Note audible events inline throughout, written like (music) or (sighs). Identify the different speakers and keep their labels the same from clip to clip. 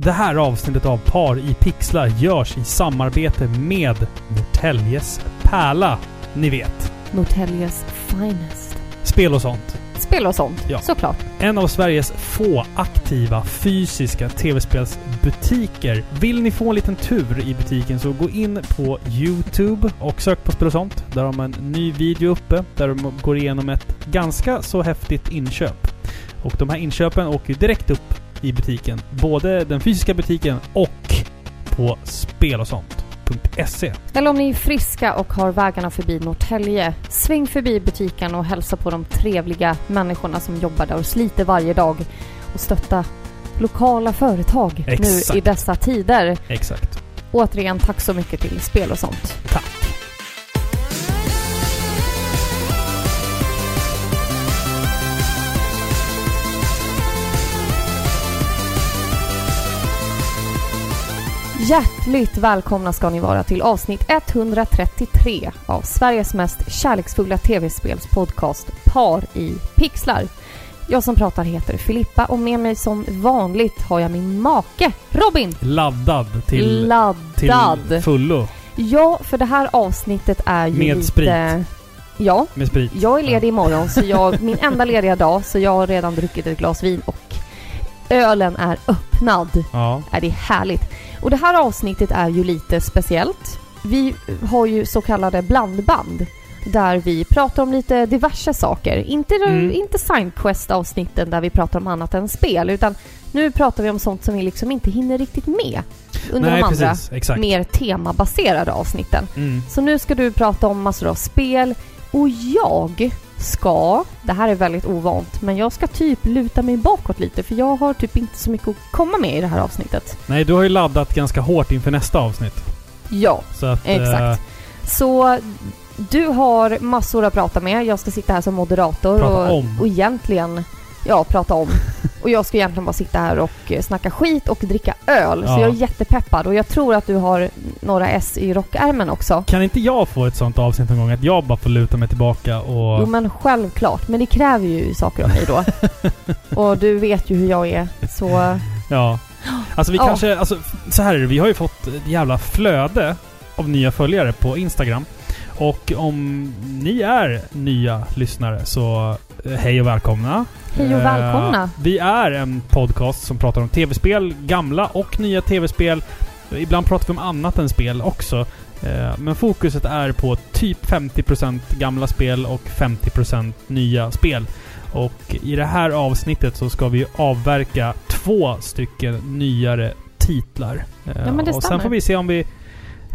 Speaker 1: Det här avsnittet av Par i pixlar görs i samarbete med Norrtäljes pärla. Ni vet,
Speaker 2: Norrtäljes finest.
Speaker 1: spel och sånt.
Speaker 2: Spel och sånt,
Speaker 1: Ja.
Speaker 2: såklart.
Speaker 1: En av Sveriges få aktiva fysiska tv-spelsbutiker. Vill ni få en liten tur i butiken så gå in på Youtube och sök på Spel och sånt. Där har man en ny video uppe där de går igenom ett ganska så häftigt inköp. Och de här inköpen åker ju direkt upp i butiken. Både den fysiska butiken och på spelosont.se.
Speaker 2: Eller om ni är friska och har vägarna förbi Norrtälje, sväng förbi butiken och hälsa på de trevliga människorna som jobbar där och sliter varje dag. Och stötta lokala företag
Speaker 1: Exakt.
Speaker 2: nu i dessa tider.
Speaker 1: Exakt.
Speaker 2: Återigen, tack så mycket till Spel och sånt.
Speaker 1: Tack.
Speaker 2: Hjärtligt välkomna ska ni vara till avsnitt 133 av Sveriges mest kärleksfulla tv-spelspodcast Par i pixlar. Jag som pratar heter Filippa och med mig som vanligt har jag min make Robin.
Speaker 1: Laddad till, till
Speaker 2: Laddad.
Speaker 1: fullo
Speaker 2: Ja, för det här avsnittet är ju
Speaker 1: Med
Speaker 2: lite...
Speaker 1: sprit.
Speaker 2: Ja,
Speaker 1: med sprit.
Speaker 2: jag är ledig imorgon så
Speaker 1: (laughs)
Speaker 2: jag, min enda lediga dag, så jag har redan druckit ett glas vin och ölen är öppnad
Speaker 1: Ja.
Speaker 2: är det härligt. Och det här avsnittet är ju lite speciellt. Vi har ju så kallade blandband där vi pratar om lite diverse saker. Inte,
Speaker 1: Mm.
Speaker 2: inte Sidequest-avsnitten där vi pratar om annat än spel, utan nu pratar vi om sånt som vi liksom inte hinner riktigt med under
Speaker 1: Nej,
Speaker 2: de andra
Speaker 1: precis. Exakt.
Speaker 2: mer temabaserade avsnitten.
Speaker 1: Mm.
Speaker 2: Så nu ska du prata om massor av spel och jag ska, det här är väldigt ovant, men jag ska typ luta mig bakåt lite för jag har typ inte så mycket att komma med i det här avsnittet.
Speaker 1: Nej, du har ju laddat ganska hårt inför nästa avsnitt.
Speaker 2: Ja,
Speaker 1: Så att,
Speaker 2: Exakt.
Speaker 1: eh,
Speaker 2: så du har massor att prata med. Jag ska sitta här som moderator
Speaker 1: Prata
Speaker 2: och,
Speaker 1: om.
Speaker 2: och egentligen, ja,
Speaker 1: (laughs)
Speaker 2: prata om. och jag ska egentligen bara sitta här och eh, snacka skit och dricka öl. Så
Speaker 1: Ja.
Speaker 2: jag är jättepeppad och jag tror att du har några S i rockärmen också.
Speaker 1: kan inte jag få ett sånt avsnitt någon gång? Att jag bara får luta mig tillbaka och...
Speaker 2: Jo men självklart, men det kräver ju saker av mig
Speaker 1: (laughs)
Speaker 2: då. och du vet ju hur jag är, så... (gasps)
Speaker 1: Ja. Alltså vi
Speaker 2: Ja.
Speaker 1: kanske... Alltså, f- så här är det. Vi har ju fått ett jävla flöde av nya följare på Instagram. Och om ni är nya lyssnare så eh, hej och välkomna.
Speaker 2: Hej och
Speaker 1: Eh,
Speaker 2: välkomna.
Speaker 1: vi är en podcast som pratar om tv-spel, gamla och nya tv-spel. Ibland pratar vi om annat än spel också. Eh, Men fokuset är på typ 50% gamla spel och 50% nya spel. Och i det här avsnittet så ska vi avverka två stycken nyare titlar. Eh,
Speaker 2: Ja, men det
Speaker 1: och sen
Speaker 2: stämmer.
Speaker 1: får vi se om vi,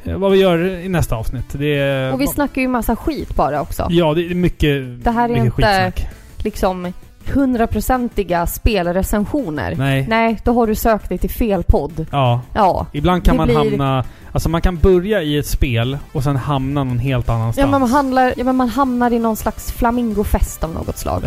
Speaker 1: eh, vad vi gör i nästa avsnitt. Det är,
Speaker 2: Och vi snackar ju massa skit bara också.
Speaker 1: Ja, det är mycket,
Speaker 2: Det här är
Speaker 1: mycket
Speaker 2: inte-
Speaker 1: skitsnack.
Speaker 2: Liksom hundraprocentiga spelrecensioner.
Speaker 1: Nej.
Speaker 2: Nej, då har du sökt dig till fel podd.
Speaker 1: Ja,
Speaker 2: Ja.
Speaker 1: Ibland kan
Speaker 2: Det
Speaker 1: man
Speaker 2: blir-
Speaker 1: hamna... Alltså man kan börja i ett spel och sen hamna någon helt
Speaker 2: Ja
Speaker 1: annanstans.
Speaker 2: men, man handlar, ja men man hamnar i någon slags flamingofest av något slag.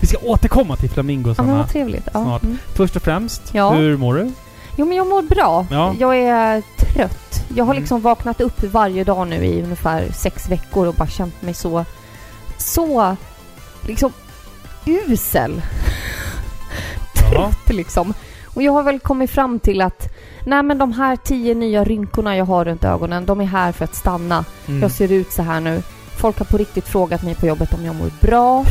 Speaker 1: Vi ska återkomma till Flamingo
Speaker 2: Ja men
Speaker 1: Sanna.
Speaker 2: vad trevligt. Ja.
Speaker 1: Snart.
Speaker 2: Mm.
Speaker 1: Först och främst,
Speaker 2: Ja.
Speaker 1: hur mår du?
Speaker 2: Jo men jag mår bra.
Speaker 1: Ja.
Speaker 2: Jag är trött. Jag har
Speaker 1: Mm.
Speaker 2: liksom vaknat upp varje dag nu i ungefär sex veckor och bara känt mig så... Så... Liksom usel. (laughs)
Speaker 1: Ja.
Speaker 2: trött liksom. Och jag har väl kommit fram till att nej men de här tio nya rynkorna jag har runt ögonen, de är här för att stanna.
Speaker 1: Mm.
Speaker 2: Jag ser ut så här nu. Folk har på riktigt frågat mig på jobbet om jag mår
Speaker 1: (laughs)
Speaker 2: bra.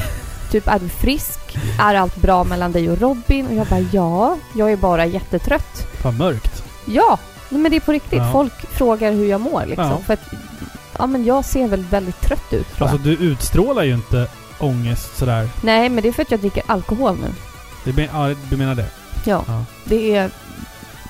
Speaker 2: Typ, är du frisk? Är allt bra mellan dig och Robin? Och jag bara, ja. Jag är bara jättetrött.
Speaker 1: Fan mörkt.
Speaker 2: Ja! Nej, men det är på riktigt.
Speaker 1: Ja.
Speaker 2: Folk frågar hur jag mår liksom.
Speaker 1: Ja.
Speaker 2: För att, ja men jag ser väl väldigt trött ut tror
Speaker 1: Alltså
Speaker 2: jag.
Speaker 1: du utstrålar ju inte ångest sådär.
Speaker 2: Nej, men det är för att jag dricker alkohol nu.
Speaker 1: Du, men, ja, du menar det?
Speaker 2: Ja.
Speaker 1: Ja.
Speaker 2: Det är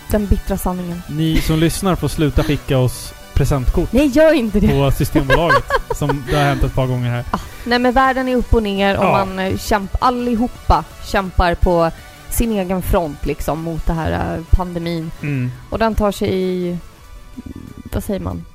Speaker 2: den bittra sanningen.
Speaker 1: Ni som (laughs) lyssnar får sluta skicka oss presentkort
Speaker 2: Nej, gör inte det! (laughs)
Speaker 1: på Systembolaget. som det har hänt ett par gånger här.
Speaker 2: Nej men världen är upp och ner och
Speaker 1: Ja.
Speaker 2: man eh, kämp- allihopa kämpar på sin egen front liksom mot det här eh, pandemin.
Speaker 1: Mm.
Speaker 2: Och den tar sig i... Vad säger man?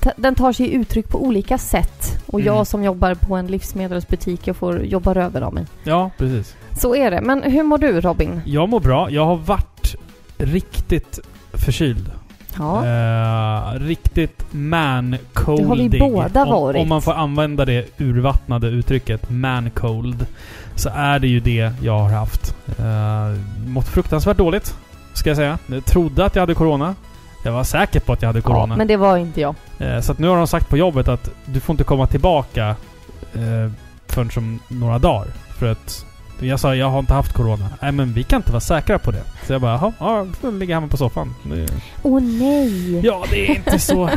Speaker 2: Ta- Den tar sig i uttryck på olika sätt. Och
Speaker 1: Mm.
Speaker 2: jag som jobbar på en livsmedelsbutik, jag får jobba röven av mig.
Speaker 1: Ja, precis.
Speaker 2: Så är det. Men hur mår du Robin?
Speaker 1: Jag mår bra. Jag har varit riktigt förkyld.
Speaker 2: Ja.
Speaker 1: Eh, riktigt man-colding.
Speaker 2: Det har vi båda
Speaker 1: om,
Speaker 2: varit.
Speaker 1: Om man får använda det urvattnade uttrycket man-cold. Så är det ju det jag har haft. Eh, mått fruktansvärt dåligt. ska jag säga. Jag trodde att jag hade corona. Jag var säker på att jag hade corona.
Speaker 2: Ja, men det var inte jag.
Speaker 1: Eh, Så att nu har de sagt på jobbet att du får inte komma tillbaka eh, förrän som några dagar. För att jag sa jag har inte haft corona. Nej men vi kan inte vara säkra på det. Så jag bara jaha, ja, då får jag ligga hemma på soffan. Det-
Speaker 2: Åh nej!
Speaker 1: Ja, det är inte så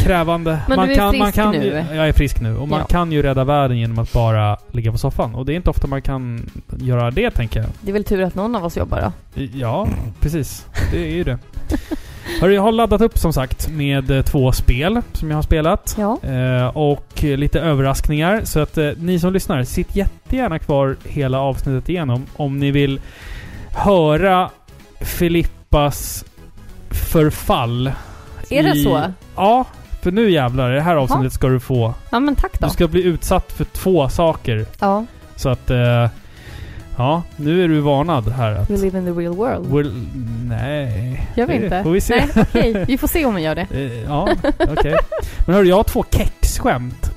Speaker 1: krävande.
Speaker 2: Men du är frisk
Speaker 1: kan,
Speaker 2: nu.
Speaker 1: ju- Jag är frisk nu. Och man
Speaker 2: Ja.
Speaker 1: kan ju rädda världen genom att bara ligga på soffan. Och det är inte ofta man kan göra det tänker jag.
Speaker 2: Det är väl tur att någon av oss jobbar då.
Speaker 1: Ja, precis. Det är ju det. Hörru, jag har laddat upp som sagt med eh, två spel som jag har spelat.
Speaker 2: Ja.
Speaker 1: Eh, och eh, lite överraskningar. Så att eh, ni som lyssnar, sitt jättegärna kvar hela avsnittet igenom om ni vill höra Filippas förfall.
Speaker 2: Är det
Speaker 1: i-
Speaker 2: så?
Speaker 1: Ja, för nu jävlar. I det här avsnittet ska du få.
Speaker 2: Ja men tack då.
Speaker 1: Du ska bli utsatt för två saker.
Speaker 2: Ja,
Speaker 1: Så att... Eh, ja, nu är du varnad här. Att,
Speaker 2: we live in the real (laughs) world.
Speaker 1: Well, nej.
Speaker 2: Gör vi
Speaker 1: Det
Speaker 2: inte?
Speaker 1: Får vi se.
Speaker 2: Nej, okej. Vi får se om vi gör det.
Speaker 1: (laughs) Eh, ja, okej. Men hörru, jag har två kexskämt.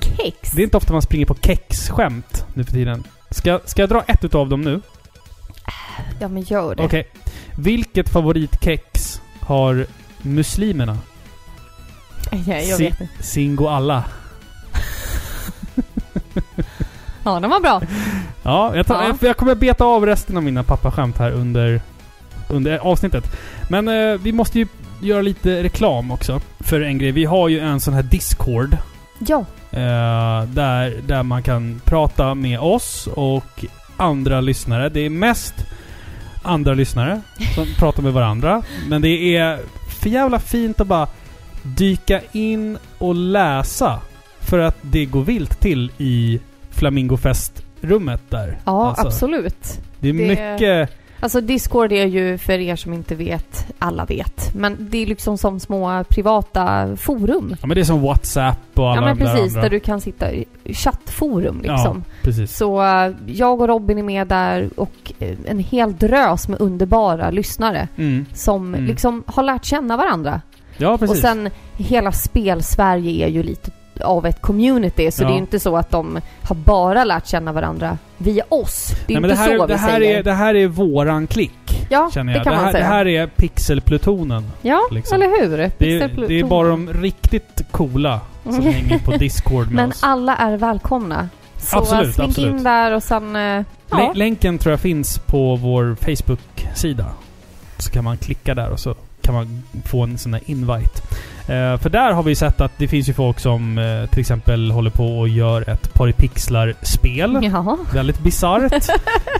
Speaker 2: Kex?
Speaker 1: Det är inte ofta man springer på kexskämt nu för tiden. Ska, ska jag dra ett utav dem nu?
Speaker 2: Ja men gör det.
Speaker 1: Okej. Vilket favoritkex har muslimerna?
Speaker 2: Ja, jag
Speaker 1: Si-
Speaker 2: vet inte.
Speaker 1: Singo alla.
Speaker 2: Ja, den var bra.
Speaker 1: Ja, jag, tar,
Speaker 2: Ja.
Speaker 1: Jag, jag kommer beta av resten av mina pappaskämt här under, under avsnittet. Men eh, vi måste ju göra lite reklam också för en grej. Vi har ju en sån här Discord.
Speaker 2: Ja.
Speaker 1: Eh, där, där man kan prata med oss och andra lyssnare. Det är mest andra lyssnare som pratar med varandra. Men det är för jävla fint att bara dyka in och läsa. För att det går vilt till i Flamingofestrummet där.
Speaker 2: Ja,
Speaker 1: Alltså,
Speaker 2: absolut.
Speaker 1: Det är
Speaker 2: det-
Speaker 1: mycket...
Speaker 2: Alltså Discord är ju, för er som inte vet, alla vet. Men det är liksom som små privata forum.
Speaker 1: Ja men det är som WhatsApp och alla
Speaker 2: ja men
Speaker 1: de
Speaker 2: precis,
Speaker 1: där
Speaker 2: där
Speaker 1: andra.
Speaker 2: du kan sitta i chattforum liksom.
Speaker 1: Precis.
Speaker 2: Så eh, jag och Robin är med där och eh, en hel drös med underbara lyssnare
Speaker 1: Mm.
Speaker 2: som
Speaker 1: Mm.
Speaker 2: liksom har lärt känna varandra.
Speaker 1: Ja precis.
Speaker 2: Och sen hela spelsverige är ju lite av ett community så
Speaker 1: Ja.
Speaker 2: det är ju inte så att de har bara lärt känna varandra via oss. Det
Speaker 1: Nej,
Speaker 2: är
Speaker 1: men
Speaker 2: inte
Speaker 1: det här,
Speaker 2: så vi
Speaker 1: det här
Speaker 2: säger.
Speaker 1: är, det här är våran klick.
Speaker 2: ja,
Speaker 1: känner
Speaker 2: det
Speaker 1: jag.
Speaker 2: kan
Speaker 1: det, här,
Speaker 2: man säga.
Speaker 1: det här är pixelplutonen.
Speaker 2: ja,
Speaker 1: liksom.
Speaker 2: eller hur?
Speaker 1: Det är,
Speaker 2: Pixel-
Speaker 1: det är bara de riktigt coola som hänger
Speaker 2: (laughs)
Speaker 1: på Discord med
Speaker 2: Mm. Men
Speaker 1: oss.
Speaker 2: alla är välkomna. Så eh,
Speaker 1: Absolut,
Speaker 2: slink
Speaker 1: absolut.
Speaker 2: in där och sen... eh,
Speaker 1: Lä-
Speaker 2: Ja,
Speaker 1: Länken tror jag finns på vår Facebook-sida. Så kan man klicka där och så kan man få en sån här invite. Eh, för där har vi sett att det finns ju folk som eh, till exempel håller på och gör ett paripixlar-spel.
Speaker 2: Jaha.
Speaker 1: Väldigt
Speaker 2: (laughs)
Speaker 1: bisarrt.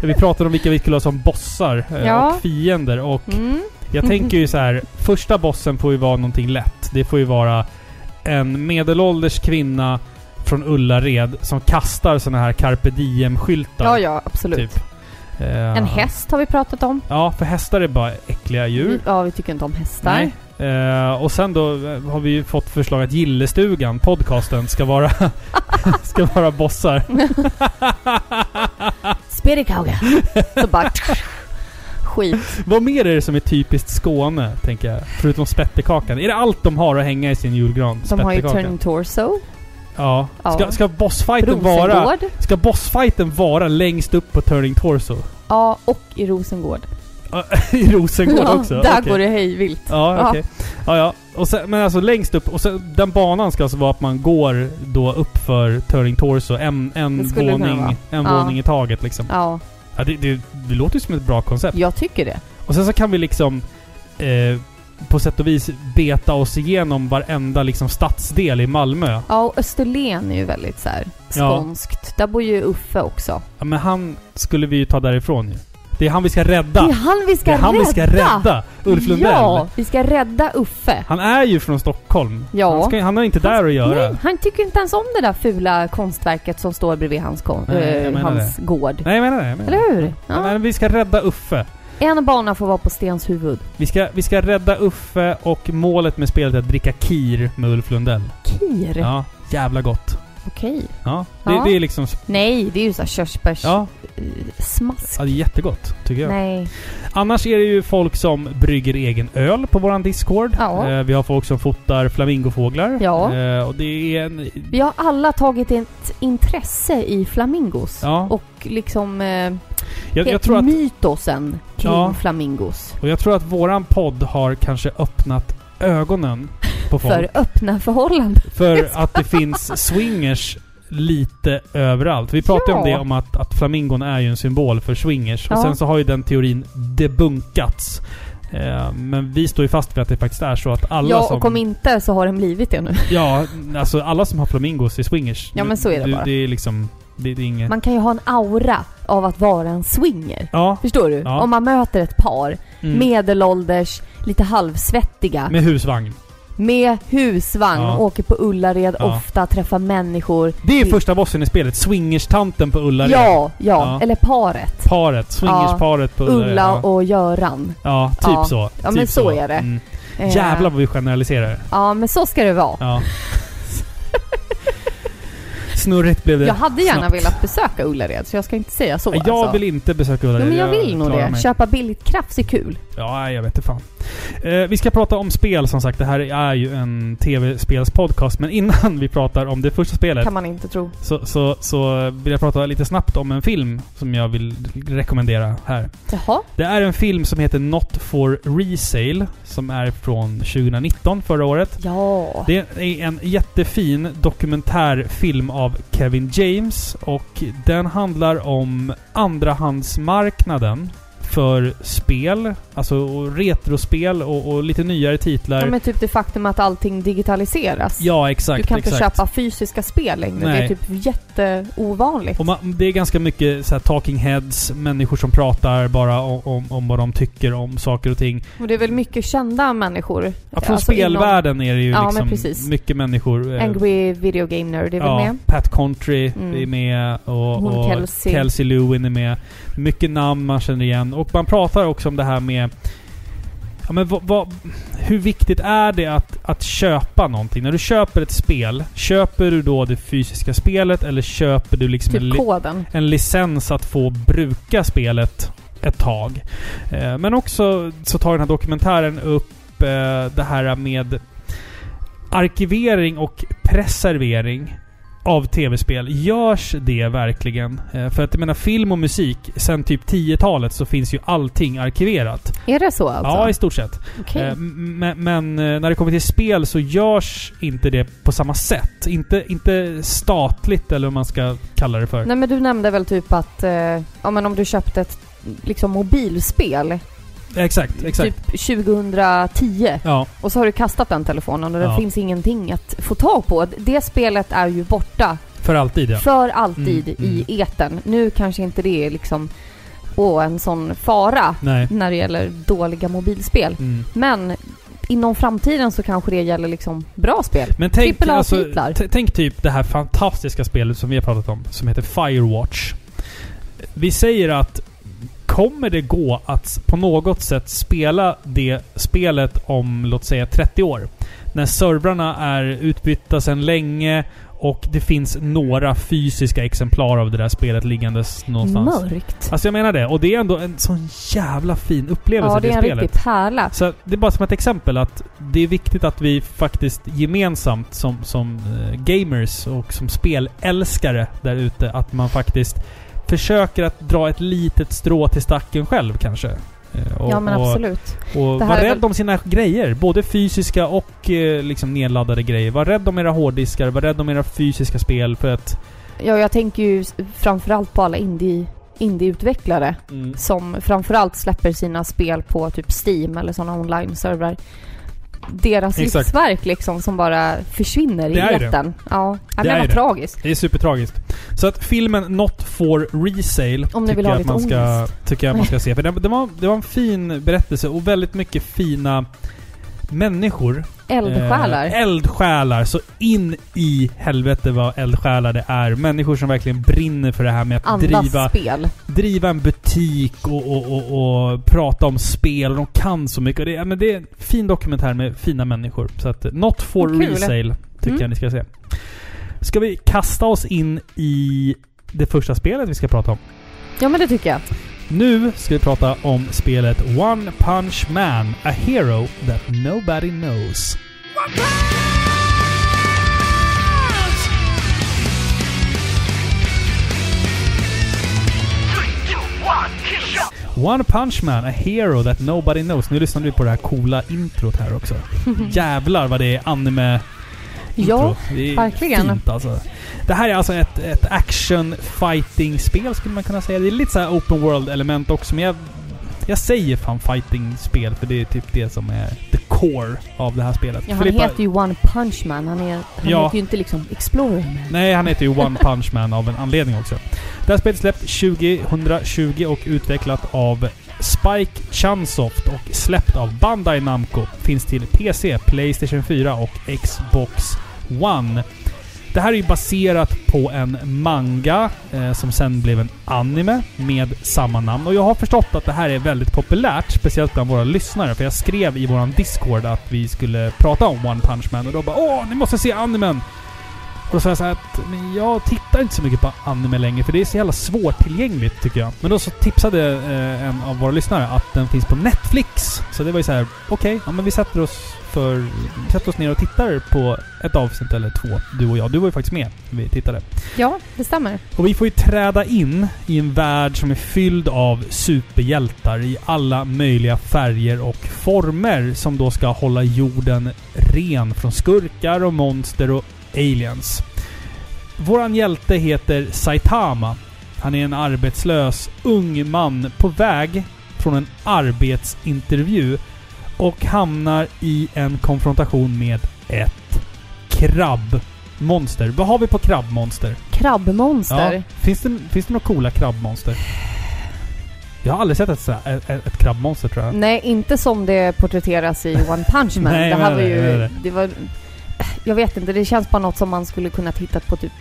Speaker 1: vi pratade om vilka vi skulle ha som bossar eh,
Speaker 2: Ja.
Speaker 1: och fiender och
Speaker 2: Mm.
Speaker 1: Jag tänker ju så här, första bossen får ju vara någonting lätt. Det får ju vara en medelålders kvinna från Ullared som kastar såna här carpe diem-skyltar.
Speaker 2: Ja, ja, absolut.
Speaker 1: Typ. Eh,
Speaker 2: En häst har vi pratat om.
Speaker 1: Ja, för hästar är bara äckliga djur.
Speaker 2: Ja, vi tycker inte om hästar.
Speaker 1: Nej. Eh, och sen då eh, har vi ju fått förslag att Gillestugan, podcasten, ska vara, (laughs) ska vara bossar.
Speaker 2: Spirikauga.
Speaker 1: (laughs)
Speaker 2: Så bara... Skit.
Speaker 1: Vad mer är det som är typiskt Skåne, tänker jag? Förutom spettekakan. Är det allt de har att hänga i sin julgran?
Speaker 2: De har ju
Speaker 1: Spettekakan?
Speaker 2: Turning Torso.
Speaker 1: Ja.
Speaker 2: Ja.
Speaker 1: Ska, ska bossfighten vara...
Speaker 2: Rosengård.
Speaker 1: Ska bossfighten vara längst upp på Turning Torso?
Speaker 2: Ja, och i Rosengård.
Speaker 1: (laughs) I Rosengård
Speaker 2: Ja,
Speaker 1: också?
Speaker 2: Där
Speaker 1: Okej.
Speaker 2: går det hejvilt.
Speaker 1: Ja,
Speaker 2: Ja.
Speaker 1: okej. Ja, ja. Och sen, men alltså längst upp. Och sen, den banan ska alltså vara att man går då upp för Turning Torso. En, en,
Speaker 2: Det skulle det kunna
Speaker 1: våning,
Speaker 2: vara.
Speaker 1: en
Speaker 2: Ja.
Speaker 1: våning i taget liksom.
Speaker 2: Ja,
Speaker 1: Ja, det, det, det låter ju som ett bra koncept.
Speaker 2: jag tycker det.
Speaker 1: Och sen så kan vi liksom... Eh, på sätt och vis beta oss igenom varenda liksom stadsdel i Malmö.
Speaker 2: Ja, och Österlen är ju väldigt så här skånskt. Där bor ju Uffe också.
Speaker 1: Ja, men han skulle vi ju ta därifrån ju. Det är han vi ska rädda.
Speaker 2: Det är han vi ska
Speaker 1: det är han
Speaker 2: rädda!
Speaker 1: vi ska rädda! Ulf Lundell.
Speaker 2: Ja, vi ska rädda Uffe.
Speaker 1: Han är ju från Stockholm.
Speaker 2: Ja.
Speaker 1: Han, ska, han har inte där att göra.
Speaker 2: Nej, han tycker inte ens om det där fula konstverket som står bredvid hans, kon-
Speaker 1: Nej, jag
Speaker 2: eh,
Speaker 1: menar
Speaker 2: hans gård.
Speaker 1: Nej, jag menar det. Jag menar. det.
Speaker 2: Eller hur?
Speaker 1: Ja.
Speaker 2: Ja.
Speaker 1: men vi ska rädda Uffe.
Speaker 2: En bana får vara på Stens huvud.
Speaker 1: Vi ska, vi ska rädda Uffe och målet med spelet är att dricka kir med Ulf Lundell.
Speaker 2: Kir?
Speaker 1: Ja, jävla gott.
Speaker 2: Okej.
Speaker 1: Ja, det,
Speaker 2: Ja.
Speaker 1: det är liksom...
Speaker 2: Nej, det är ju så här körsbärs...
Speaker 1: Ja,
Speaker 2: eh, Smask.
Speaker 1: ja, det är jättegott tycker jag.
Speaker 2: Nej.
Speaker 1: Annars är det ju folk som brygger egen öl på våran Discord.
Speaker 2: Ja.
Speaker 1: Eh, vi har folk som fotar flamingofåglar.
Speaker 2: Ja.
Speaker 1: Eh, och det är en...
Speaker 2: Vi har alla tagit ett intresse i flamingos.
Speaker 1: Ja.
Speaker 2: Och liksom eh,
Speaker 1: Jag, jag
Speaker 2: Helt
Speaker 1: tror att
Speaker 2: mytosen kring
Speaker 1: Ja.
Speaker 2: flamingos.
Speaker 1: Och jag tror att våran podd har kanske öppnat ögonen på folk.
Speaker 2: För öppna förhållanden.
Speaker 1: För att det finns swingers lite överallt. Vi pratade ju om
Speaker 2: Ja.
Speaker 1: det, om att, att flamingon är ju en symbol för swingers.
Speaker 2: Ja.
Speaker 1: Och sen så har ju den teorin debunkats. Eh, men vi står ju fast vid att det faktiskt är så att alla
Speaker 2: ja,
Speaker 1: som...
Speaker 2: och om inte så har den blivit det nu.
Speaker 1: Ja, alltså alla som har flamingos är swingers.
Speaker 2: Ja, men så är det
Speaker 1: du,
Speaker 2: bara.
Speaker 1: Det är liksom... Det, det är inget...
Speaker 2: Man kan ju ha en aura av att vara en swinger.
Speaker 1: ja.
Speaker 2: Förstår du?
Speaker 1: Ja.
Speaker 2: Om man möter ett par,
Speaker 1: Mm.
Speaker 2: medelålders, lite halvsvettiga,
Speaker 1: Med husvagn.
Speaker 2: med husvagn,
Speaker 1: Ja.
Speaker 2: åker på Ullared
Speaker 1: Ja.
Speaker 2: ofta, träffar människor.
Speaker 1: Det är
Speaker 2: Det-
Speaker 1: första bossen i spelet. Swingerstanten på Ullared.
Speaker 2: Ja, ja,
Speaker 1: Ja.
Speaker 2: Eller paret.
Speaker 1: Paret. Swingersparet på Ullared.
Speaker 2: Ulla
Speaker 1: ja.
Speaker 2: och Göran.
Speaker 1: Ja, typ
Speaker 2: Ja.
Speaker 1: så.
Speaker 2: Ja,
Speaker 1: typ
Speaker 2: men så är det.
Speaker 1: Mm.
Speaker 2: Eh,
Speaker 1: Jävlar vad vi generaliserar.
Speaker 2: Ja, men så ska det vara. (laughs)
Speaker 1: Ja. Snurrigt blev det.
Speaker 2: Jag hade gärna
Speaker 1: snabbt.
Speaker 2: velat besöka Ullared, så jag ska inte säga så.
Speaker 1: Jag
Speaker 2: alltså.
Speaker 1: vill inte besöka Ullared.
Speaker 2: Jo, men jag vill nog
Speaker 1: klarar
Speaker 2: det.
Speaker 1: mig.
Speaker 2: Köpa billigt krafs är kul.
Speaker 1: Ja, nej, jag vet inte fan. Eh, vi ska prata om spel som sagt. Det här är ju en tv-spelspodcast. Men innan (laughs) vi pratar om det första spelet
Speaker 2: Kan man inte tro.
Speaker 1: så, så, så vill jag prata lite snabbt om en film som jag vill rekommendera här.
Speaker 2: Jaha,
Speaker 1: Det är en film som heter Not for Resale. Som är från 2019, förra året.
Speaker 2: ja.
Speaker 1: Det är en jättefin dokumentärfilm av Kevin James och den handlar om andrahandsmarknaden för spel, alltså och retrospel och, och lite nyare titlar.
Speaker 2: Ja, men typ det faktum att allting digitaliseras.
Speaker 1: Ja, exakt.
Speaker 2: du kan inte
Speaker 1: exakt.
Speaker 2: köpa fysiska spel längre.
Speaker 1: Nej.
Speaker 2: Det är typ jätteovanligt.
Speaker 1: Och man, det är ganska mycket så här talking heads, människor som pratar bara om, om, om vad de tycker om saker och ting.
Speaker 2: Och det är väl mycket kända människor.
Speaker 1: Ja, från
Speaker 2: Alltså inom-
Speaker 1: spelvärlden är det ju
Speaker 2: Ja, men precis.
Speaker 1: liksom mycket människor. eh,
Speaker 2: Angry Video Game Nerd är väl
Speaker 1: Ja,
Speaker 2: med?
Speaker 1: Pat Contry
Speaker 2: Mm.
Speaker 1: är med och,
Speaker 2: Hon
Speaker 1: och
Speaker 2: Kelsey.
Speaker 1: Kelsey. Lewin är med. Mycket namn man känner igen. Och man pratar också om det här med Ja, men vad, vad, hur viktigt är det att, att köpa någonting? När du köper ett spel, köper du då det fysiska spelet eller köper du liksom en,
Speaker 2: Typ
Speaker 1: li,
Speaker 2: koden.
Speaker 1: en licens att få bruka spelet ett tag? Eh, men också så tar den här dokumentären upp eh, det här med arkivering och preservering av tv-spel. Görs det verkligen? Eh, För att jag menar film och musik, sen typ 10-talet så finns ju allting arkiverat.
Speaker 2: Är det så alltså?
Speaker 1: Ja, i stort sett.
Speaker 2: Okej.
Speaker 1: Eh, m- Men, men eh, när det kommer till spel så görs inte det på samma sätt. Inte, inte statligt eller vad man ska kalla det för.
Speaker 2: Nej men du nämnde väl typ att eh, ja, men om du köpte ett liksom mobilspel
Speaker 1: Exakt, exakt.
Speaker 2: typ 2010
Speaker 1: Ja,
Speaker 2: och så har du kastat den telefonen och det
Speaker 1: Ja.
Speaker 2: finns ingenting att få tag på. Det spelet är ju borta
Speaker 1: för alltid ja.
Speaker 2: för alltid
Speaker 1: Mm,
Speaker 2: i etern. Nu kanske inte det är liksom åh, en sån fara
Speaker 1: Nej.
Speaker 2: när det gäller dåliga mobilspel.
Speaker 1: Mm.
Speaker 2: Men inom framtiden så kanske det gäller liksom bra spel.
Speaker 1: Men tänk,
Speaker 2: Triple
Speaker 1: alltså,
Speaker 2: A-titlar.
Speaker 1: t- tänk typ det här fantastiska spelet som vi har pratat om, som heter Firewatch. Vi säger att kommer det gå att på något sätt spela det spelet om, låt säga 30 år? När servrarna är utbytta sedan länge och det finns några fysiska exemplar av det där spelet liggandes någonstans.
Speaker 2: Mörkt.
Speaker 1: Alltså jag menar det. Och det är ändå en sån jävla fin upplevelse
Speaker 2: Ja, det är en
Speaker 1: till spelet.
Speaker 2: riktig pärla.
Speaker 1: Så det är bara som ett exempel att det är viktigt att vi faktiskt gemensamt som, som eh, gamers och som spelälskare där ute att man faktiskt försöker att dra ett litet strå till stacken själv kanske. Eh, Och,
Speaker 2: Ja men
Speaker 1: och,
Speaker 2: absolut.
Speaker 1: och
Speaker 2: Det här
Speaker 1: var
Speaker 2: är
Speaker 1: rädd
Speaker 2: väl-
Speaker 1: om sina grejer. Både fysiska och eh, liksom nedladdade grejer. Var rädd om era hårddiskar. Var rädd om era fysiska spel för att...
Speaker 2: Ja, jag tänker ju s- framförallt på alla indie, indieutvecklare
Speaker 1: mm,
Speaker 2: som framförallt släpper sina spel på typ Steam eller sådana online-servrar. Deras
Speaker 1: Exakt.
Speaker 2: livsverk liksom som bara försvinner
Speaker 1: Det
Speaker 2: i
Speaker 1: är ju det.
Speaker 2: etern. Ja, jag
Speaker 1: Det är
Speaker 2: menar
Speaker 1: ju det.
Speaker 2: tragiskt.
Speaker 1: Det är supertragiskt. Så att filmen Not for Resale
Speaker 2: Om ni
Speaker 1: tycker
Speaker 2: vill
Speaker 1: jag
Speaker 2: ha
Speaker 1: att
Speaker 2: lite
Speaker 1: man ska,
Speaker 2: ångest.
Speaker 1: tycker jag man ska se. För den, den var, det var en fin berättelse och väldigt mycket fina människor.
Speaker 2: Eldsjälar.
Speaker 1: Eh, eldsjälar. Så in i helvete vad eldsjälar det är. Människor som verkligen brinner för det här med att
Speaker 2: Andas
Speaker 1: driva,
Speaker 2: spel.
Speaker 1: driva en butik och, och, och, och prata om spel. Och de kan så mycket. Och det, ja, men det är en fin dokumentär med fina människor. Så att eh, Not for
Speaker 2: Vad kul.
Speaker 1: Resale tycker
Speaker 2: Mm.
Speaker 1: jag ni ska se. Ska vi kasta oss in i det första spelet vi ska prata om?
Speaker 2: Ja men det tycker jag.
Speaker 1: Nu ska vi prata om spelet One Punch Man, A Hero That Nobody Knows.
Speaker 3: Three, two, one.
Speaker 1: One Punch Man, a hero that nobody knows. Nu lyssnar du på det här coola introt här
Speaker 2: (laughs)
Speaker 1: också. Jävlar vad det är anime
Speaker 2: Ja,
Speaker 1: intro. Det är
Speaker 2: verkligen.
Speaker 1: Fint alltså. Det här är alltså ett, ett action-fighting-spel skulle man kunna säga. Det är lite så här open world-element också, men jag, jag säger fan fighting-spel för det är typ det som är the core av det här spelet.
Speaker 2: Ja, han
Speaker 1: Filippa-
Speaker 2: heter ju One Punch Man. Han, är, han
Speaker 1: Ja.
Speaker 2: heter ju inte liksom Explorer Man.
Speaker 1: Nej, han heter ju One Punch Man av en anledning också. Det här spelet släppt 2020 och utvecklat av Spike Chunsoft och släppt av Bandai Namco. Finns till PC, Playstation 4 och Xbox One. Det här är ju baserat på en manga eh, som sen blev en anime med samma namn. Och jag har förstått att det här är väldigt populärt, speciellt bland våra lyssnare. För jag skrev i våran Discord att vi skulle prata om One Punch Man och då bara Åh, ni måste se animen! Och då sa jag så här att men jag tittar inte så mycket på anime längre för det är så jävla svårtillgängligt tycker jag. Men då så tipsade eh, en av våra lyssnare att den finns på Netflix. Så det var ju så här, okej, ja, men vi sätter oss för... Vi sätter oss ner och tittar på ett avsnitt eller två, du och jag. Du var ju faktiskt med när vi tittade.
Speaker 2: Ja, det stämmer.
Speaker 1: Och vi får ju träda in i en värld som är fylld av superhjältar i alla möjliga färger och former som då ska hålla jorden ren från skurkar och monster och aliens. Våran hjälte heter Saitama. Han är en arbetslös ung man på väg från en arbetsintervju och hamnar i en konfrontation med ett krabbmonster. Vad har vi på krabbmonster?
Speaker 2: Krabbmonster.
Speaker 1: Ja. Finns, det, finns det några coola krabbmonster? Jag har aldrig sett ett, så här- ett, ett krabbmonster tror jag.
Speaker 2: Nej, inte som det porträtteras i One Punch
Speaker 1: (laughs)
Speaker 2: Man.
Speaker 1: Nej,
Speaker 2: det här
Speaker 1: men-
Speaker 2: var ju...
Speaker 1: men-
Speaker 2: Det.
Speaker 1: men-
Speaker 2: var... Jag vet inte, det känns bara något som man skulle kunna titta på typ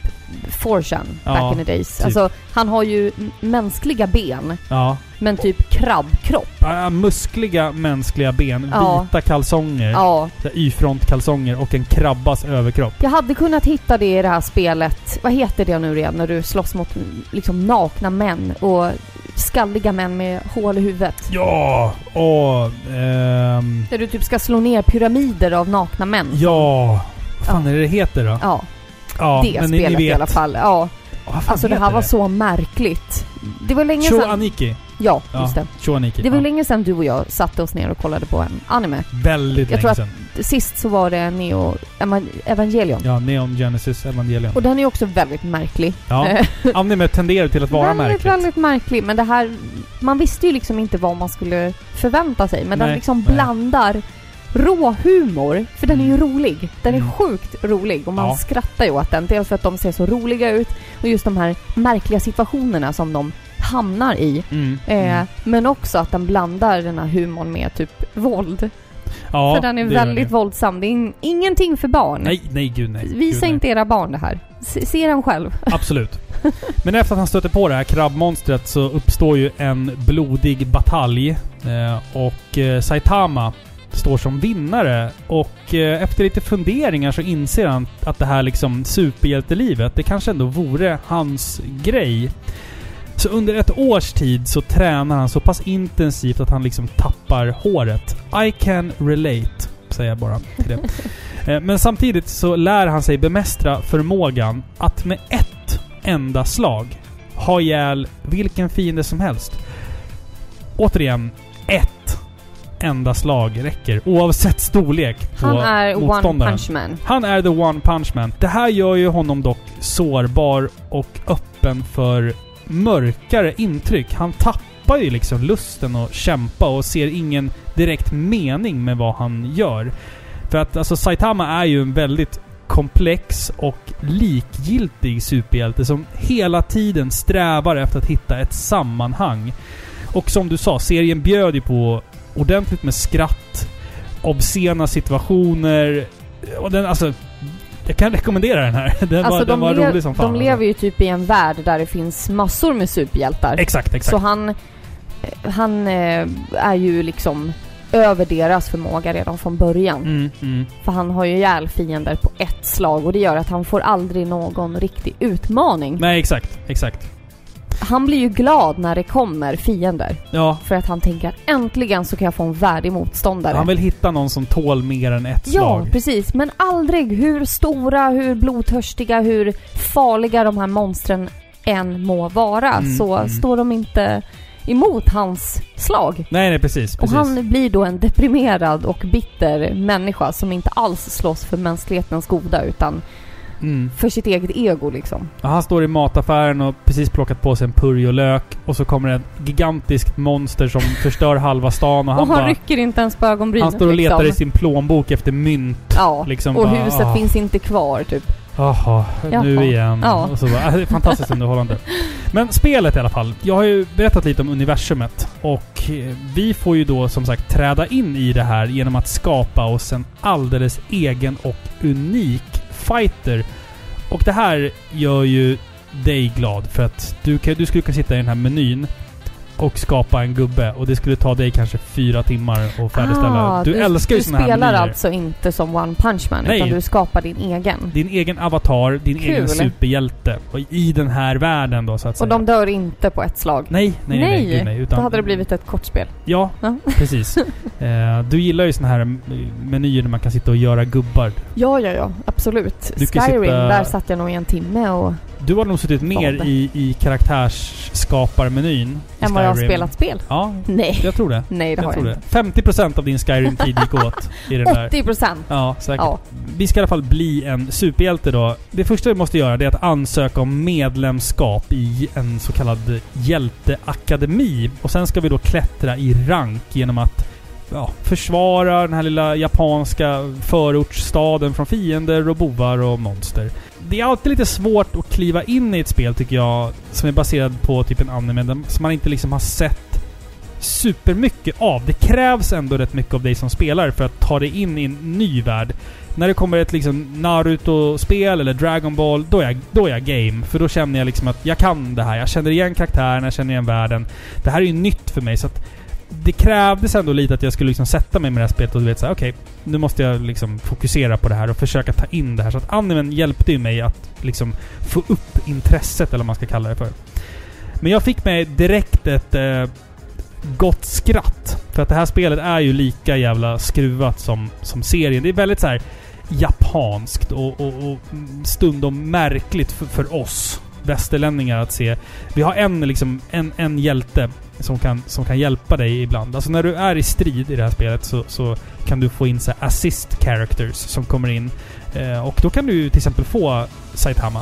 Speaker 2: 4chan back
Speaker 1: Ja,
Speaker 2: in the days.
Speaker 1: typ.
Speaker 2: Alltså, han har ju m- mänskliga ben,
Speaker 1: Ja.
Speaker 2: men typ krabbkropp.
Speaker 1: Ah, muskliga mänskliga ben,
Speaker 2: Ja.
Speaker 1: vita kalsonger,
Speaker 2: Ja.
Speaker 1: så här Y-front-kalsonger och en krabbas överkropp.
Speaker 2: Jag hade kunnat hitta det i det här spelet. Vad heter det nu igen när du slåss mot mm, liksom nakna män och skalliga män med hål i huvudet?
Speaker 1: Ja! Och... Ehm,
Speaker 2: Där du typ ska slå ner pyramider av nakna män.
Speaker 1: ja... Vad fan är det det heter då?
Speaker 2: Ja,
Speaker 1: Ja,
Speaker 2: det spelet i alla fall. Ja.
Speaker 1: Vad fan
Speaker 2: Alltså det här
Speaker 1: heter
Speaker 2: var så märkligt. Det var länge
Speaker 1: Sho
Speaker 2: sedan...
Speaker 1: Aniki.
Speaker 2: Ja,
Speaker 1: Ja.
Speaker 2: just det.
Speaker 1: Sho Aniki.
Speaker 2: Det var
Speaker 1: ja.
Speaker 2: länge sedan du och jag satte oss ner och kollade på en anime.
Speaker 1: Väldigt
Speaker 2: Jag tror
Speaker 1: länge
Speaker 2: att-
Speaker 1: sedan.
Speaker 2: Sist så var det Neo Eman- Evangelion.
Speaker 1: Ja, Neon Genesis Evangelion.
Speaker 2: Och den är ju också väldigt märklig.
Speaker 1: Ja.
Speaker 2: (laughs)
Speaker 1: Anime tenderar till att vara
Speaker 2: väldigt,
Speaker 1: märkligt.
Speaker 2: väldigt märklig. Men det här... Man visste ju liksom inte vad man skulle förvänta sig. Men den
Speaker 1: Nej,
Speaker 2: liksom
Speaker 1: nej.
Speaker 2: blandar rå humor, för den är ju rolig. Den är
Speaker 1: Mm.
Speaker 2: sjukt rolig och man
Speaker 1: Ja.
Speaker 2: skrattar ju åt den. Dels för att de ser så roliga ut och just de här märkliga situationerna som de hamnar i.
Speaker 1: Mm.
Speaker 2: Eh,
Speaker 1: Mm.
Speaker 2: Men också att den blandar den här humorn med typ våld.
Speaker 1: Ja,
Speaker 2: för den är
Speaker 1: det gör
Speaker 2: väldigt
Speaker 1: det.
Speaker 2: våldsam. Det är in, ingenting för barn.
Speaker 1: Nej, nej gud nej. gud,
Speaker 2: Visa
Speaker 1: nej.
Speaker 2: inte era barn det här. Se, se den själv. (laughs)
Speaker 1: Absolut. Men efter att han stöter på det här krabbmonstret så uppstår ju en blodig batalj. Eh, och eh, Saitama står som vinnare. Och eh, efter lite funderingar så inser han att det här liksom superhjältelivet, det kanske ändå vore hans grej. Så under ett års tid så tränar han så pass intensivt att han liksom tappar håret. I can relate, säger jag bara till
Speaker 2: (laughs)
Speaker 1: det. Eh, Men samtidigt så lär han sig bemästra förmågan att med ett enda slag ha ihjäl vilken fiende som helst. Återigen, ett enda slag räcker oavsett storlek på
Speaker 2: Han är One
Speaker 1: motståndaren.
Speaker 2: Punch Man.
Speaker 1: Han är the one punch man. Det här gör ju honom dock sårbar och öppen för mörkare intryck. Han tappar ju liksom lusten att kämpa och ser ingen direkt mening med vad han gör. För att alltså Saitama är ju en väldigt komplex och likgiltig superhjälte som hela tiden strävar efter att hitta ett sammanhang. Och som du sa, serien bjöd ju på ordentligt med skratt, obscena situationer och den alltså... Jag kan rekommendera den här. (laughs) Den
Speaker 2: Alltså
Speaker 1: var, den var
Speaker 2: le-
Speaker 1: rolig som fan. alltså.
Speaker 2: de lever ju typ i en värld där det finns massor med superhjältar.
Speaker 1: Exakt, exakt.
Speaker 2: Så han, eh, han eh, är ju liksom över deras förmåga redan från början.
Speaker 1: Mm, mm.
Speaker 2: För han har ju ihjäl fiender på ett slag och det gör att han får aldrig någon riktig utmaning.
Speaker 1: Nej, exakt. Exakt.
Speaker 2: Han blir ju glad när det kommer fiender.
Speaker 1: Ja.
Speaker 2: För att han tänker att äntligen så kan jag få en värdig motståndare.
Speaker 1: Han vill hitta någon som tål mer än ett
Speaker 2: Ja,
Speaker 1: slag.
Speaker 2: precis. Men aldrig hur stora, hur blodtörstiga, hur farliga de här monstren än må vara
Speaker 1: Mm,
Speaker 2: så
Speaker 1: mm.
Speaker 2: står de inte emot hans slag.
Speaker 1: Nej, nej precis.
Speaker 2: Och
Speaker 1: precis.
Speaker 2: han blir då en deprimerad och bitter människa som inte alls slåss för mänsklighetens goda utan
Speaker 1: Mm.
Speaker 2: för sitt eget ego liksom.
Speaker 1: Ja, Han står i mataffären och precis plockat på sig en purjo lök och så kommer det ett gigantiskt monster som förstör halva stan och han,
Speaker 2: och han
Speaker 1: bara,
Speaker 2: rycker inte ens på ögonbrynen
Speaker 1: Han står och letar
Speaker 2: liksom.
Speaker 1: i sin plånbok efter mynt.
Speaker 2: Ja,
Speaker 1: liksom
Speaker 2: och
Speaker 1: bara,
Speaker 2: huset
Speaker 1: ah.
Speaker 2: finns inte kvar typ.
Speaker 1: Jaha,
Speaker 2: Jaha.
Speaker 1: nu igen.
Speaker 2: Ja.
Speaker 1: Och så bara, äh, det är fantastiskt underhållande. Men spelet i alla fall. Jag har ju berättat lite om universumet. Och eh, vi får ju då som sagt träda in i det här genom att skapa oss en alldeles egen och unik fighter. Och det här gör ju dig glad för att du, kan, du skulle kunna sitta i den här menyn och skapa en gubbe och det skulle ta dig kanske fyra timmar att färdigställa.
Speaker 2: Ah,
Speaker 1: du, älskar ju
Speaker 2: Du
Speaker 1: såna här
Speaker 2: spelar
Speaker 1: menyer.
Speaker 2: alltså inte som One Punch Man
Speaker 1: Nej.
Speaker 2: utan du skapar din egen.
Speaker 1: Din egen avatar, din
Speaker 2: Kul.
Speaker 1: egen superhjälte. Och i den här världen då så att
Speaker 2: Och
Speaker 1: säga.
Speaker 2: de dör inte på ett slag.
Speaker 1: Nej, nej, nej. nej,
Speaker 2: Nej,
Speaker 1: gud, nej utan,
Speaker 2: Då hade det blivit ett kortspel.
Speaker 1: Ja,
Speaker 2: Ja. (laughs)
Speaker 1: precis. Eh, du gillar ju såna här m- menyer där man kan sitta och göra gubbar.
Speaker 2: Ja, ja, ja. Absolut.
Speaker 1: Du kan
Speaker 2: Skyrim,
Speaker 1: sitta-
Speaker 2: där satt jag nog i en timme och...
Speaker 1: Du har nog suttit mer
Speaker 2: Vad?
Speaker 1: i, i karaktärsskaparmenyn. i
Speaker 2: än vad jag har
Speaker 1: Skyrim.
Speaker 2: spelat spel.
Speaker 1: Ja,
Speaker 2: Nej.
Speaker 1: jag tror det.
Speaker 2: Nej, det
Speaker 1: Jag
Speaker 2: har
Speaker 1: tror
Speaker 2: jag
Speaker 1: det. 50% av din Skyrim-tid gick åt i
Speaker 2: (laughs)
Speaker 1: den där.
Speaker 2: inte. 80 procent!
Speaker 1: Ja, säkert.
Speaker 2: Ja.
Speaker 1: Vi ska i alla fall bli en superhjälte då. Det första vi måste göra det är att ansöka om medlemskap i en så kallad hjälteakademi. Och sen ska vi då klättra i rank genom att ja, försvara den här lilla japanska förortsstaden från fiender och bovar och monster. Det är alltid lite svårt att kliva in i ett spel tycker jag, som är baserad på typ en anime där- som man inte liksom har sett supermycket av. Det krävs ändå rätt mycket av dig som spelare för att ta dig in i en ny värld. När det kommer ett liksom Naruto-spel eller Dragon Ball, då är, jag, då är jag game. För då känner jag liksom att jag kan det här. Jag känner igen karaktärerna, jag känner igen världen. Det här är ju nytt för mig så att det krävdes ändå lite att jag skulle liksom sätta mig med det här spelet och du vet såhär, okej, nu måste jag liksom fokusera på det här och försöka ta in det här. Så att animen hjälpte ju mig att liksom få upp intresset, eller vad man ska kalla det för. Men jag fick mig direkt ett eh, gott skratt. För att det här spelet är ju lika jävla skruvat som, som serien. Det är väldigt så här japanskt och, och, och stundom märkligt för, för oss västerlänningar att se. Vi har en, liksom, en, en hjälte som kan, som kan hjälpa dig ibland. Alltså när du är i strid i det här spelet så, så kan du få in så här assist characters som kommer in. Eh, och då kan du ju till exempel få Saitama,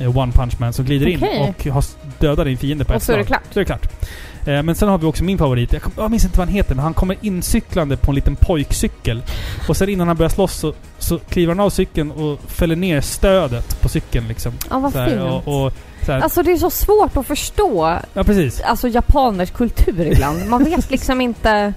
Speaker 1: eh, One Punch Man, som glider
Speaker 2: Okej.
Speaker 1: in och har s- dödar din fiende på
Speaker 2: Och
Speaker 1: ett
Speaker 2: så är det
Speaker 1: slag.
Speaker 2: klart.
Speaker 1: Så är det klart. Eh, Men sen har vi också min favorit. Jag, kom, jag minns inte vad han heter, men han kommer incyklande på en liten pojkcykel. Och sen innan han börjar slåss så, så kliver han av cykeln och fäller ner stödet på cykeln liksom.
Speaker 2: Ja, vad
Speaker 1: Så här,
Speaker 2: fint.
Speaker 1: och, och, så här.
Speaker 2: Alltså det är så svårt att förstå
Speaker 1: Ja, precis.
Speaker 2: alltså japaners kultur ibland.
Speaker 1: (laughs)
Speaker 2: Man vet liksom inte...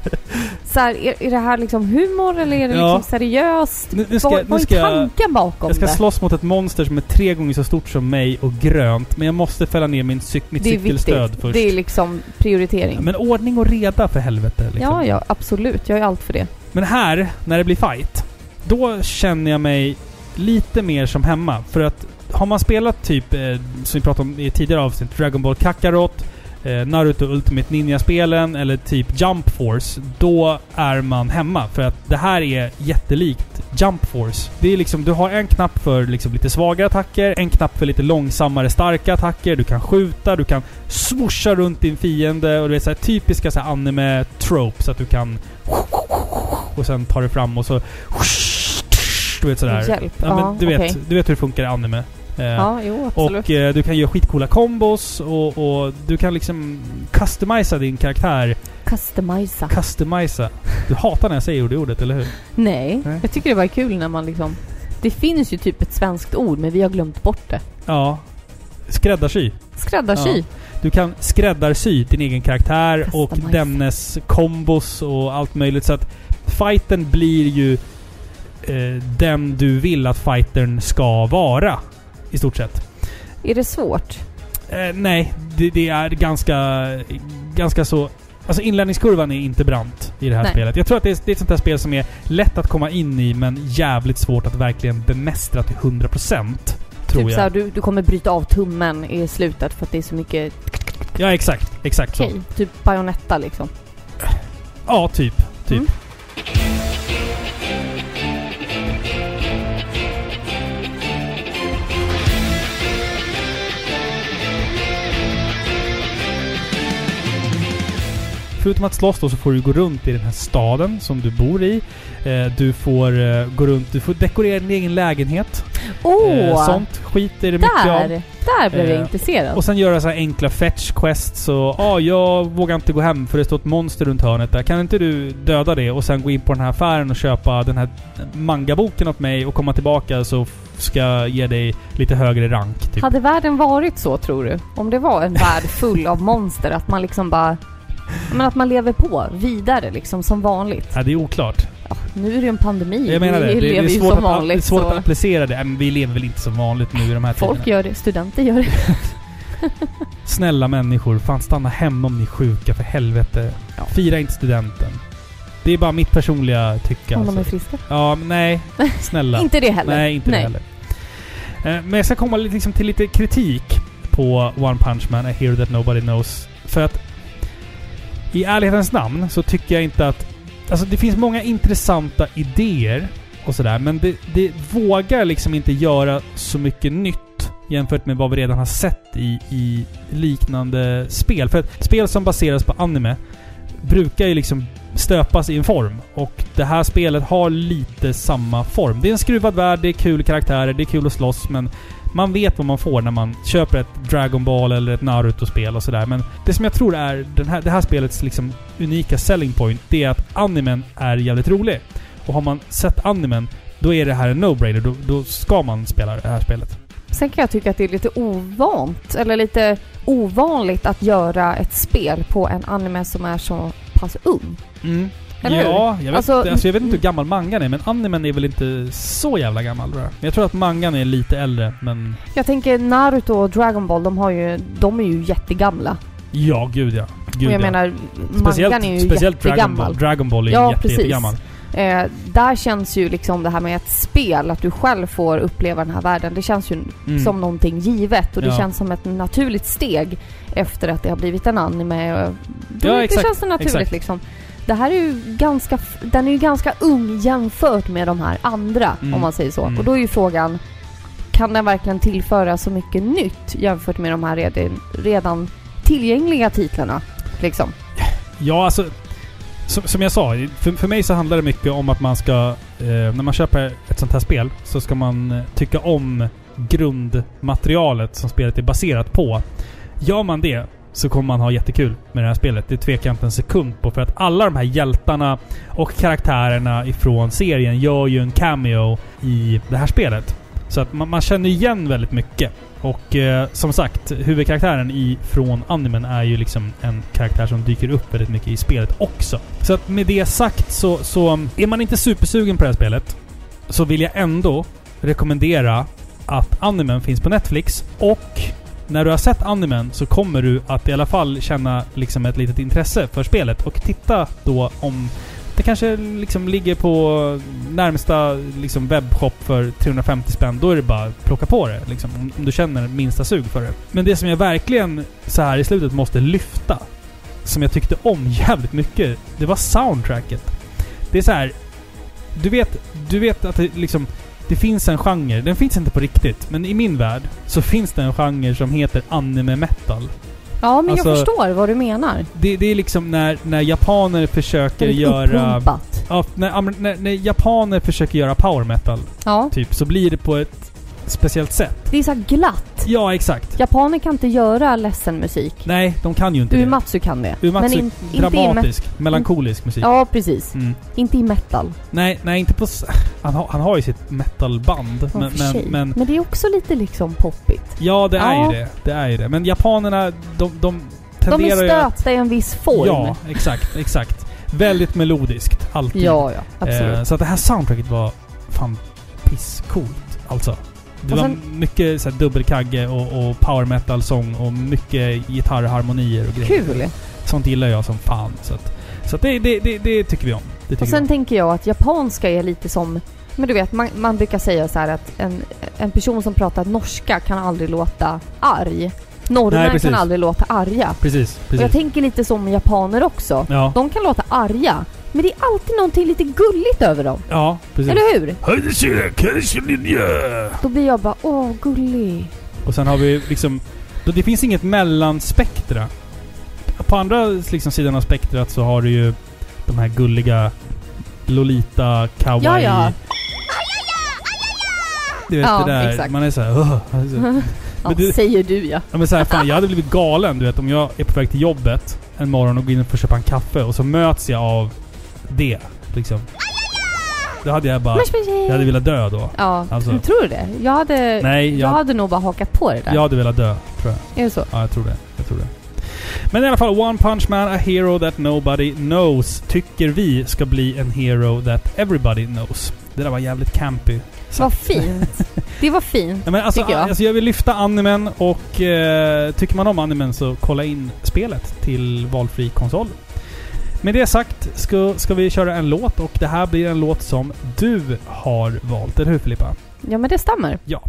Speaker 2: Så här, är, är det här liksom humor eller är det
Speaker 1: Ja.
Speaker 2: liksom seriöst?
Speaker 1: Nu, nu ska,
Speaker 2: Vad
Speaker 1: nu
Speaker 2: vad
Speaker 1: ska
Speaker 2: är
Speaker 1: jag...
Speaker 2: tanken bakom
Speaker 1: Jag ska
Speaker 2: det?
Speaker 1: slåss mot ett monster som är tre gånger så stort som mig och grönt, men jag måste fälla ner min cyk, mitt
Speaker 2: Det är
Speaker 1: cykelstöd
Speaker 2: viktigt.
Speaker 1: först.
Speaker 2: Det är liksom prioritering.
Speaker 1: Men ordning och reda för helvete. Liksom.
Speaker 2: Ja, ja, absolut. Jag är allt för det.
Speaker 1: Men här, när det blir fight, då känner jag mig lite mer som hemma. För att har man spelat typ, eh, som vi pratade om i tidigare avsnitt, Dragon Ball Kakarot, eh, Naruto Ultimate Ninja-spelen eller typ Jump Force, då är man hemma. För att det här är jättelikt Jump Force. Det är liksom, du har en knapp för liksom lite svagare attacker, en knapp för lite långsammare starka attacker, du kan skjuta, du kan swoosha runt din fiende och det är så här typiska så här anime-tropes att du kan och sen tar du fram och så... Du vet sådär.
Speaker 2: Hjälp.
Speaker 1: Ja, men du, vet,
Speaker 2: okej.
Speaker 1: du vet hur det funkar i anime. Eh,
Speaker 2: Ja, jo, absolut.
Speaker 1: och eh, du kan göra skitcoola kombos och, och du kan liksom customisa din karaktär.
Speaker 2: Customisa.
Speaker 1: Customisa. Du hatar när jag säger det ordet, eller hur?
Speaker 2: Nej,
Speaker 1: Nej.
Speaker 2: jag tycker det var kul när man liksom... Det finns ju typ ett svenskt ord, men vi har glömt bort det.
Speaker 1: Ja. Skräddarsy.
Speaker 2: Skräddarsy.
Speaker 1: Du kan skräddarsy din egen karaktär och
Speaker 2: Customisa.
Speaker 1: dennes kombos och allt möjligt. Så att fighten blir ju eh, den du vill att fightern ska vara. I stort sett.
Speaker 2: Är det svårt?
Speaker 1: Eh, nej, det, det är ganska, ganska så... Alltså inlärningskurvan är inte brant i det här
Speaker 2: Nej.
Speaker 1: spelet. Jag tror att det är, det är ett sånt här spel som är lätt att komma in i men jävligt svårt att verkligen bemästra till 100%. Tror
Speaker 2: typ
Speaker 1: jag.
Speaker 2: såhär, du, du kommer bryta av tummen i slutet för att det är så mycket...
Speaker 1: Ja, exakt. Exakt så.
Speaker 2: Okej, typ bajonetta liksom.
Speaker 1: Ja, typ. Typ.
Speaker 2: Mm.
Speaker 1: Förutom att slåss då så får du gå runt i den här staden som du bor i. Eh, du får eh, gå runt, du får dekorera din egen lägenhet.
Speaker 2: Åh!
Speaker 1: Eh, sånt skit är det mycket av.
Speaker 2: där! Där blev jag
Speaker 1: Eh,
Speaker 2: intresserad.
Speaker 1: Och sen göra så här enkla fetch quests och ja, ah, jag vågar inte gå hem för det står ett monster runt hörnet där. Kan inte du döda det och sen gå in på den här affären och köpa den här mangaboken åt mig och komma tillbaka så f- ska jag ge dig lite högre rank. Typ.
Speaker 2: Hade världen varit så tror du? Om det var en värld full av monster, att man liksom bara... Men att man lever på vidare liksom som vanligt.
Speaker 1: Ja, det är oklart.
Speaker 2: Ja, nu är det ju en pandemi.
Speaker 1: Jag menar det.
Speaker 2: vi
Speaker 1: Det, det
Speaker 2: lever
Speaker 1: är
Speaker 2: ju
Speaker 1: svårt,
Speaker 2: som
Speaker 1: att,
Speaker 2: vanligt.
Speaker 1: det är svårt
Speaker 2: så
Speaker 1: att applicera det. Ja, Men vi lever väl inte som vanligt nu i de här
Speaker 2: folk
Speaker 1: tiderna.
Speaker 2: gör det, studenter gör det.
Speaker 1: Snälla människor, fan stanna hemma om ni är sjuka för helvete.
Speaker 2: Ja.
Speaker 1: Fira inte studenten. Det är bara mitt personliga tycke.
Speaker 2: Om de är
Speaker 1: Alltså.
Speaker 2: friska.
Speaker 1: Ja, men nej.
Speaker 2: (laughs)
Speaker 1: Snälla.
Speaker 2: Inte det heller.
Speaker 1: Nej, inte det heller. Eh, Men jag ska komma lite- liksom till lite kritik på One Punch Man, A Hero That Nobody Knows. För att i ärlighetens namn så tycker jag inte att... Alltså det finns många intressanta idéer och sådär, men det, det vågar liksom inte göra så mycket nytt jämfört med vad vi redan har sett i, i liknande spel. För att spel som baseras på anime brukar ju liksom stöpas i en form. Och det här spelet har lite samma form. Det är en skruvad värld, det är kul karaktärer, det är kul att slåss men man vet vad man får när man köper ett Dragon Ball eller ett Naruto-spel och sådär. Men det som jag tror är den här, det här spelets liksom unika selling point, det är att animen är jävligt rolig. Och har man sett animen, då är det här en no-brainer. Då, då ska man spela det här spelet.
Speaker 2: Sen kan jag tycka att det är lite ovant, eller lite ovanligt att göra ett spel på en anime som är så pass ung. Eller hur?
Speaker 1: Ja, jag vet,
Speaker 2: Alltså-
Speaker 1: alltså, jag vet inte hur gammal mangan är, men animen är väl inte så jävla gammal tror jag. Men jag tror att mangan är lite äldre, men...
Speaker 2: Jag tänker Naruto och Dragon Ball, de, har ju, de är ju jättegamla.
Speaker 1: Ja, gud ja. Gud,
Speaker 2: och jag
Speaker 1: ja.
Speaker 2: menar, mangan är ju
Speaker 1: speciellt Dragon
Speaker 2: jättegammal.
Speaker 1: Ball. Dragon Ball är
Speaker 2: Ja,
Speaker 1: jätte,
Speaker 2: precis.
Speaker 1: jättegammal.
Speaker 2: Eh, där känns ju liksom det här med ett spel, att du själv får uppleva den här världen, det känns ju
Speaker 1: Mm.
Speaker 2: som någonting givet och det
Speaker 1: Ja.
Speaker 2: känns som ett naturligt steg efter att det har blivit en anime. Och det,
Speaker 1: Ja,
Speaker 2: det
Speaker 1: exakt,
Speaker 2: känns så naturligt
Speaker 1: exakt.
Speaker 2: liksom. Det här är ju ganska, f- den är ju ganska ung jämfört med de här andra
Speaker 1: Mm.
Speaker 2: om man säger så.
Speaker 1: Mm.
Speaker 2: Och då är ju frågan, kan den verkligen tillföra så mycket nytt jämfört med de här redan, redan tillgängliga titlarna? Liksom.
Speaker 1: Ja, alltså... Som, som jag sa, för, för mig så handlar det mycket om att man ska... Eh, när man köper ett sånt här spel så ska man eh, tycka om grundmaterialet som spelet är baserat på. Gör man det så kommer man ha jättekul med det här spelet. Det tvekar jag inte en sekund på. För att alla de här hjältarna och karaktärerna ifrån serien gör ju en cameo i det här spelet. Så att man, man känner igen väldigt mycket. Och eh, som sagt, huvudkaraktären i, från animen är ju liksom en karaktär som dyker upp väldigt mycket i spelet också. Så att med det sagt så, så mm, är man inte supersugen på det här spelet så vill jag ändå rekommendera att animen finns på Netflix och när du har sett animen så kommer du att i alla fall känna liksom ett litet intresse för spelet och titta då om det kanske liksom ligger på närmsta liksom webbshop för 350 spänn. Då är det bara att plocka på det. Liksom, om- om du känner minsta sug för det. Men det som jag verkligen så här i slutet måste lyfta, som jag tyckte om jävligt mycket, det var soundtracket. Det är så här. Du vet, du vet att det liksom... Det finns en genre, den finns inte på riktigt, men i min värld så finns det en genre som heter anime metal.
Speaker 2: Ja, men jag
Speaker 1: Alltså,
Speaker 2: förstår vad du menar.
Speaker 1: Det, det är liksom när, när japaner försöker
Speaker 2: Väldigt
Speaker 1: göra...
Speaker 2: uppumpat.
Speaker 1: Ja, när, amer- när, när japaner försöker göra power metal,
Speaker 2: Ja,
Speaker 1: typ, så blir det på ett speciellt sätt.
Speaker 2: det är så här glatt.
Speaker 1: Ja, exakt.
Speaker 2: Japaner kan inte göra ledsen musik.
Speaker 1: Nej, de kan ju inte det.
Speaker 2: Umatsu kan det.
Speaker 1: Umatsu,
Speaker 2: men in, inte i me-
Speaker 1: Dramatisk, melankolisk musik.
Speaker 2: Ja, precis.
Speaker 1: Mm.
Speaker 2: Inte i metal.
Speaker 1: Nej, nej, inte på... s- Han, har- han har ju sitt metalband.
Speaker 2: Men,
Speaker 1: Men, men, men...
Speaker 2: men det är också lite liksom poppigt.
Speaker 1: Ja, det är
Speaker 2: Ja.
Speaker 1: ju det. Det är ju det. Men japanerna, de, de
Speaker 2: De är
Speaker 1: tenderar ju att...
Speaker 2: stöpta i en viss form.
Speaker 1: Ja, exakt, exakt. Väldigt melodiskt, alltid.
Speaker 2: ja, ja, absolut.
Speaker 1: Eh, så att det här soundtracket var fan pisscoolt. Alltså. Det
Speaker 2: Och
Speaker 1: var
Speaker 2: sen-
Speaker 1: mycket så här, dubbelkagge och, och power metal-sång och mycket gitarrharmonier och grejer.
Speaker 2: Kul!
Speaker 1: Sånt gillar jag som fan. Så, att, så att det, det, det, det tycker vi om. Det tycker
Speaker 2: Och sen
Speaker 1: vi om.
Speaker 2: tänker jag att japanska är lite som... Men du vet, man, man brukar säga så här att en, en person som pratar norska kan aldrig låta arg.
Speaker 1: Nej,
Speaker 2: Norrmän
Speaker 1: precis.
Speaker 2: kan aldrig låta arga.
Speaker 1: Precis,
Speaker 2: Och jag
Speaker 1: precis.
Speaker 2: tänker lite som japaner också.
Speaker 1: Ja,
Speaker 2: De kan låta arga, men det är alltid någonting lite gulligt över dem.
Speaker 1: ja, precis.
Speaker 2: Eller hur?
Speaker 1: Eller...
Speaker 2: Då blir jag bara åh, gullig.
Speaker 1: Och sen har vi liksom... då Det finns inget mellanspektra. på andra liksom, sidan av spektrat så har du ju de här gulliga Lolita, kawaii...
Speaker 2: Ja, ja.
Speaker 1: Du vet
Speaker 2: Ja,
Speaker 1: det där,
Speaker 2: exakt.
Speaker 1: man är såhär... Alltså.
Speaker 2: Ja,
Speaker 1: Men du-
Speaker 2: säger du ja.
Speaker 1: Ja, men så här, fan, jag hade blivit galen du vet om jag är på väg till jobbet en morgon och går in för att köpa en kaffe och så möts jag av det. Liksom. Då hade jag bara... Jag hade velat dö då.
Speaker 2: Ja,
Speaker 1: Alltså.
Speaker 2: tror du det? Jag hade,
Speaker 1: Nej,
Speaker 2: jag
Speaker 1: jag,
Speaker 2: hade nog bara hakat på det där.
Speaker 1: jag hade velat dö tror jag.
Speaker 2: Är det så?
Speaker 1: Ja, jag tror det. Jag tror det. Men i alla fall, One Punch Man, a hero that nobody knows, tycker vi ska bli en hero that everybody knows. Det där var jävligt campy.
Speaker 2: Vad fint. Det var fint.
Speaker 1: Ja, men alltså,
Speaker 2: Tycker
Speaker 1: jag.
Speaker 2: jag.
Speaker 1: Alltså, jag vill lyfta animen och eh, tycker man om animen så kolla in spelet till valfri konsol. Med det sagt ska, ska vi köra en låt och det här blir en låt som du har valt, eller hur Filippa?
Speaker 2: Ja, men det stämmer.
Speaker 1: Ja.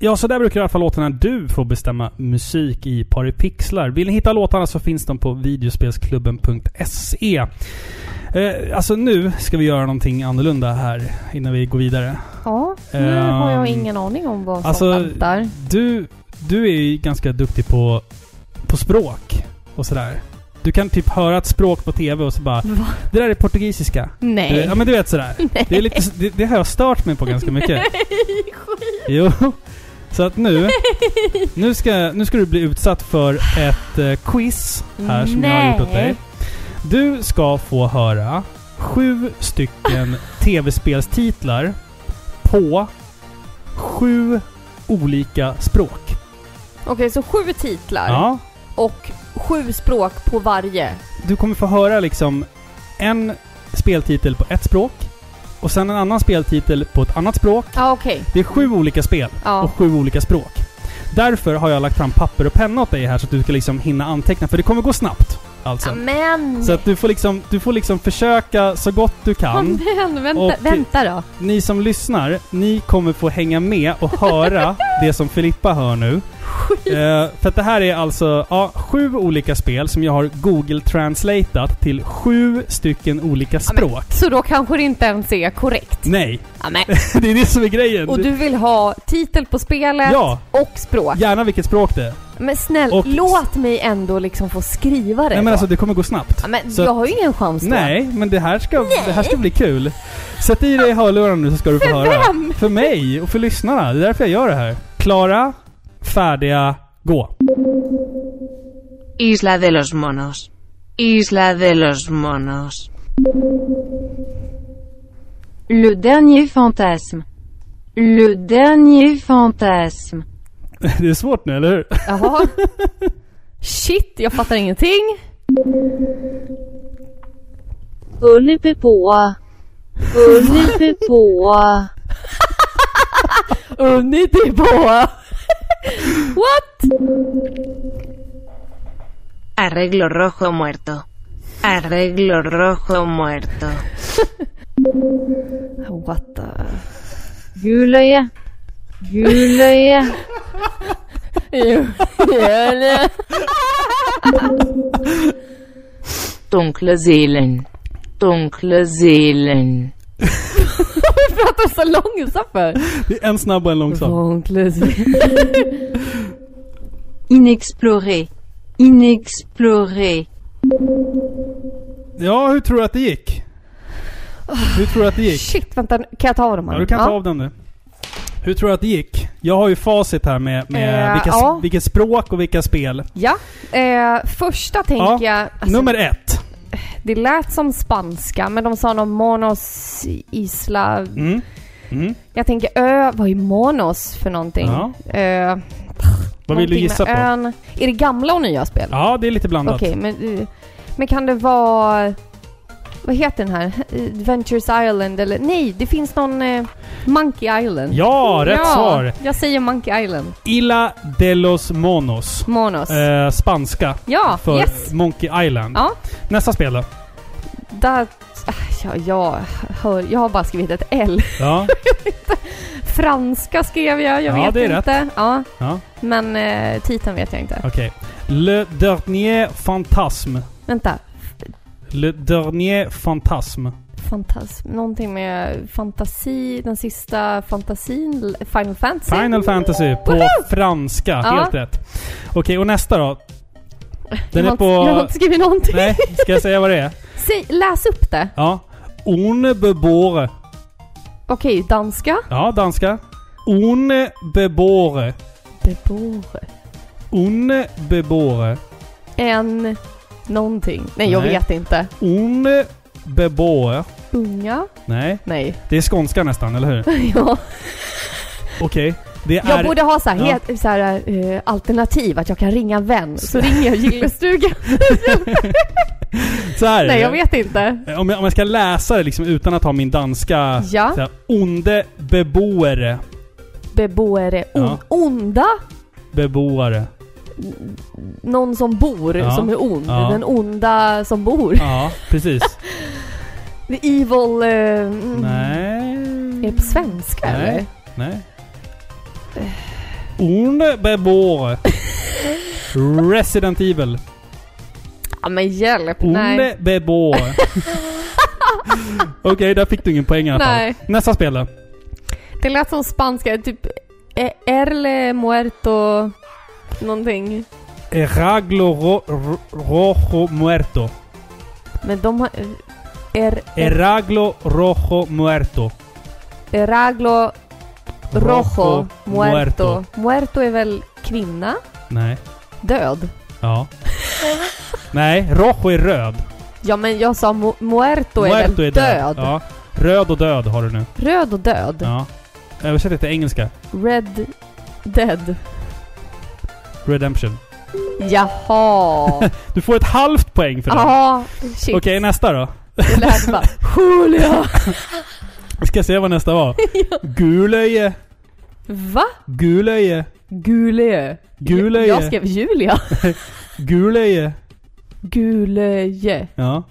Speaker 1: Ja, så där brukar i alla fall låtarna du får bestämma musik i Paripixlar. Vill ni hitta låtarna så finns de på videospelsklubben.se. Eh, alltså nu ska vi göra någonting annorlunda här innan vi går vidare.
Speaker 2: Ja, nu har jag
Speaker 1: Ehm,
Speaker 2: ingen aning om vad som
Speaker 1: alltså,
Speaker 2: väntar.
Speaker 1: Du, du är ju ganska duktig på, på språk och sådär. Du kan typ höra ett språk på TV och så bara
Speaker 2: Va?
Speaker 1: Det där är portugisiska. Du,
Speaker 2: (laughs) Nej.
Speaker 1: ja men du vet sådär. Det, är lite, det, det har jag stört mig på ganska
Speaker 2: (laughs)
Speaker 1: mycket.
Speaker 2: Nej, skit.
Speaker 1: Jo. Så att nu, nu ska, nu ska du bli utsatt för ett eh, quiz här som jag har gjort åt
Speaker 2: Nej.
Speaker 1: dig. Du ska få höra sju
Speaker 2: (laughs)
Speaker 1: stycken tv-spelstitlar på sju olika språk.
Speaker 2: Okej, så sju titlar
Speaker 1: Ja.
Speaker 2: och sju språk på varje.
Speaker 1: Du kommer få höra liksom en speltitel på ett språk och sen en annan speltitel på ett annat språk.
Speaker 2: Ja, okej.
Speaker 1: Det är sju olika spel.
Speaker 2: Ja.
Speaker 1: och sju olika språk. Därför har jag lagt fram papper och penna åt dig här så att du ska liksom hinna anteckna, för det kommer gå snabbt. Alltså.
Speaker 2: Amen.
Speaker 1: Så att du får, liksom, du får liksom försöka så gott du kan.
Speaker 2: Amen. Vänta,
Speaker 1: Och-
Speaker 2: vänta då.
Speaker 1: Ni som lyssnar, ni kommer få hänga med och
Speaker 2: (laughs)
Speaker 1: höra det som Filippa hör nu. Eh, för att det här är alltså ja, sju olika spel som jag har Google-translatat till sju stycken olika språk.
Speaker 2: Så då kanske det inte ens är korrekt.
Speaker 1: Nej, (laughs)
Speaker 2: Amen.
Speaker 1: det är Mm. det som är grejen.
Speaker 2: Och du vill ha titel på spelet
Speaker 1: Ja,
Speaker 2: och språk.
Speaker 1: gärna vilket språk det är.
Speaker 2: Men snäll,
Speaker 1: Och-
Speaker 2: låt mig ändå liksom få skriva det
Speaker 1: Nej
Speaker 2: då.
Speaker 1: men alltså det kommer gå snabbt.
Speaker 2: ja, men
Speaker 1: så
Speaker 2: jag
Speaker 1: att-
Speaker 2: har ju ingen chans då.
Speaker 1: Nej, men det här, ska, det här ska bli kul. Sätt i dig hörlurarna nu så ska du få höra.
Speaker 2: Vem?
Speaker 1: För mig och för lyssnarna. Det är därför jag gör det här. Klara, färdiga, gå. (laughs)
Speaker 4: Isla de los monos. Isla de los monos. Le dernier fantasme. Le dernier fantasme.
Speaker 1: Det är svårt nu, eller hur?
Speaker 2: Jaha. Shit, jag fattar ingenting.
Speaker 4: Unipepua. Unipepua.
Speaker 2: Unitiboa. What?
Speaker 4: Arreglo rojo muerto. Arreglo rojo muerto.
Speaker 2: What the...
Speaker 4: Juløye. Juløye.
Speaker 2: Jule.
Speaker 4: Dunkle Seelen. Dunkle Seelen.
Speaker 2: Pratar så långsamt för?
Speaker 1: Det är en snabb och en långsam.
Speaker 2: Vånklös.
Speaker 4: Inexploré. Inexploré.
Speaker 1: Ja, hur tror du att det gick? Hur tror du att det gick?
Speaker 2: Shit, vänta. Kan jag ta av dem?
Speaker 1: Ja, du kan ta av den nu. Hur tror du att det gick? Jag har ju facit här med, med
Speaker 2: Eh,
Speaker 1: vilka,
Speaker 2: ja.
Speaker 1: vilket språk och vilka spel.
Speaker 2: Ja. Eh, första tänker jag... Alltså,
Speaker 1: Nummer ett.
Speaker 2: Det lät som spanska, men de sa någon monos isla...
Speaker 1: Mm. Mm.
Speaker 2: Jag tänker ö, vad är monos för någonting?
Speaker 1: Ja.
Speaker 2: Eh,
Speaker 1: Vad vill du
Speaker 2: någonting
Speaker 1: gissa
Speaker 2: med
Speaker 1: på?
Speaker 2: Ön. Är det gamla och nya spel?
Speaker 1: Ja, det är lite blandat.
Speaker 2: Okej, men, eh, men kan det vara... Vad heter den här? Adventures Island eller? Nej, det finns någon... Eh, Monkey Island.
Speaker 1: Ja, rätt svar!
Speaker 2: Jag säger Monkey Island.
Speaker 1: Illa de los monos.
Speaker 2: Monos.
Speaker 1: Eh, spanska.
Speaker 2: ja,
Speaker 1: För
Speaker 2: yes!
Speaker 1: Monkey Island.
Speaker 2: Ja.
Speaker 1: Nästa spel då.
Speaker 2: Där... ah, Ja, jag, hör, jag har bara skrivit ett L.
Speaker 1: Ja.
Speaker 2: Franska skrev jag, jag
Speaker 1: Ja,
Speaker 2: vet
Speaker 1: det är
Speaker 2: inte. Rätt. Ja,
Speaker 1: ja.
Speaker 2: men eh, titeln vet jag inte.
Speaker 1: Okej. Le dernier fantasme.
Speaker 2: Vänta.
Speaker 1: Le dernier fantasme.
Speaker 2: Fantasm... Någonting med fantasi, den sista fantasin, Final Fantasy?
Speaker 1: Final Fantasy på franska.
Speaker 2: Ja.
Speaker 1: Helt rätt. Okej, och nästa då. Den är
Speaker 2: jag, har inte, (laughs) jag har
Speaker 1: på...
Speaker 2: inte skrivit någonting.
Speaker 1: Nej, ska jag säga vad det är?
Speaker 2: Säg, läs upp det.
Speaker 1: Ja. One bebore.
Speaker 2: Okej, danska.
Speaker 1: Ja, danska. One bebore.
Speaker 2: Bebor.
Speaker 1: One bebore.
Speaker 2: En... Någonting. Nej, jag
Speaker 1: Nej.
Speaker 2: vet inte.
Speaker 1: One bebore.
Speaker 2: Unga?
Speaker 1: Nej,
Speaker 2: Nej. (laughs)
Speaker 1: det är skånska nästan, eller hur?
Speaker 2: ja.
Speaker 1: Okej. Det
Speaker 2: Jag
Speaker 1: är...
Speaker 2: borde ha så här,
Speaker 1: Ja.
Speaker 2: het, så här eh, alternativ, att jag kan ringa en
Speaker 1: (laughs)
Speaker 2: vän. Så ringer jag Gillestugan.
Speaker 1: Så här är
Speaker 2: Nej,
Speaker 1: det.
Speaker 2: jag vet inte.
Speaker 1: Om jag, om jag ska läsa det liksom utan att ha min danska...
Speaker 2: Ja.
Speaker 1: Så här, onde beboere.
Speaker 2: Beboere. On,
Speaker 1: Ja.
Speaker 2: Onda?
Speaker 1: Beboare.
Speaker 2: Någon som bor,
Speaker 1: Ja.
Speaker 2: som är ond.
Speaker 1: Ja.
Speaker 2: Den onda som bor.
Speaker 1: Ja, precis.
Speaker 2: The evil... eh, mm.
Speaker 1: Nej.
Speaker 2: Är det på svenska
Speaker 1: Nej.
Speaker 2: eller?
Speaker 1: Nej. Onde beboere. Resident Evil.
Speaker 2: Ja men hjälp, nej.
Speaker 1: Onde
Speaker 2: (laughs)
Speaker 1: beboere. Okej, där fick du ingen poäng i alla fall.
Speaker 2: Nej.
Speaker 1: Nästa spel då.
Speaker 2: Det lät som spanska, typ eh, Erle Muerto någonting.
Speaker 1: Eraglo ro, ro, rojo muerto.
Speaker 2: Men de har... eh, Er, er,
Speaker 1: Eraglo rojo muerto.
Speaker 2: eraglo Rojo
Speaker 1: muerto.
Speaker 2: Muerto. Muerto är väl kvinna?
Speaker 1: Nej.
Speaker 2: Död? (laughs)
Speaker 1: Ja. Nej, rojo är röd.
Speaker 2: Ja men jag sa mu- muerto, är väl död?
Speaker 1: Ja. Röd och död har du nu.
Speaker 2: Röd och död.
Speaker 1: Ja. Översätt det till engelska.
Speaker 2: Red dead.
Speaker 1: Redemption.
Speaker 2: (laughs) Jaha.
Speaker 1: Du får ett halvt poäng för det. Okej,
Speaker 2: Ja, Ah, shit.
Speaker 1: nästa då.
Speaker 2: Det lät
Speaker 1: (laughs)
Speaker 2: bara... Julia!
Speaker 1: Vi ska se vad nästa
Speaker 2: (laughs)
Speaker 1: var. Gulöje.
Speaker 2: Va?
Speaker 1: Gulöje.
Speaker 2: Gule.
Speaker 1: Gulöje.
Speaker 2: Jag skrev Julia.
Speaker 1: Gulöje.
Speaker 2: Guleje.
Speaker 1: Ja.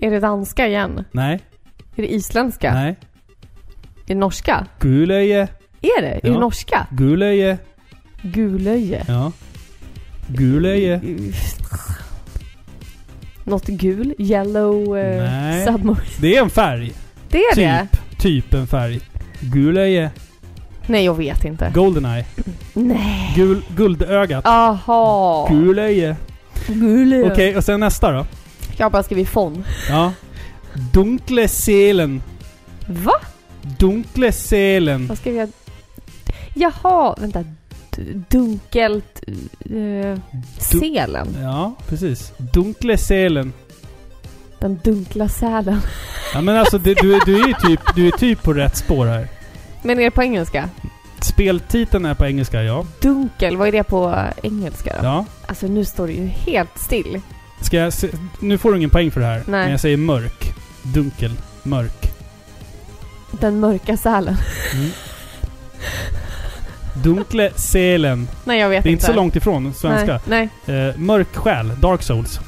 Speaker 2: Är det danska igen?
Speaker 1: Nej.
Speaker 2: Är det isländska?
Speaker 1: Nej.
Speaker 2: Är det norska?
Speaker 1: Gulöje.
Speaker 2: Är det? Är
Speaker 1: Ja.
Speaker 2: det norska?
Speaker 1: Gulöje.
Speaker 2: Gulöje.
Speaker 1: Ja. Gulöje.
Speaker 2: Något gul? Yellow eh,
Speaker 1: Nej.
Speaker 2: submarine?
Speaker 1: Det är en färg.
Speaker 2: Det är det?
Speaker 1: Typ. Typ en färg. Gulöje.
Speaker 2: Nej, jag vet inte.
Speaker 1: Goldeneye.
Speaker 2: Nej.
Speaker 1: Gul, guldögat.
Speaker 2: Aha.
Speaker 1: Gulöje.
Speaker 2: Gulöje.
Speaker 1: Okej, och sen nästa då.
Speaker 2: Jag har bara skrivit fon.
Speaker 1: Ja. Dunkle seelen.
Speaker 2: Va?
Speaker 1: Dunkle seelen.
Speaker 2: Vad skrev jag? Jaha, vänta. D- Dunkelt... Uh, selen.
Speaker 1: Ja, precis. Dunkle seelen.
Speaker 2: Den dunkla sälen.
Speaker 1: Ja men alltså du, du, du är ju typ, du är typ på rätt spår här.
Speaker 2: Men är det på engelska?
Speaker 1: Speltiteln är på engelska, ja.
Speaker 2: Dunkel, vad är det på engelska då?
Speaker 1: ja.
Speaker 2: Alltså nu står det ju helt still.
Speaker 1: Ska jag se, nu får du ingen poäng för det här.
Speaker 2: Nej.
Speaker 1: Men jag säger mörk. Dunkel. Mörk. Mm.
Speaker 2: Den mörka sälen. (laughs)
Speaker 1: Dunkle seelen.
Speaker 2: Nej, jag vet
Speaker 1: Det är inte
Speaker 2: inte.
Speaker 1: så långt ifrån svenska.
Speaker 2: Nej, nej.
Speaker 1: Eh, mörk själ. Dark souls.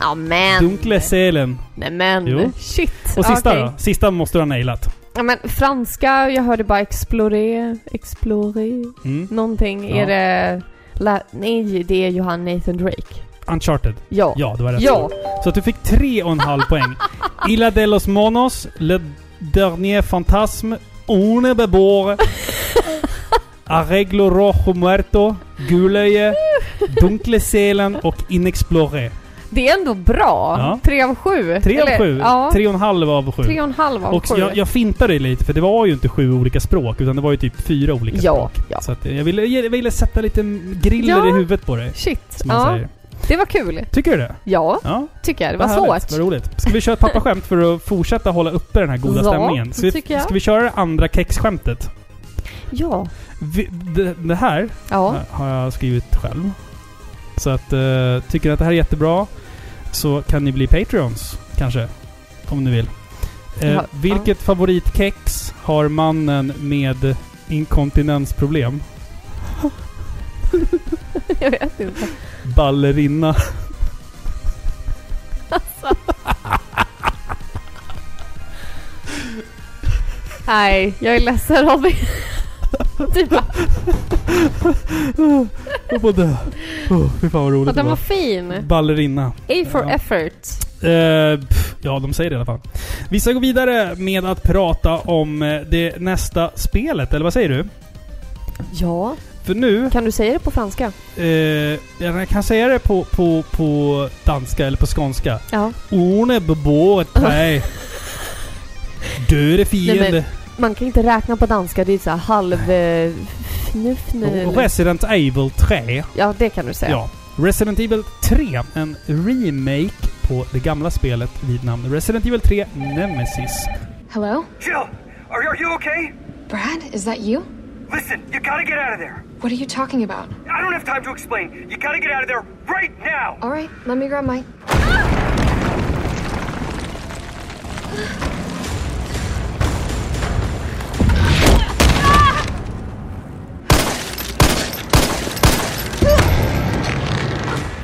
Speaker 2: Ja men.
Speaker 1: Dunkle seelen.
Speaker 2: Nej men.
Speaker 1: Jo.
Speaker 2: Shit.
Speaker 1: Mm. Och sista
Speaker 2: Okej.
Speaker 1: då. Sista måste du ha nailat.
Speaker 2: Ja men franska, jag hörde bara explore, explore,
Speaker 1: Mm.
Speaker 2: någonting.
Speaker 1: Ja.
Speaker 2: Är det... La, nej, det är Johan Nathan Drake.
Speaker 1: Uncharted.
Speaker 2: Ja.
Speaker 1: Ja, det var rätt.
Speaker 2: Ja.
Speaker 1: Så att du fick tre och en halv
Speaker 2: (laughs)
Speaker 1: poäng. Illa de los monos, Le dernier fantasme, Une bebore, Arreglo rojo muerto, Gulöje, Dunkle selen och Inexplore.
Speaker 2: Det är ändå bra.
Speaker 1: Ja.
Speaker 2: Tre av sju.
Speaker 1: Tre av
Speaker 2: Eller,
Speaker 1: sju.
Speaker 2: Ja,
Speaker 1: Tre och en halv av sju.
Speaker 2: tre och en halv av
Speaker 1: Och
Speaker 2: sju.
Speaker 1: jag, jag fintade dig lite, för det var ju inte sju olika språk, utan det var ju typ fyra olika
Speaker 2: ja,
Speaker 1: språk.
Speaker 2: ja.
Speaker 1: Så att jag, ville, jag ville sätta lite griller
Speaker 2: Ja.
Speaker 1: i huvudet på dig,
Speaker 2: Shit.
Speaker 1: som man
Speaker 2: Ja,
Speaker 1: säger.
Speaker 2: det var kul.
Speaker 1: Tycker du det?
Speaker 2: Ja,
Speaker 1: Ja,
Speaker 2: tycker jag. Det var
Speaker 1: vad härligt,
Speaker 2: svårt.
Speaker 1: Vad roligt. Ska vi köra ett pappaskämt för att fortsätta hålla uppe den här goda
Speaker 2: Ja,
Speaker 1: stämningen? Ska vi,
Speaker 2: tycker jag.
Speaker 1: ska vi köra det andra kexskämtet?
Speaker 2: Ja.
Speaker 1: Vi, det, det här
Speaker 2: Ja.
Speaker 1: har jag skrivit själv. Så att, eh, tycker ni att det här är jättebra så kan ni bli Patreons, kanske. Om ni vill. Eh,
Speaker 2: Ja,
Speaker 1: vilket favoritkex har mannen med inkontinensproblem?
Speaker 2: (laughs) Jag vet inte.
Speaker 1: Ballerina. (laughs)
Speaker 2: Nej, jag är ledsen Robin. (laughs) Typ, Du bara,
Speaker 1: Jag får dö. Oh, fy fan vad
Speaker 2: "Åh,
Speaker 1: roligt det
Speaker 2: den var
Speaker 1: var.
Speaker 2: fin.
Speaker 1: Ballerina.
Speaker 2: A for
Speaker 1: Ja.
Speaker 2: effort.
Speaker 1: Eh, pff, ja, de säger det i alla fall. Vi ska gå vidare med att prata om eh, det nästa spelet, eller vad säger du?
Speaker 2: Ja.
Speaker 1: För nu,
Speaker 2: Kan du säga det på franska?
Speaker 1: eh, jag kan säga det på, på, på danska eller på skånska.
Speaker 2: Ja.
Speaker 1: Orne bebåret nej. Döde fiende.
Speaker 2: Man kan inte räkna på danska. Det är så här halv... eh, Fnuff
Speaker 1: Och Resident Evil 3.
Speaker 2: Ja, det kan du säga.
Speaker 1: Ja. Resident Evil 3, en remake på det gamla spelet vid namn Resident Evil 3 Nemesis.
Speaker 5: Hello?
Speaker 3: Jill, are, are you okay?
Speaker 5: Brad? Is that you?
Speaker 3: Listen, you gotta get out of there.
Speaker 5: What are you talking about?
Speaker 3: I don't have time to explain. You gotta get out of there right now.
Speaker 5: All right, let me grab my.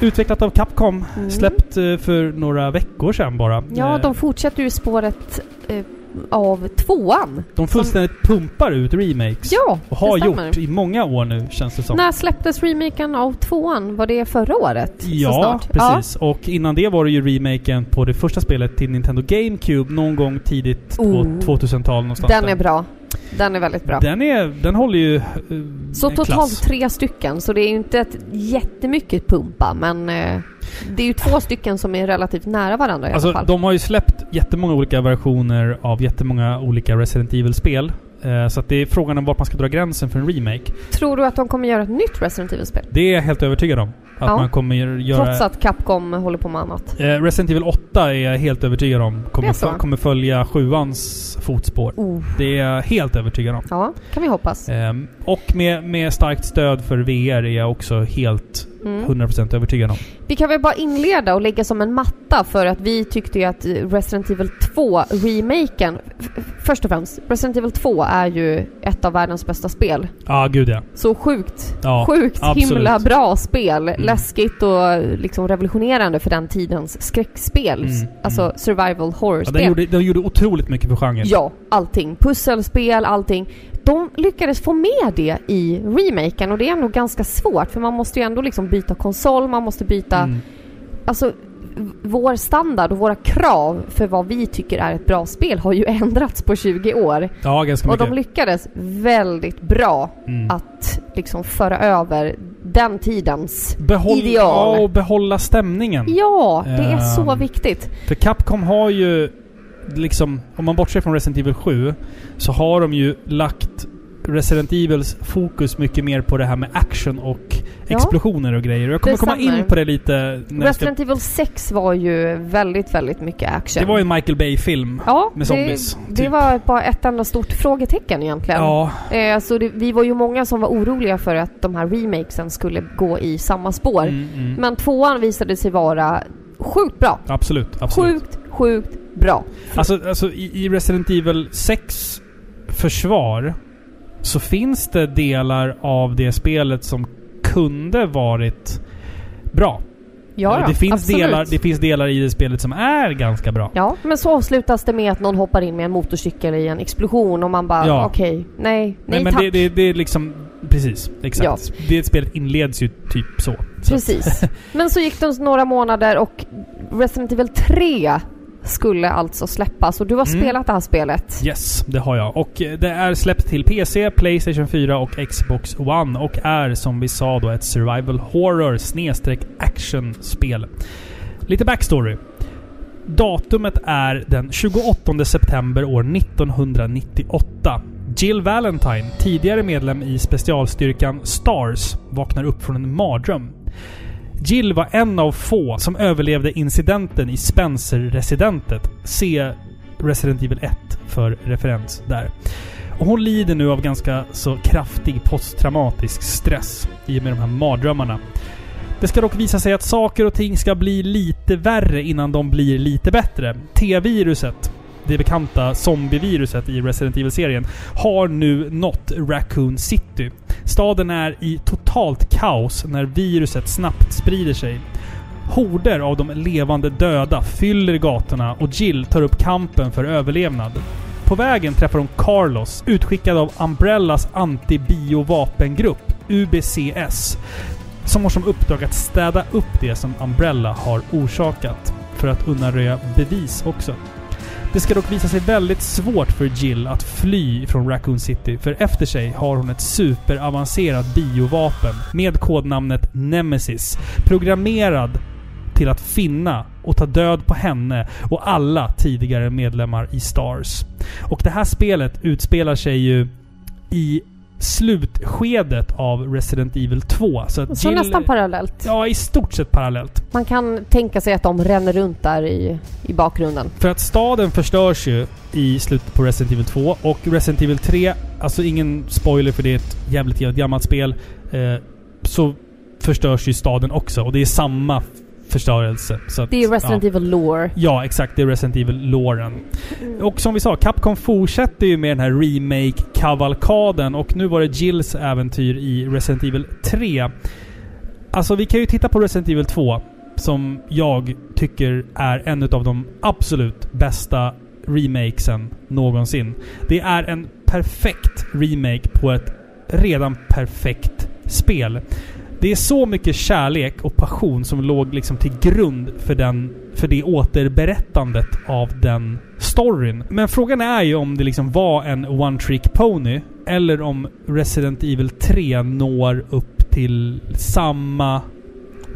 Speaker 1: Utvecklat av Capcom. Släppt eh, för några veckor sedan bara.
Speaker 2: Mm. Ja,
Speaker 1: Eh,
Speaker 2: de fortsätter ju spåret eh, av tvåan.
Speaker 1: de fullständigt pumpar ut remakes.
Speaker 2: Ja,
Speaker 1: och har
Speaker 2: det stämmer.
Speaker 1: gjort i många år nu känns det som.
Speaker 2: När släpptes remaken av tvåan? Var det förra året? så
Speaker 1: Ja,
Speaker 2: snart?
Speaker 1: precis. Och innan det var det ju remaken på det första spelet till Nintendo GameCube någon gång tidigt två-
Speaker 2: Oh.
Speaker 1: 2000-tal
Speaker 2: Ja,
Speaker 1: någonstans.
Speaker 2: den
Speaker 1: där.
Speaker 2: är bra. Den är väldigt bra.
Speaker 1: Den, är, den håller ju eh,
Speaker 2: så
Speaker 1: en
Speaker 2: totalt
Speaker 1: klass.
Speaker 2: tre stycken, så det är ju inte ett jättemycket pumpa, men eh, det är ju två stycken som är relativt nära varandra i alla
Speaker 1: Alltså,
Speaker 2: fall.
Speaker 1: de har ju släppt jättemånga olika versioner av jättemånga olika Resident Evil-spel. Eh, Så att det är frågan om vart man ska dra gränsen för en remake.
Speaker 2: Tror du att de kommer göra ett nytt Resident Evil-spel?
Speaker 1: Det är jag helt övertygad om. Att
Speaker 2: Ja.
Speaker 1: man kommer göra...
Speaker 2: Trots att Capcom håller på med annat.
Speaker 1: Eh, Resident Evil 8 är jag helt övertygad om
Speaker 2: Det
Speaker 1: kommer,
Speaker 2: är så.
Speaker 1: fö- kommer följa sjuans fotspår.
Speaker 2: Oh.
Speaker 1: Det är jag helt övertygad om.
Speaker 2: Ja, kan vi hoppas.
Speaker 1: Ehm, och med, med starkt stöd för VR är jag också helt
Speaker 2: Mm.
Speaker 1: 100% övertygad om.
Speaker 2: Vi kan väl bara inleda och lägga som en matta för att vi tyckte ju att Resident Evil 2-remaken... f- f- Först och främst, Resident Evil 2 är ju ett av världens bästa spel.
Speaker 1: Ja, ah, gud ja.
Speaker 2: Så sjukt,
Speaker 1: Ja,
Speaker 2: sjukt
Speaker 1: absolut. Mm.
Speaker 2: himla bra spel. Läskigt och liksom revolutionerande för den tidens skräckspel.
Speaker 1: Mm,
Speaker 2: Alltså
Speaker 1: mm.
Speaker 2: survival
Speaker 1: ja
Speaker 2: horror-spel.
Speaker 1: den, gjorde, den gjorde otroligt mycket för genren.
Speaker 2: Ja, allting. Pusselspel, allting. De lyckades få med det i remaken och det är ändå ganska svårt för man måste ju ändå liksom byta konsol, man måste byta
Speaker 1: Mm.
Speaker 2: alltså, v- vår standard och våra krav för vad vi tycker är ett bra spel har ju (laughs) ändrats på 20 år.
Speaker 1: ja ganska
Speaker 2: Och
Speaker 1: mycket.
Speaker 2: de lyckades väldigt bra
Speaker 1: Mm.
Speaker 2: att liksom föra över den tidens
Speaker 1: Behåll,
Speaker 2: ideal.
Speaker 1: Ja, och behålla stämningen.
Speaker 2: Ja, det är så
Speaker 1: Ehm.
Speaker 2: viktigt.
Speaker 1: För Capcom har ju liksom, om man bortser från Resident Evil 7, så har de ju lagt Resident Evils fokus mycket mer på det här med action och
Speaker 2: Ja.
Speaker 1: explosioner och grejer. Jag kommer
Speaker 2: Det
Speaker 1: komma
Speaker 2: stämmer.
Speaker 1: in på det lite när jag ska,
Speaker 2: Resident Evil 6 var ju väldigt, väldigt mycket action.
Speaker 1: Det var ju en Michael Bay-film.
Speaker 2: Ja,
Speaker 1: med zombies,
Speaker 2: det, det
Speaker 1: typ.
Speaker 2: var bara ett enda stort frågetecken egentligen.
Speaker 1: Ja,
Speaker 2: Eh, så det, vi var ju många som var oroliga för att de här remakesen skulle gå i samma spår.
Speaker 1: mm, mm.
Speaker 2: Men tvåan visade sig vara sjukt bra.
Speaker 1: absolut. absolut.
Speaker 2: Sjukt, sjukt bra.
Speaker 1: Alltså, alltså i, i Resident Evil 6 försvar så finns det delar av det spelet som kunde varit bra.
Speaker 2: Ja,
Speaker 1: det, finns
Speaker 2: absolut.
Speaker 1: delar, det finns delar i det spelet som är ganska bra.
Speaker 2: Ja, men så avslutas det med att någon hoppar in med en motorcykel i en explosion och man bara
Speaker 1: Ja.
Speaker 2: okej, nej, nej,
Speaker 1: Nej, men
Speaker 2: tack.
Speaker 1: det, det, det är liksom... Precis, exakt. Det spelet inleds ju typ så. så att- (laughs)
Speaker 2: Precis. Men så gick det några månader och Resident Evil 3 skulle alltså släppas och du har
Speaker 1: Mm.
Speaker 2: spelat det här spelet.
Speaker 1: Yes, det har jag. Och eh, det är släppt till PC, Playstation 4 och Xbox One och är som vi sa då ett survival horror snedstreck actionspel. Lite backstory. Datumet är den 28 september år 1998. Jill Valentine, tidigare medlem i specialstyrkan STARS, vaknar upp från en mardröm. Jill var en av få som överlevde incidenten i Spencer-residentet. Se Resident Evil 1 för referens där. Och hon lider nu av ganska så kraftig posttraumatisk stress i och med de här mardrömmarna. Det ska dock visa sig att saker och ting ska bli lite värre innan de blir lite bättre. T-viruset, det bekanta zombieviruset i Resident Evil-serien, har nu nått Raccoon City. Staden är i totalt kaos när viruset snabbt sprider sig. Horder av de levande döda fyller gatorna och Jill tar upp kampen för överlevnad. På vägen träffar hon Carlos, utskickad av Umbrellas antibiovapengrupp, UBCS, som har som uppdrag att städa upp det som Umbrella har orsakat. För att undanröja bevis också. Det ska dock visa sig väldigt svårt för Jill att fly från Raccoon City, för efter sig har hon ett superavancerat biovapen med kodnamnet Nemesis, programmerad till att finna och ta död på henne och alla tidigare medlemmar i Stars. Och det här spelet utspelar sig ju i slutskedet av Resident Evil 2. Så, att
Speaker 2: Så
Speaker 1: Jill-
Speaker 2: nästan parallellt.
Speaker 1: Ja, i stort sett parallellt.
Speaker 2: Man kan tänka sig att de ränner runt där i, i bakgrunden.
Speaker 1: För att staden förstörs ju i slutet på Resident Evil 2 och Resident Evil 3, alltså ingen spoiler för det är ett jävligt, jävligt gammalt spel, eh, så förstörs ju staden också och det är samma förstörelse. Så att,
Speaker 2: Det är Resident
Speaker 1: ja.
Speaker 2: Evil Lore.
Speaker 1: Ja, exakt. Det är Resident Evil-låren. Och som vi sa, Capcom fortsätter ju med den här remake-kavalkaden och nu var det Jills äventyr i Resident Evil 3. Alltså, vi kan ju titta på Resident Evil 2, som jag tycker är en av de absolut bästa remakesen någonsin. Det är en perfekt remake på ett redan perfekt spel. Det är så mycket kärlek och passion som låg liksom till grund för, den, för det återberättandet av den storyn. Men frågan är ju om det liksom var en One Trick Pony eller om Resident Evil 3 når upp till samma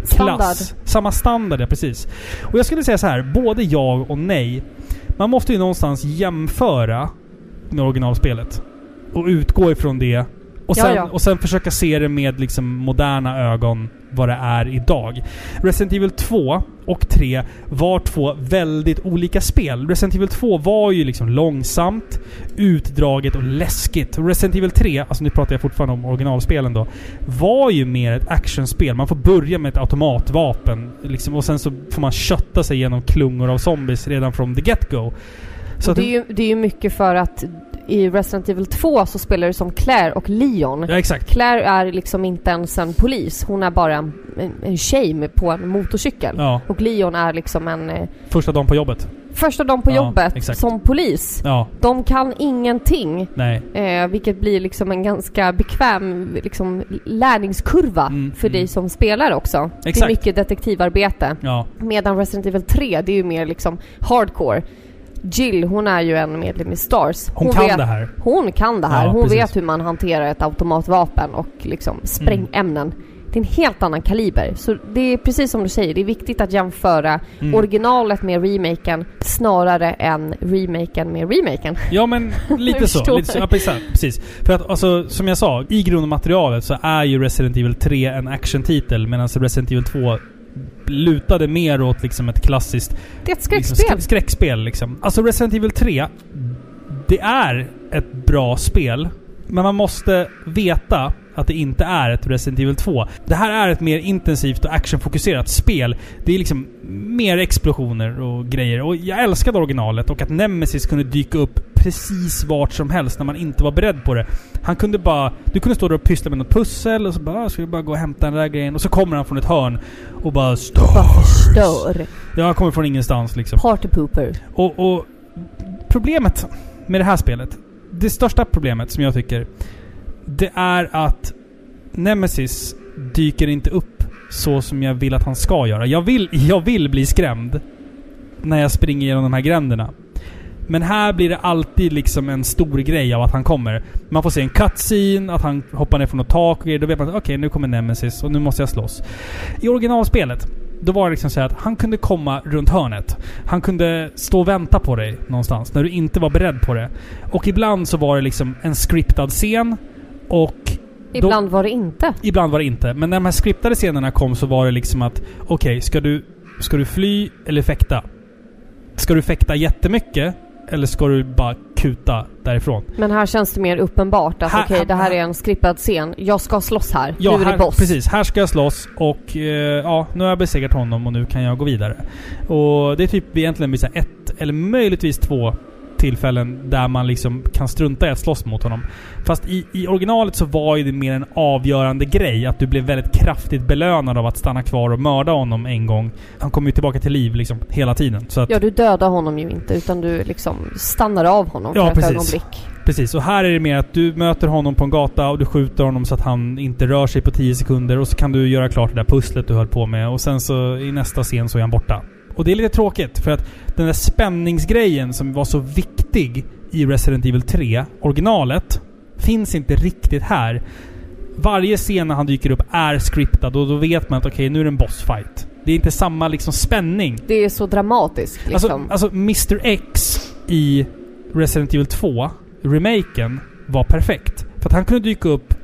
Speaker 2: Standard.
Speaker 1: klass. Samma standard, ja precis. Och jag skulle säga så här, både jag och nej. Man måste ju någonstans jämföra med originalspelet. Och utgå ifrån det. Och
Speaker 2: Ja,
Speaker 1: sen,
Speaker 2: ja.
Speaker 1: och sen försöka se det med liksom moderna ögon, vad det är idag. Resident Evil 2 och 3 var två väldigt olika spel. Resident Evil 2 var ju liksom långsamt, utdraget och läskigt. Resident Evil 3, alltså nu pratar jag fortfarande om originalspelen då, var ju mer ett actionspel. Man får börja med ett automatvapen liksom, och sen så får man kötta sig genom klungor av zombies redan från the get-go. Så
Speaker 2: Och det, är ju, det är ju mycket för att i Resident Evil 2 så spelar du som Claire och Leon.
Speaker 1: Ja, exakt.
Speaker 2: Claire är liksom inte ens en polis. Hon är bara en, en, en tjej med- på en motorcykel.
Speaker 1: Ja,
Speaker 2: Och Leon är liksom en... eh,
Speaker 1: första dagen på jobbet.
Speaker 2: Första dagen på
Speaker 1: Ja,
Speaker 2: jobbet
Speaker 1: exakt.
Speaker 2: som polis.
Speaker 1: Ja,
Speaker 2: De kan ingenting.
Speaker 1: nej.
Speaker 2: Eh, vilket blir liksom en ganska bekväm liksom, lärningskurva
Speaker 1: Mm,
Speaker 2: för dig
Speaker 1: mm.
Speaker 2: som spelar också. Det är
Speaker 1: Exakt.
Speaker 2: mycket detektivarbete.
Speaker 1: Ja,
Speaker 2: Medan Resident Evil 3, det är ju mer liksom hardcore. Jill, hon är ju en medlem i Stars.
Speaker 1: hon, kan
Speaker 2: vet,
Speaker 1: det här.
Speaker 2: Hon kan det här.
Speaker 1: Ja,
Speaker 2: hon
Speaker 1: precis. Mm.
Speaker 2: vet hur man hanterar ett automatvapen och liksom sprängämnen. Det är en helt annan kaliber. Så det är precis som du säger, det är viktigt att jämföra
Speaker 1: Mm.
Speaker 2: originalet med remaken snarare än remaken med remaken.
Speaker 1: Ja
Speaker 2: (laughs)
Speaker 1: men
Speaker 2: Nu
Speaker 1: lite så.
Speaker 2: förstår
Speaker 1: Lite så
Speaker 2: jag.
Speaker 1: ja, precis, precis. För att alltså, som jag sa, i grund och materialet så är ju Resident Evil 3 en actiontitel medan Resident Evil 2 lutade mer åt liksom ett klassiskt
Speaker 2: Det är ett
Speaker 1: liksom,
Speaker 2: skräckspel.
Speaker 1: sk- skräckspel liksom. Alltså Resident Evil 3, det är ett bra spel. Men man måste veta att det inte är ett Resident Evil 2. Det här är ett mer intensivt och actionfokuserat spel. Det är liksom mer explosioner och grejer. Och jag älskade originalet och att Nemesis kunde dyka upp precis vart som helst när man inte var beredd på det. Han kunde bara... Du kunde stå där och pyssla med något pussel och så bara "Ah, ska vi bara gå och hämta den där grejen. Och så kommer han från ett hörn och bara
Speaker 2: Bara
Speaker 1: Stars!
Speaker 2: förstör.
Speaker 1: Jag kommer från ingenstans liksom.
Speaker 2: Party pooper.
Speaker 1: Och, och problemet med det här spelet, det största problemet som jag tycker, det är att Nemesis dyker inte upp så som jag vill att han ska göra. Jag vill, (laughs) jag vill bli skrämd när jag springer genom de här gränderna. Men här blir det alltid liksom en stor grej av att han kommer. Man får se en cutscene, att han hoppar ner från något tak och grejer. Då vet man att okej, nu kommer Nemesis och nu måste jag slåss. I originalspelet Då var det liksom så här att han kunde komma runt hörnet. Han kunde stå och vänta på dig någonstans när du inte var beredd på det. Och ibland så var det liksom en scriptad scen och
Speaker 2: Ibland var det inte.
Speaker 1: Ibland var det inte. Men när de här skriptade scenerna kom så var det liksom att okej, ska, du, ska du fly eller fäkta? Ska du fäkta jättemycket eller ska du bara kuta därifrån?
Speaker 2: Men här känns det mer uppenbart att
Speaker 1: Här-
Speaker 2: okej, det här är en skrippad scen. Jag ska slåss här. du är
Speaker 1: här,
Speaker 2: boss.
Speaker 1: precis. Här ska jag slåss och eh, ja, nu har jag besegrat honom och nu kan jag gå vidare. Och det är typ egentligen bara så här ett eller möjligtvis två tillfällen där man liksom kan strunta i att slåss mot honom. Fast i, i originalet så var ju det mer en avgörande grej. Att du blev väldigt kraftigt belönad av att stanna kvar och mörda honom en gång. Han kom ju tillbaka till liv liksom hela tiden. Så att,
Speaker 2: Ja, du dödar honom ju inte utan du liksom stannar av honom
Speaker 1: Ja,
Speaker 2: för ett
Speaker 1: precis.
Speaker 2: ögonblick.
Speaker 1: Precis, och här är det mer att du möter honom på en gata och du skjuter honom så att han inte rör sig på 10 sekunder och så kan du göra klart det där pusslet du höll på med och sen så i nästa scen så är han borta. Och det är lite tråkigt för att den där spänningsgrejen som var så viktig i Resident Evil 3, originalet, finns inte riktigt här. Varje scen när han dyker upp är scriptad och då vet man att okej, nu är det en bossfight. Det är inte samma liksom spänning
Speaker 2: Det är så dramatiskt liksom.
Speaker 1: Alltså, alltså Mr X i Resident Evil 2, remaken, var perfekt. För att han kunde dyka upp...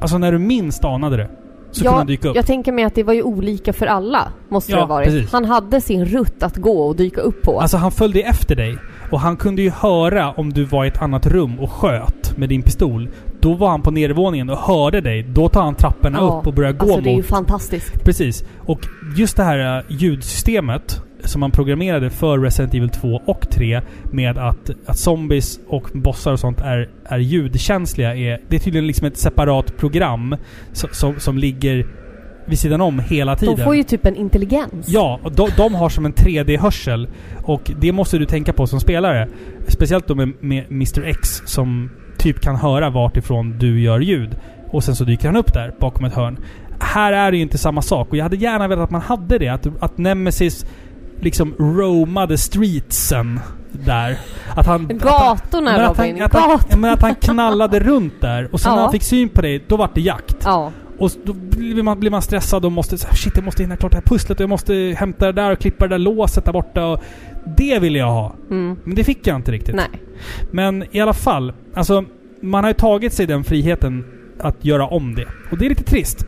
Speaker 1: Alltså när du minst anade det. Så kunde han dyka upp.
Speaker 2: Jag tänker mig att det var ju olika för alla, måste det
Speaker 1: Ja,
Speaker 2: ha varit.
Speaker 1: precis.
Speaker 2: Han hade sin rutt att gå och dyka upp på.
Speaker 1: Alltså han följde efter dig. Och han kunde ju höra om du var i ett annat rum och sköt med din pistol. Då var han på nedervåningen och hörde dig. Då tar han trapporna
Speaker 2: Ja,
Speaker 1: upp och börjar gå
Speaker 2: alltså,
Speaker 1: mot...
Speaker 2: det är ju fantastiskt.
Speaker 1: Precis. Och just det här eh, ljudsystemet som man programmerade för Resident Evil 2 och 3 med att, att zombies och bossar och sånt är, är ljudkänsliga. Är, det är tydligen liksom ett separat program som, som, som ligger vid sidan om hela tiden.
Speaker 2: De får ju typ en intelligens.
Speaker 1: Ja, och de, de har som en 3D-hörsel. Och det måste du tänka på som spelare. Speciellt då med, med Mr X som typ kan höra vart ifrån du gör ljud. Och sen så dyker han upp där bakom ett hörn. Här är det ju inte samma sak. Och jag hade gärna velat att man hade det. Att, att Nemesis liksom roamade streetsen där. Att han...
Speaker 2: Gatorna
Speaker 1: men att
Speaker 2: Robin,
Speaker 1: han, att han,
Speaker 2: gatorna.
Speaker 1: men att han knallade runt där. Och sen när
Speaker 2: Ja.
Speaker 1: han fick syn på dig, då vart det jakt.
Speaker 2: Ja.
Speaker 1: Och då blir man, blir man stressad och måste så här, shit jag måste hinna klart det här pusslet och jag måste hämta det där och klippa det där låset där borta och det ville jag ha.
Speaker 2: Mm.
Speaker 1: Men det fick jag inte riktigt.
Speaker 2: Nej.
Speaker 1: Men i alla fall, alltså man har ju tagit sig den friheten att göra om det. Och det är lite trist.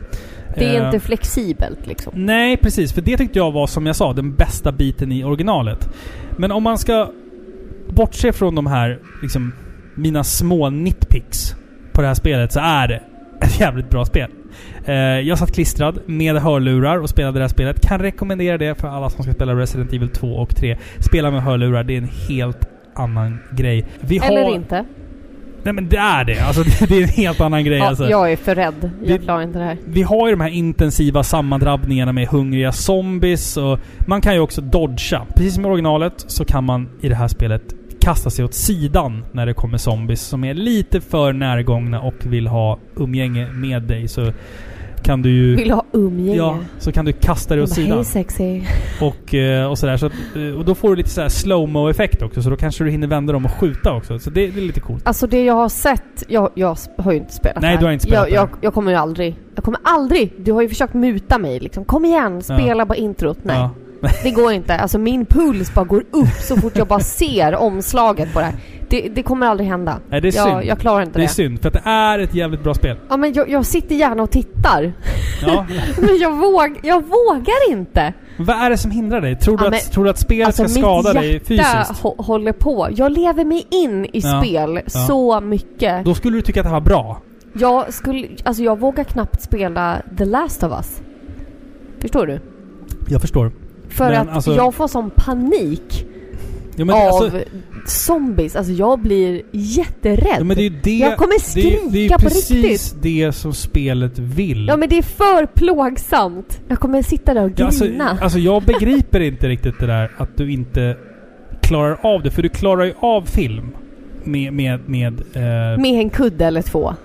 Speaker 2: Det är
Speaker 1: Eh,
Speaker 2: inte flexibelt liksom.
Speaker 1: Nej, precis. För det tyckte jag var, som jag sa, den bästa biten i originalet. Men om man ska bortse från de här, liksom, mina små nitpicks på det här spelet så är det ett jävligt bra spel. Eh, jag satt klistrad med hörlurar och spelade det här spelet. Kan rekommendera det för alla som ska spela Resident Evil 2 och 3. Spela med hörlurar, det är en helt annan grej. Vi
Speaker 2: Eller
Speaker 1: har...
Speaker 2: inte.
Speaker 1: Nej men det är det. Alltså, (laughs) det, det är en helt annan grej.
Speaker 2: Ja,
Speaker 1: alltså.
Speaker 2: Jag är för rädd. Jag
Speaker 1: Det-
Speaker 2: klarar inte det här.
Speaker 1: Vi har ju de här intensiva sammandrabbningarna med hungriga zombies och man kan ju också dodga. Precis som i originalet så kan man i det här spelet kasta sig åt sidan när det kommer zombies som är lite för närgångna och vill ha umgänge med dig så kan du ju...
Speaker 2: Vill ha umgänge.
Speaker 1: Ja, så kan du kasta dig åt
Speaker 2: Bara,
Speaker 1: sidan.
Speaker 2: Hej sexy.
Speaker 1: Och, eh, och sådär. Så att, eh, och då får du lite så här slow-mo effekt också så då kanske du hinner vända dem och skjuta också. Så det, det är lite coolt.
Speaker 2: Alltså det jag har sett, jag, jag har ju inte spelat
Speaker 1: Nej,
Speaker 2: det här.
Speaker 1: du har inte spelat det
Speaker 2: jag, jag,
Speaker 1: här.
Speaker 2: jag kommer ju aldrig, jag kommer aldrig, du har ju försökt muta mig liksom. Kom igen, spela bara introt. Nej,
Speaker 1: Ja.
Speaker 2: det går inte. Alltså min puls bara går upp så fort jag bara ser omslaget på det här. Det, det kommer aldrig hända.
Speaker 1: Nej, det är
Speaker 2: jag,
Speaker 1: synd.
Speaker 2: jag klarar inte
Speaker 1: Det
Speaker 2: det.
Speaker 1: är synd, för att det är ett jävligt bra spel.
Speaker 2: Ja men jag, jag sitter gärna och tittar. (laughs)
Speaker 1: Ja.
Speaker 2: Men jag, våg, jag vågar inte.
Speaker 1: Vad är det som hindrar dig? Tror du,
Speaker 2: Ja,
Speaker 1: att,
Speaker 2: men-
Speaker 1: tror du att spelet
Speaker 2: Alltså
Speaker 1: ska skada dig
Speaker 2: mitt hjärta
Speaker 1: fysiskt?
Speaker 2: hå- håller på. Jag lever mig in i
Speaker 1: Ja,
Speaker 2: spel
Speaker 1: ja.
Speaker 2: så mycket.
Speaker 1: Då skulle du tycka att det här var bra.
Speaker 2: Jag skulle, alltså jag vågar knappt spela The Last of Us. Förstår du?
Speaker 1: Jag förstår.
Speaker 2: För
Speaker 1: Men
Speaker 2: att
Speaker 1: alltså-
Speaker 2: jag får sån panik
Speaker 1: Ja, men,
Speaker 2: av
Speaker 1: alltså,
Speaker 2: zombies. Alltså jag blir jätterädd.
Speaker 1: ja, men det är ju det,
Speaker 2: Jag kommer
Speaker 1: det, är- det är ju
Speaker 2: skrika på
Speaker 1: precis det som spelet vill.
Speaker 2: Ja, men det är för plågsamt. Jag kommer sitta där och
Speaker 1: Ja, alltså,
Speaker 2: grina.
Speaker 1: alltså jag begriper inte riktigt det där att du inte klarar av det. För du klarar ju av film. Med... med, med eh,
Speaker 2: med en kudde eller två.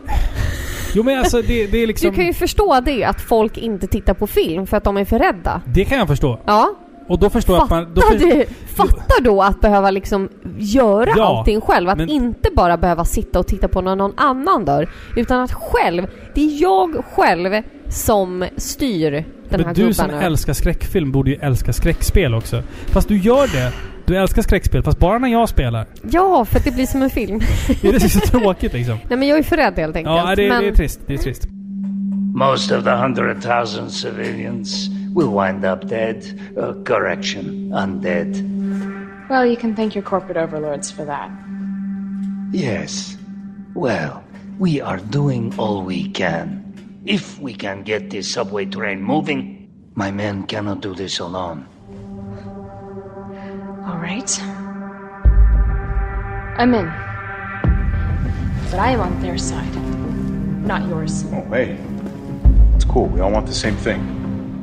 Speaker 1: Jo men alltså det, det är liksom...
Speaker 2: Du kan ju förstå det, att folk inte tittar på film för att de är för rädda.
Speaker 1: Det kan jag förstå.
Speaker 2: Ja,
Speaker 1: Och då förstår jag att man... Då
Speaker 2: fattar
Speaker 1: för-
Speaker 2: du? Fattar då att behöva liksom göra
Speaker 1: Ja,
Speaker 2: allting själv. Att
Speaker 1: men-
Speaker 2: inte bara behöva sitta och titta på när någon annan dör. Utan att själv, det är jag själv som styr den här
Speaker 1: Men du
Speaker 2: gubben.
Speaker 1: som
Speaker 2: nu.
Speaker 1: älskar skräckfilm borde ju älska skräckspel också. Fast du gör det. Du älskar skräckspel, fast bara när jag spelar.
Speaker 2: Ja, för att det blir som en film.
Speaker 1: Det (laughs) är så tråkigt liksom.
Speaker 2: (laughs) Nej men jag är för rädd helt enkelt.
Speaker 1: Ja, det,
Speaker 2: men
Speaker 1: det är trist. Det är trist.
Speaker 6: Most of the 100,000 civilians will wind up dead. Uh, correction, undead.
Speaker 7: Well, you can thank your corporate overlords for that.
Speaker 6: Yes. Well, we are doing all we can. If we can get this subway train moving, my men cannot do this alone.
Speaker 7: All right. I'm in. But I am on their side, not yours.
Speaker 8: Oh, hey. It's cool. We all want the same thing.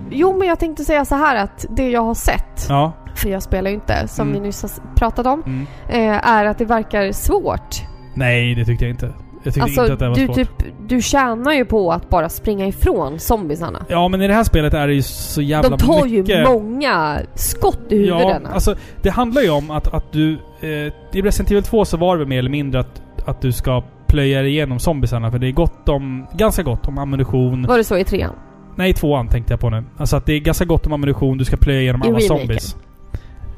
Speaker 2: Jo, men jag tänkte säga så här att det jag har sett,
Speaker 1: Ja.
Speaker 2: för jag spelar ju inte, som
Speaker 1: Mm.
Speaker 2: vi nyss har s- pratat om, eh, är att det verkar svårt.
Speaker 1: Nej, det tyckte jag inte. Jag tyckte
Speaker 2: Alltså,
Speaker 1: inte att det var
Speaker 2: du,
Speaker 1: svårt.
Speaker 2: typ, du tjänar ju på att bara springa ifrån zombiesarna.
Speaker 1: Ja, men i det här spelet är det ju så jävla
Speaker 2: De tar ju
Speaker 1: mycket...
Speaker 2: många skott i
Speaker 1: Ja,
Speaker 2: huvudena.
Speaker 1: alltså det handlar ju om att, att du... Eh, I Resident Evil 2 så var det väl mer eller mindre att, att du ska plöja dig igenom zombiesarna för det är gott om... Ganska gott om ammunition.
Speaker 2: Var det så i trean?
Speaker 1: Nej, i tvåan tänkte jag på nu. Alltså att det är ganska gott om ammunition, du ska plöja igenom
Speaker 2: I
Speaker 1: alla
Speaker 2: remaken.
Speaker 1: zombies.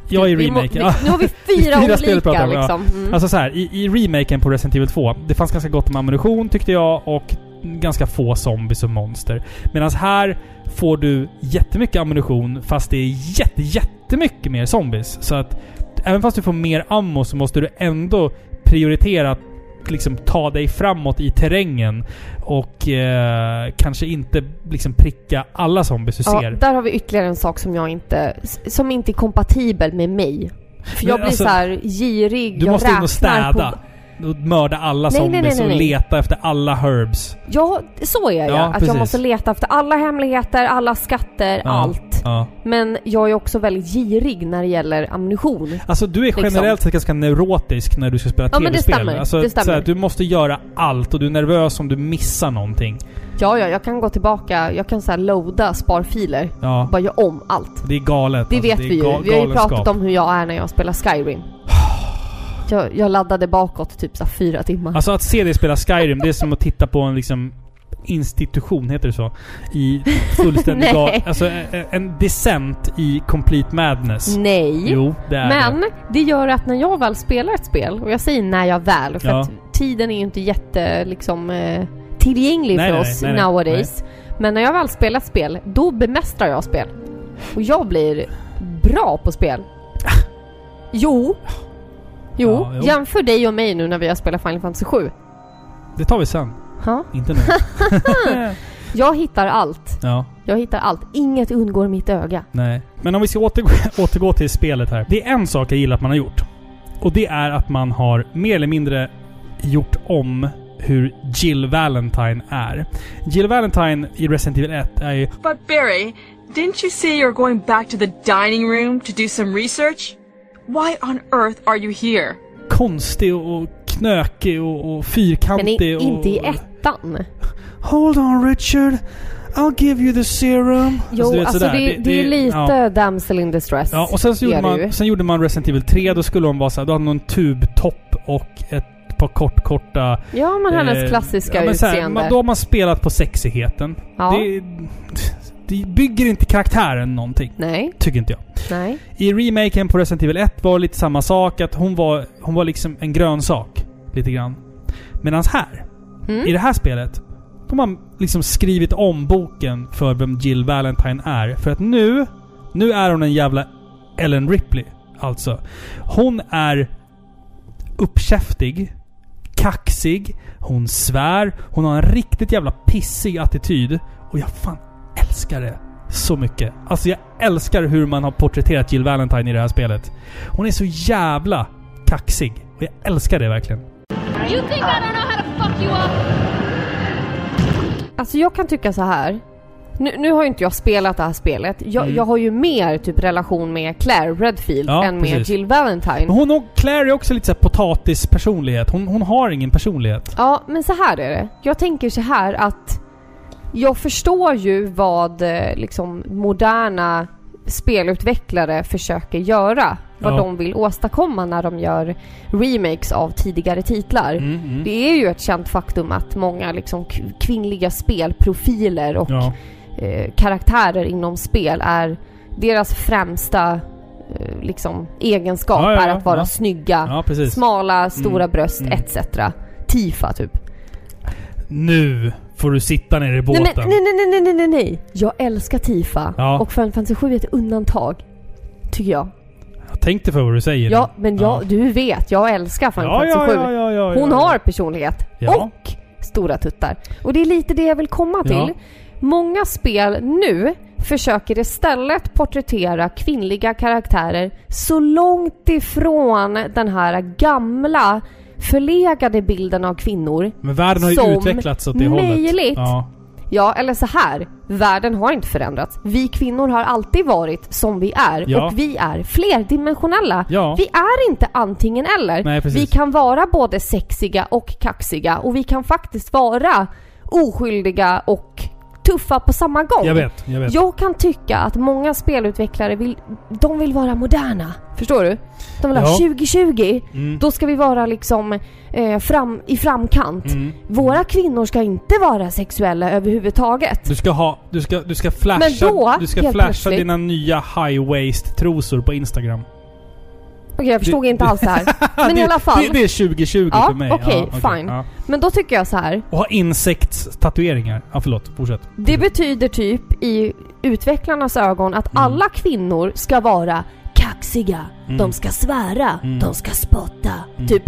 Speaker 1: Ja, i
Speaker 2: Vi må-
Speaker 1: remaken.
Speaker 2: vi-
Speaker 1: (laughs)
Speaker 2: Nu har vi fyra,
Speaker 1: Fyra spel pratar
Speaker 2: olika
Speaker 1: om, ja.
Speaker 2: liksom. Mm.
Speaker 1: Alltså så här, i, i remaken på Resident Evil 2, det fanns ganska gott om ammunition tyckte jag och ganska få zombies och monster. Medan här får du jättemycket ammunition fast det är jätte, jättemycket mer zombies. Så att även fast du får mer ammo så måste du ändå prioritera att liksom ta dig framåt i terrängen och eh, kanske inte liksom pricka alla zombies du
Speaker 2: ja,
Speaker 1: Alltså, ser.
Speaker 2: där har vi ytterligare en sak som jag inte... s- Som inte är kompatibel med mig. För
Speaker 1: Men
Speaker 2: jag blir
Speaker 1: alltså,
Speaker 2: så här girig.
Speaker 1: Du
Speaker 2: jag
Speaker 1: måste in
Speaker 2: räknar
Speaker 1: och städa.
Speaker 2: På,
Speaker 1: Och mörda alla
Speaker 2: Nej, nej, nej,
Speaker 1: zombies
Speaker 2: nej,
Speaker 1: och
Speaker 2: nej.
Speaker 1: leta efter alla herbs.
Speaker 2: ja, så är jag.
Speaker 1: Ja,
Speaker 2: att
Speaker 1: precis.
Speaker 2: jag måste leta efter alla hemligheter, alla skatter,
Speaker 1: Ja.
Speaker 2: allt.
Speaker 1: Ja.
Speaker 2: Men jag är också väldigt girig när det gäller ammunition.
Speaker 1: Alltså du är
Speaker 2: Liksom.
Speaker 1: generellt sett ganska neurotisk när du ska spela
Speaker 2: Ja, men det
Speaker 1: tv-spel.
Speaker 2: stämmer.
Speaker 1: Alltså,
Speaker 2: Det stämmer.
Speaker 1: såhär, du måste göra allt och du är nervös om du missar någonting.
Speaker 2: Ja, ja, jag kan gå tillbaka. Jag kan så här loada sparfiler.
Speaker 1: Ja.
Speaker 2: Bara göra om allt.
Speaker 1: Det är galet.
Speaker 2: Det
Speaker 1: alltså,
Speaker 2: vet
Speaker 1: är
Speaker 2: vi ju.
Speaker 1: ga-
Speaker 2: vi har ju
Speaker 1: galenskap.
Speaker 2: pratat om hur jag är när jag
Speaker 1: (sighs)
Speaker 2: spelar Skyrim. Jag, jag laddade bakåt typ så här fyra timmar.
Speaker 1: Alltså att se dig spela Skyrim, det är som att titta på en liksom institution, heter det så? I fullständig
Speaker 2: (laughs) Nej.
Speaker 1: gal... Alltså e- e- en descent i complete madness.
Speaker 2: Nej.
Speaker 1: Alltså, Jo, det är det.
Speaker 2: Men det gör att när jag väl spelar ett spel, och jag säger när jag väl, för
Speaker 1: Ja.
Speaker 2: att tiden är ju inte jätte liksom, eh, tillgänglig
Speaker 1: Nej,
Speaker 2: för
Speaker 1: nej,
Speaker 2: oss
Speaker 1: nej, nej.
Speaker 2: nowadays. Men när jag väl spelar ett spel, då bemästrar jag spel. Och jag blir bra
Speaker 1: (laughs)
Speaker 2: på spel. Jo. Jo,
Speaker 1: Ja, jo.
Speaker 2: jämför dig och mig nu när vi har spelat Final Fantasy 7.
Speaker 1: Det tar vi sen.
Speaker 2: Ha?
Speaker 1: Inte
Speaker 2: (laughs)
Speaker 1: nu.
Speaker 2: Jag hittar allt.
Speaker 1: ja.
Speaker 2: Jag hittar allt. Inget undgår mitt öga.
Speaker 1: Nej. Men om vi ska återgå, (laughs) återgå till spelet här. Det är en sak jag gillar att man har gjort. Och det är att man har mer eller mindre gjort om hur Jill Valentine är. Jill Valentine i Resident Evil 1 är ju...
Speaker 9: But Barry, didn't you say you were going back to the dining room to do some research? Why on earth are you here?
Speaker 1: konstig och knökig och, och
Speaker 2: Men
Speaker 1: fyrkantig
Speaker 2: i,
Speaker 1: och...
Speaker 2: inte i ettan.
Speaker 1: Alltså, Hold on Richard. I'll give you the serum.
Speaker 2: Jo,
Speaker 1: du
Speaker 2: alltså,
Speaker 1: vet,
Speaker 2: det,
Speaker 1: sådär.
Speaker 2: det, är lite
Speaker 1: ja.
Speaker 2: damsel in distress.
Speaker 1: Ja, och sen så
Speaker 2: är
Speaker 1: gjorde,
Speaker 2: det ju.
Speaker 1: man, sen gjorde man Resident Evil 3. Då skulle hon vara såhär, då hade hon en tubtopp och ett par kort, korta
Speaker 2: Ja, men hennes
Speaker 1: Eh,
Speaker 2: klassiska
Speaker 1: ja, men så här,
Speaker 2: utseende.
Speaker 1: man- Då har man spelat på sexigheten.
Speaker 2: ja.
Speaker 1: Det, det bygger inte karaktären någonting.
Speaker 2: Nej,
Speaker 1: Tycker inte jag.
Speaker 2: nej.
Speaker 1: I remaken på Resident Evil 1 var lite samma sak. Att hon var, hon var liksom en grön sak. Lite grann. Medan här,
Speaker 2: Mm.
Speaker 1: i det här spelet, de har liksom skrivit om boken för vem Jill Valentine är. För att nu, nu är hon en jävla Ellen Ripley. Alltså. Hon är uppkäftig, kaxig, hon svär, hon har en riktigt jävla pissig attityd. Och jag fan älskar det så mycket. Alltså jag älskar hur man har porträtterat Jill Valentine i det här spelet. Hon är så jävla kaxig. Och jag älskar det verkligen.
Speaker 7: You think I don't know how to fuck you up?
Speaker 2: Alltså jag kan tycka så här. Nu, nu har ju inte jag spelat det här spelet. Jag, jag har ju mer typ relation med Claire Redfield
Speaker 1: Mm. Ja,
Speaker 2: än med
Speaker 1: precis.
Speaker 2: Jill Valentine.
Speaker 1: Men hon och Claire är också lite såhär potatispersonlighet. Hon, hon har ingen personlighet.
Speaker 2: Ja, men så här är det. Jag tänker så här att jag förstår ju vad eh, liksom moderna spelutvecklare försöker göra. Vad
Speaker 1: Ja.
Speaker 2: de vill åstadkomma när de gör remakes av tidigare titlar.
Speaker 1: Mm, mm.
Speaker 2: Det är ju ett känt faktum att många liksom k- kvinnliga spelprofiler och
Speaker 1: Ja.
Speaker 2: eh, karaktärer inom spel är deras främsta eh, liksom, egenskap
Speaker 1: Ja, ja,
Speaker 2: är
Speaker 1: ja,
Speaker 2: att vara
Speaker 1: ja.
Speaker 2: snygga,
Speaker 1: ja, precis.
Speaker 2: smala, stora bröst
Speaker 1: mm.
Speaker 2: etc. Tifa typ.
Speaker 1: Nu får du sitta ner i
Speaker 2: Nej,
Speaker 1: båten.
Speaker 2: men, nej, nej, nej, nej, nej, nej, nej. Jag älskar Tifa.
Speaker 1: Ja.
Speaker 2: Och Final Fantasy 7 är ett undantag. Tycker jag.
Speaker 1: Tänk dig för vad du säger.
Speaker 2: Ja, men jag, du vet, jag älskar Final
Speaker 1: ja, ja,
Speaker 2: Fantasy 7.
Speaker 1: ja, ja, ja,
Speaker 2: Hon
Speaker 1: ja.
Speaker 2: har personlighet.
Speaker 1: Ja.
Speaker 2: Och stora tuttar. Och det är lite det jag vill komma till.
Speaker 1: Ja.
Speaker 2: Många spel nu försöker istället porträttera kvinnliga karaktärer så långt ifrån den här gamla förlegade bilden av kvinnor
Speaker 1: Men världen har ju
Speaker 2: som
Speaker 1: utvecklats åt det hållet.
Speaker 2: möjligt.
Speaker 1: Ja.
Speaker 2: Ja, eller så här. Världen har inte förändrats. Vi kvinnor har alltid varit som vi är
Speaker 1: Ja.
Speaker 2: och vi är flerdimensionella.
Speaker 1: Ja.
Speaker 2: Vi är inte antingen eller.
Speaker 1: Nej, precis.
Speaker 2: vi kan vara både sexiga och kaxiga och vi kan faktiskt vara oskyldiga och tuffa på samma gång.
Speaker 1: Jag vet, jag vet.
Speaker 2: Jag kan tycka att många spelutvecklare vill, de vill vara moderna. Förstår du? De vill ha
Speaker 1: Ja.
Speaker 2: 2020.
Speaker 1: Mm.
Speaker 2: Då ska vi vara liksom eh, fram, i framkant.
Speaker 1: Mm.
Speaker 2: Våra kvinnor ska inte vara sexuella överhuvudtaget.
Speaker 1: Du ska ha, du ska, du ska flasha,
Speaker 2: Men då,
Speaker 1: du ska
Speaker 2: helt
Speaker 1: flasha
Speaker 2: plötsligt-
Speaker 1: dina nya high-waist trosor på Instagram.
Speaker 2: Okej, jag förstod
Speaker 1: Det-
Speaker 2: inte
Speaker 1: det-
Speaker 2: alls
Speaker 1: (laughs)
Speaker 2: det här. Men
Speaker 1: det,
Speaker 2: i alla fall.
Speaker 1: Det, det är 2020
Speaker 2: Ja,
Speaker 1: för mig.
Speaker 2: okej, fine.
Speaker 1: ja.
Speaker 2: Men då tycker jag så här.
Speaker 1: Och ha insektstatueringar. Ja, förlåt. Fortsätt.
Speaker 2: Det betyder typ i utvecklarnas ögon att
Speaker 1: Mm.
Speaker 2: alla kvinnor ska vara kaxiga. De ska svära.
Speaker 1: Mm.
Speaker 2: De ska spotta. Typ.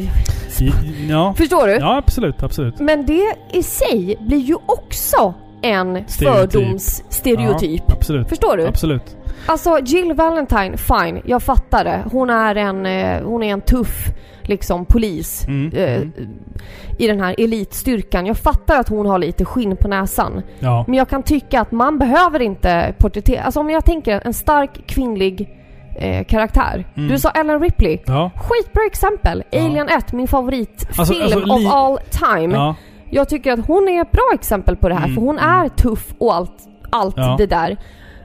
Speaker 1: I- Ja.
Speaker 2: Förstår du?
Speaker 1: ja, absolut, absolut.
Speaker 2: Typ. Men det i sig blir ju också en
Speaker 1: Stereotyp.
Speaker 2: fördomsstereotyp.
Speaker 1: Ja, absolut.
Speaker 2: Förstår du?
Speaker 1: Absolut.
Speaker 2: Alltså Jill Valentine, fine, jag fattar det. Hon är en, eh, hon är en tuff liksom polis
Speaker 1: Mm,
Speaker 2: eh,
Speaker 1: mm.
Speaker 2: i den här elitstyrkan. Jag fattar att hon har lite skinn på näsan.
Speaker 1: Ja.
Speaker 2: Men jag kan tycka att man behöver inte porträttera... Alltså om jag tänker en stark kvinnlig eh, karaktär.
Speaker 1: Mm.
Speaker 2: Du sa Ellen Ripley.
Speaker 1: Ja.
Speaker 2: Skitbra exempel! Alien 1, min favoritfilm
Speaker 1: Alltså- alltså, li-
Speaker 2: of all time.
Speaker 1: Ja.
Speaker 2: Jag tycker att hon är ett bra exempel på det här
Speaker 1: Mm,
Speaker 2: för hon är tuff och allt, allt
Speaker 1: Ja.
Speaker 2: det där.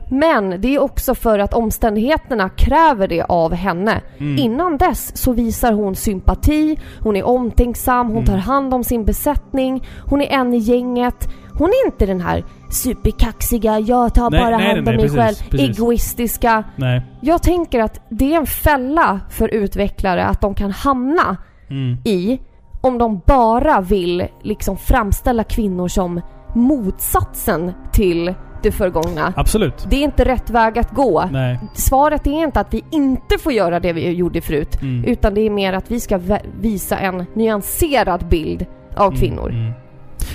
Speaker 2: Men det är också för att omständigheterna kräver det av henne.
Speaker 1: Mm.
Speaker 2: Innan dess så visar hon sympati, hon är omtänksam, hon
Speaker 1: Mm.
Speaker 2: tar hand om sin besättning, hon är en i gänget. Hon är inte den här superkaxiga, jag tar
Speaker 1: Nej,
Speaker 2: bara
Speaker 1: nej,
Speaker 2: hand om
Speaker 1: nej,
Speaker 2: mig
Speaker 1: precis,
Speaker 2: själv,
Speaker 1: precis.
Speaker 2: egoistiska.
Speaker 1: Nej.
Speaker 2: Jag tänker att det är en fälla för utvecklare att de kan hamna
Speaker 1: Mm.
Speaker 2: i om de bara vill liksom framställa kvinnor som motsatsen till det förgångna.
Speaker 1: Absolut.
Speaker 2: Det är inte rätt väg att gå.
Speaker 1: Nej.
Speaker 2: Svaret är inte att vi inte får göra det vi gjorde förut,
Speaker 1: Mm.
Speaker 2: utan det är mer att vi ska vä- visa en nyanserad bild av kvinnor.
Speaker 1: Mm.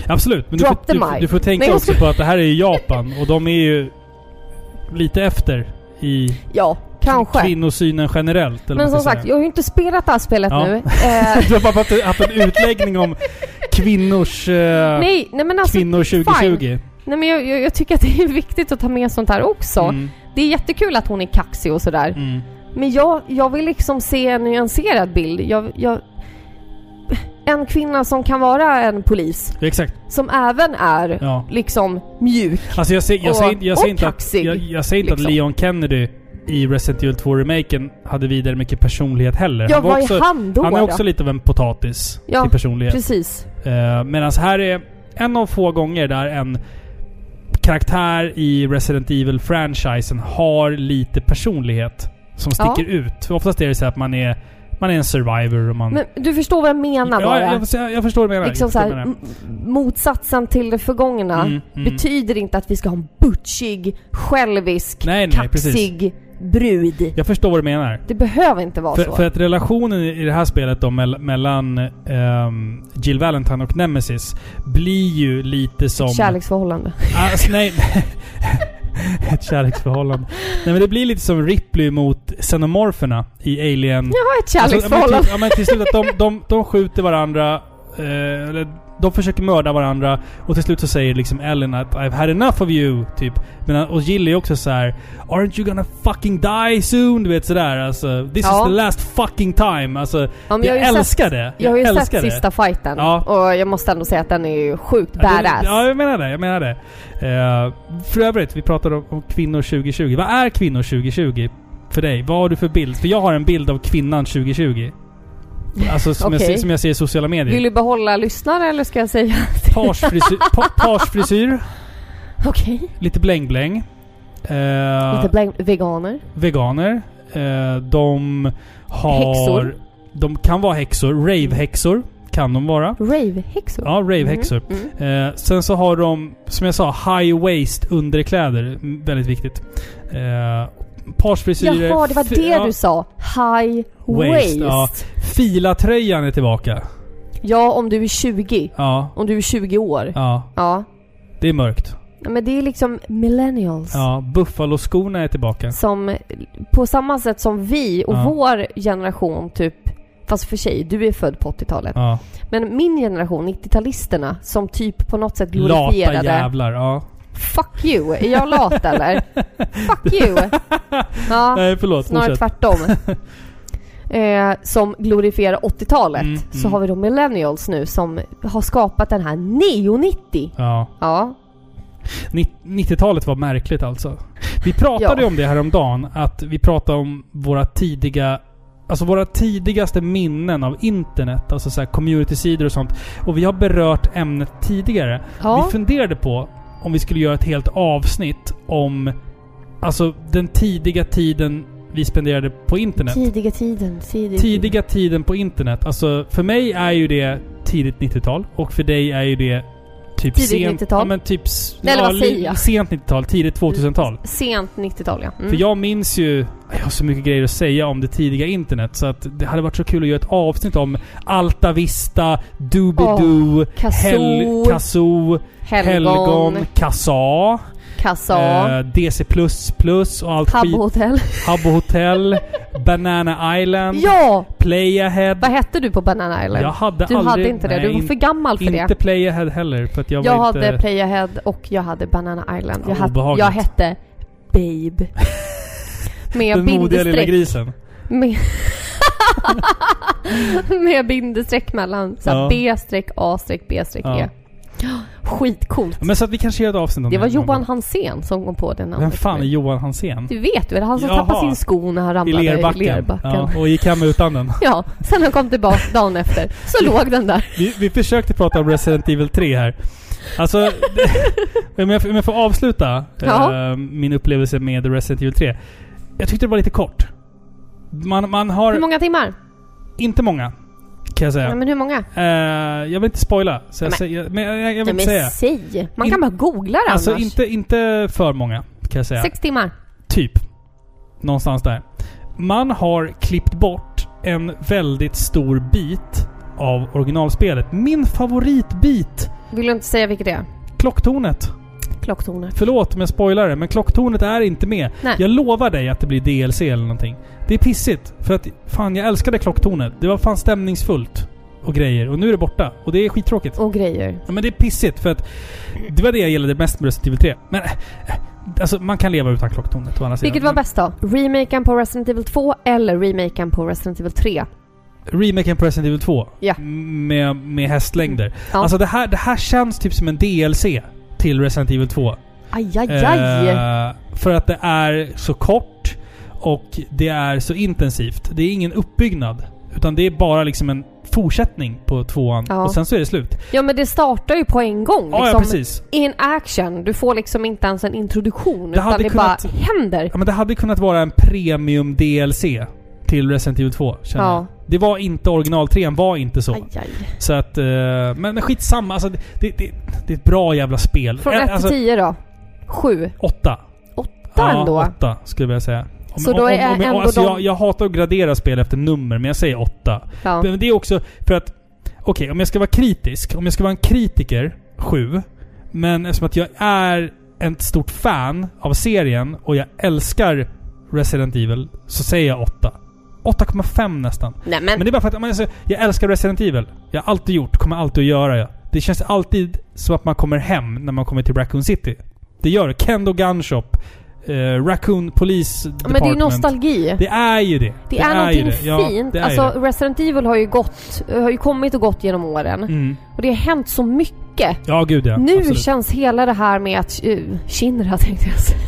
Speaker 1: Absolut, men du
Speaker 2: Drop
Speaker 1: får,
Speaker 2: the
Speaker 1: du, får-
Speaker 2: mic.
Speaker 1: du får tänka
Speaker 2: Nej, jag
Speaker 1: också
Speaker 2: ska-
Speaker 1: på att det här är ju Japan och de är ju lite efter i
Speaker 2: Ja, kanske.
Speaker 1: kvinnosynen generellt. Eller vad
Speaker 2: Men
Speaker 1: man
Speaker 2: som
Speaker 1: ska
Speaker 2: sagt,
Speaker 1: säga.
Speaker 2: jag har ju inte spelat det här spelet
Speaker 1: Ja.
Speaker 2: nu.
Speaker 1: (laughs)
Speaker 2: Eh,
Speaker 1: Du har bara haft- haft en utläggning om kvinnors... eh,
Speaker 2: nej, nej men alltså,
Speaker 1: kvinnor 2020.
Speaker 2: nej, men jag, jag, jag tycker att det är (laughs) viktigt att ta med sånt här också.
Speaker 1: Mm,
Speaker 2: Det är jättekul att hon är kaxig och sådär.
Speaker 1: mm.
Speaker 2: Men jag, jag vill liksom se en nyanserad bild. Jag, jag, en kvinna som kan vara en polis,
Speaker 1: Exakt.
Speaker 2: som även är
Speaker 1: Ja.
Speaker 2: liksom mjuk.
Speaker 1: Alltså jag ser, jag
Speaker 2: Och-
Speaker 1: ser, jag ser
Speaker 2: och
Speaker 1: inte, att,
Speaker 2: kaxig,
Speaker 1: jag, jag ser inte att
Speaker 2: liksom.
Speaker 1: Leon Kennedy i Resident Evil 2-remaken hade vidare mycket personlighet heller.
Speaker 2: Ja, vad är
Speaker 1: också,
Speaker 2: han då?
Speaker 1: han är
Speaker 2: då?
Speaker 1: också lite av en potatis
Speaker 2: Ja,
Speaker 1: till personlighet.
Speaker 2: Precis.
Speaker 1: Eh, Medan här är en av få gånger där en karaktär i Resident Evil-franchisen har lite personlighet som
Speaker 2: Ja.
Speaker 1: sticker ut. Oftast är det så här att man är, man är en survivor och man...
Speaker 2: Men du förstår vad jag menar
Speaker 1: ja,
Speaker 2: bara?
Speaker 1: jag, jag, jag förstår vad du menar.
Speaker 2: liksom
Speaker 1: jag
Speaker 2: så
Speaker 1: förstår
Speaker 2: här,
Speaker 1: vad du menar.
Speaker 2: m- motsatsen till det förgångna
Speaker 1: Mm, mm.
Speaker 2: betyder inte att vi ska ha en butchig, självisk,
Speaker 1: Nej, nej, precis.
Speaker 2: kaxig brud.
Speaker 1: jag förstår vad du menar.
Speaker 2: Det behöver inte vara
Speaker 1: För,
Speaker 2: Mm. så.
Speaker 1: för att relationen i det här spelet då mell- mellan ehm, Jill Valentine och Nemesis blir ju lite som...
Speaker 2: Kärleksförhållande. (laughs)
Speaker 1: Alltså, nej. (laughs) Ett kärleksförhållande. Nej men det blir lite som Ripley mot xenomorferna i Alien.
Speaker 2: Ja, ett
Speaker 1: Alltså, men
Speaker 2: kärleksförhållande. (laughs)
Speaker 1: till- ja, men till slut att de, de, de skjuter varandra. Eh, eller De försöker mörda varandra och till slut så säger liksom Ellen att I've had enough of you, typ. Men, och Jill är också så här, Aren't you gonna fucking die soon? Du vet sådär alltså. This
Speaker 2: Ja.
Speaker 1: is the last fucking time. Alltså,
Speaker 2: Ja, men
Speaker 1: jag,
Speaker 2: jag har ju
Speaker 1: älskar
Speaker 2: sett-
Speaker 1: det.
Speaker 2: Jag har ju sett
Speaker 1: älskar det.
Speaker 2: sista fighten
Speaker 1: Ja.
Speaker 2: och jag måste ändå säga att den är ju sjukt
Speaker 1: Ja, det-
Speaker 2: badass.
Speaker 1: Ja, jag menar det. Jag menar det. Eh, för övrigt, vi pratade om, om kvinnor 2020. Vad är kvinnor 2020 för dig? Vad har du för bild? För jag har en bild av kvinnan 2020. Alltså som, jag,
Speaker 2: Okej.
Speaker 1: ser- som jag ser i sociala medier.
Speaker 2: Vill du behålla lyssnare eller ska jag säga? (laughs)
Speaker 1: Pagefrisyr, pa, pagefrisyr,
Speaker 2: Okej.
Speaker 1: lite bläng-bläng. Eh,
Speaker 2: Lite blank- veganer.
Speaker 1: veganer. Eh, de har...
Speaker 2: Häxor.
Speaker 1: De kan vara häxor. Rave-häxor kan de vara.
Speaker 2: Rave-häxor.
Speaker 1: Ja, rave-häxor.
Speaker 2: Mm, mm.
Speaker 1: Eh, sen så har de, som jag sa, high waist underkläder. Mm, Väldigt viktigt. Eh, Parsfrisyrer.
Speaker 2: Jaha, det var
Speaker 1: fi-
Speaker 2: det
Speaker 1: ja,
Speaker 2: du sa. High
Speaker 1: Waist,
Speaker 2: waist.
Speaker 1: ja. Fila-tröjan är tillbaka.
Speaker 2: Ja, om du är 20.
Speaker 1: Ja,
Speaker 2: Om du är 20 år. Ja.
Speaker 1: ja. Det är mörkt.
Speaker 2: Ja, Men det är liksom millennials.
Speaker 1: Ja, Buffaloskorna är tillbaka.
Speaker 2: Som på samma sätt som vi och
Speaker 1: Ja.
Speaker 2: vår generation typ Fast för sig, du är född på 80-talet.
Speaker 1: Ja.
Speaker 2: Men min generation, 90-talisterna, som typ på något sätt
Speaker 1: Lata
Speaker 2: glorifierade...
Speaker 1: jävlar. Ja.
Speaker 2: Fuck you! Är jag
Speaker 1: (laughs)
Speaker 2: lat eller? Fuck you! Ja,
Speaker 1: Nej, förlåt.
Speaker 2: snarare
Speaker 1: fortsätt.
Speaker 2: tvärtom.
Speaker 1: (laughs)
Speaker 2: Eh, som glorifierar 80-talet.
Speaker 1: Mm,
Speaker 2: så
Speaker 1: mm.
Speaker 2: har vi då millennials nu som har skapat den här neo-90.
Speaker 1: Ja.
Speaker 2: Ja.
Speaker 1: Nitt- 90-talet var märkligt alltså. Vi pratade
Speaker 2: Ja.
Speaker 1: om det här om dagen att vi pratade om våra tidiga Alltså våra tidigaste minnen av internet, alltså så här communitysidor och sånt. Och vi har berört ämnet tidigare.
Speaker 2: ja.
Speaker 1: Vi funderade på om vi skulle göra ett helt avsnitt om alltså den tidiga tiden vi spenderade på internet.
Speaker 2: Tidiga tiden. Tidig.
Speaker 1: Tidiga tiden på internet. Alltså för mig är ju det tidigt 90-tal och för dig är ju det typ
Speaker 2: Tidigt
Speaker 1: sent...
Speaker 2: 90-tal?
Speaker 1: Ja men typ... s-
Speaker 2: Eller
Speaker 1: ja,
Speaker 2: vad säger
Speaker 1: li-
Speaker 2: jag?
Speaker 1: Sent 90-tal, tidigt 2000-tal.
Speaker 2: Sent 90-tal ja. Mm.
Speaker 1: För jag minns ju... Jag har så mycket grejer att säga om det tidiga internet så att det hade varit så kul att göra ett avsnitt om Alta Vista, Doobidoo,
Speaker 2: Kazoo,
Speaker 1: Hell, Kazoo,
Speaker 2: Helgon,
Speaker 1: Helgon, Kassa,
Speaker 2: Kassa,
Speaker 1: eh, DC++ och allt
Speaker 2: Habbo
Speaker 1: skit.
Speaker 2: Hotel.
Speaker 1: Habbo Hotel, (laughs) Banana Island,
Speaker 2: ja!
Speaker 1: Playahead.
Speaker 2: Vad hette du på Banana Island?
Speaker 1: Jag hade
Speaker 2: du
Speaker 1: aldrig,
Speaker 2: hade inte det.
Speaker 1: nej,
Speaker 2: Du var för gammal för
Speaker 1: inte
Speaker 2: det.
Speaker 1: Playahead heller för att jag,
Speaker 2: Jag
Speaker 1: var
Speaker 2: hade
Speaker 1: inte...
Speaker 2: Playahead och jag hade Banana Island.
Speaker 1: Ja,
Speaker 2: Jag, hade,
Speaker 1: obehagligt.
Speaker 2: jag hette
Speaker 1: (laughs)
Speaker 2: Babe. Med
Speaker 1: den modiga lilla
Speaker 2: bindestreck.
Speaker 1: grisen.
Speaker 2: Med, med (laughs) bindestreck mellan. Så här
Speaker 1: Ja.
Speaker 2: B streck A streck B streck
Speaker 1: Ja.
Speaker 2: E. Skitcoolt.
Speaker 1: Ja, Men så att vi kanske gör ett avsnitt om
Speaker 2: Det var
Speaker 1: någon
Speaker 2: Johan
Speaker 1: gång.
Speaker 2: Hansén som kom på det namnet.
Speaker 1: Vem fan
Speaker 2: för
Speaker 1: är
Speaker 2: mig.
Speaker 1: Johan Hansén?
Speaker 2: Du vet ju, det är han som
Speaker 1: Jaha.
Speaker 2: tappade sin sko när han
Speaker 1: I
Speaker 2: ramlade
Speaker 1: lerbacken.
Speaker 2: i lerbacken. Ja.
Speaker 1: Ja, och gick hem utan den.
Speaker 2: sen han kom tillbaka dagen efter
Speaker 1: (laughs)
Speaker 2: så låg den där.
Speaker 1: Vi, vi försökte prata om Resident Evil 3 här.
Speaker 2: (laughs)
Speaker 1: Alltså, om jag, får- om jag får avsluta
Speaker 2: Ja.
Speaker 1: eh, min upplevelse med Resident Evil 3. Jag tyckte det var lite kort. Man, man har...
Speaker 2: Hur många timmar?
Speaker 1: Inte många, kan jag säga.
Speaker 2: Nej, men hur många?
Speaker 1: Eh, jag vill inte spoila, så jag,
Speaker 2: Men-
Speaker 1: säger, men jag, jag, jag vill
Speaker 2: Nej,
Speaker 1: inte
Speaker 2: men
Speaker 1: säga.
Speaker 2: säg! Man kan
Speaker 1: In-
Speaker 2: bara googla det
Speaker 1: Alltså
Speaker 2: annars.
Speaker 1: inte, inte för många, kan jag säga.
Speaker 2: Sex timmar.
Speaker 1: Typ. Någonstans där. Man har klippt bort en väldigt stor bit av originalspelet. Min favoritbit!
Speaker 2: Vill du inte säga vilket det är?
Speaker 1: Klocktornet.
Speaker 2: Klocktornet.
Speaker 1: Förlåt om jag spoilar det, men klocktornet är inte med.
Speaker 2: Nej.
Speaker 1: Jag lovar dig att det blir DLC eller någonting. Det är pissigt. För att fan, jag älskade klocktornet. Det var fan stämningsfullt. Och grejer. Och nu är det borta. Och det är skittråkigt.
Speaker 2: Och grejer.
Speaker 1: Ja, men det är pissigt för att det var det jag gillade mest med Resident Evil 3. Men eh, alltså, man kan leva utan klocktornet å andra sidan.
Speaker 2: Vilket var bäst då? Remaken på Resident Evil 2 eller remaken på Resident Evil 3?
Speaker 1: Remaken på Resident Evil 2.
Speaker 2: Ja.
Speaker 1: Med, med hästlängder.
Speaker 2: Ja.
Speaker 1: Alltså det här, det här känns typ som en DLC till Resident Evil 2.
Speaker 2: Aj, aj, aj.
Speaker 1: Eh, för att det är så kort och det är så intensivt. Det är ingen uppbyggnad. Utan det är bara liksom en fortsättning på tvåan.
Speaker 2: Ja.
Speaker 1: Och sen så är det slut.
Speaker 2: Ja men det startar ju på en gång
Speaker 1: Ja,
Speaker 2: liksom.
Speaker 1: ja, precis.
Speaker 2: In action. Du får liksom inte ens en introduktion
Speaker 1: Det
Speaker 2: utan
Speaker 1: hade
Speaker 2: det
Speaker 1: kunnat-
Speaker 2: bara händer.
Speaker 1: Ja, men det hade kunnat vara en premium DLC till Resident Evil 2, känner
Speaker 2: Ja.
Speaker 1: jag. Det var inte original 3 var inte så.
Speaker 2: Aj, aj.
Speaker 1: Så att... eh, men men skitsamma. Alltså, det, det, det, det är ett bra jävla spel.
Speaker 2: Från
Speaker 1: Eh,
Speaker 2: 1
Speaker 1: alltså,
Speaker 2: till 10 då? 7?
Speaker 1: åtta.
Speaker 2: 8
Speaker 1: Ja,
Speaker 2: ändå?
Speaker 1: åtta skulle jag vilja säga. Om-
Speaker 2: Så då
Speaker 1: om-
Speaker 2: är
Speaker 1: om- om-
Speaker 2: ändå
Speaker 1: alltså,
Speaker 2: de-
Speaker 1: jag, jag hatar att gradera spel efter nummer, men jag säger åtta.
Speaker 2: Ja.
Speaker 1: Men det är också för att... Okej, om jag ska vara kritisk. Om jag ska vara en kritiker, sju. Men eftersom att jag är ett stort fan av serien och jag älskar Resident Evil så säger jag åtta. 8,5 nästan.
Speaker 2: Nej
Speaker 1: Men
Speaker 2: men,
Speaker 1: det är bara för att men alltså, jag älskar Resident Evil. Jag har alltid gjort, kommer alltid att göra. ja. Det känns alltid som att man kommer hem när man kommer till Raccoon City. Det gör det. Kendo Gun Shop. Eh, Raccoon Police Department.
Speaker 2: Men det är nostalgi.
Speaker 1: Det är ju det.
Speaker 2: Det, är, är någonting fint. Ja, alltså Resident Evil har ju, gått, har ju kommit och gått genom åren. Mm. Och det har hänt så mycket.
Speaker 1: Ja, gud ja.
Speaker 2: Nu
Speaker 1: Absolut.
Speaker 2: känns hela det här med att... Uh, (laughs) Shinra tänkte jag säga.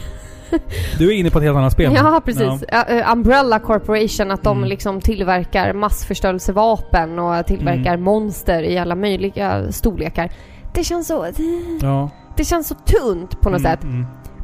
Speaker 1: Du är inne på ett helt annat spel.
Speaker 2: Ja, precis. Ja. Uh, Umbrella Corporation, att de mm. liksom tillverkar massförstörelsevapen och tillverkar mm. monster i alla möjliga storlekar. Det känns så... Ja. Det känns så tunt på något mm, sätt.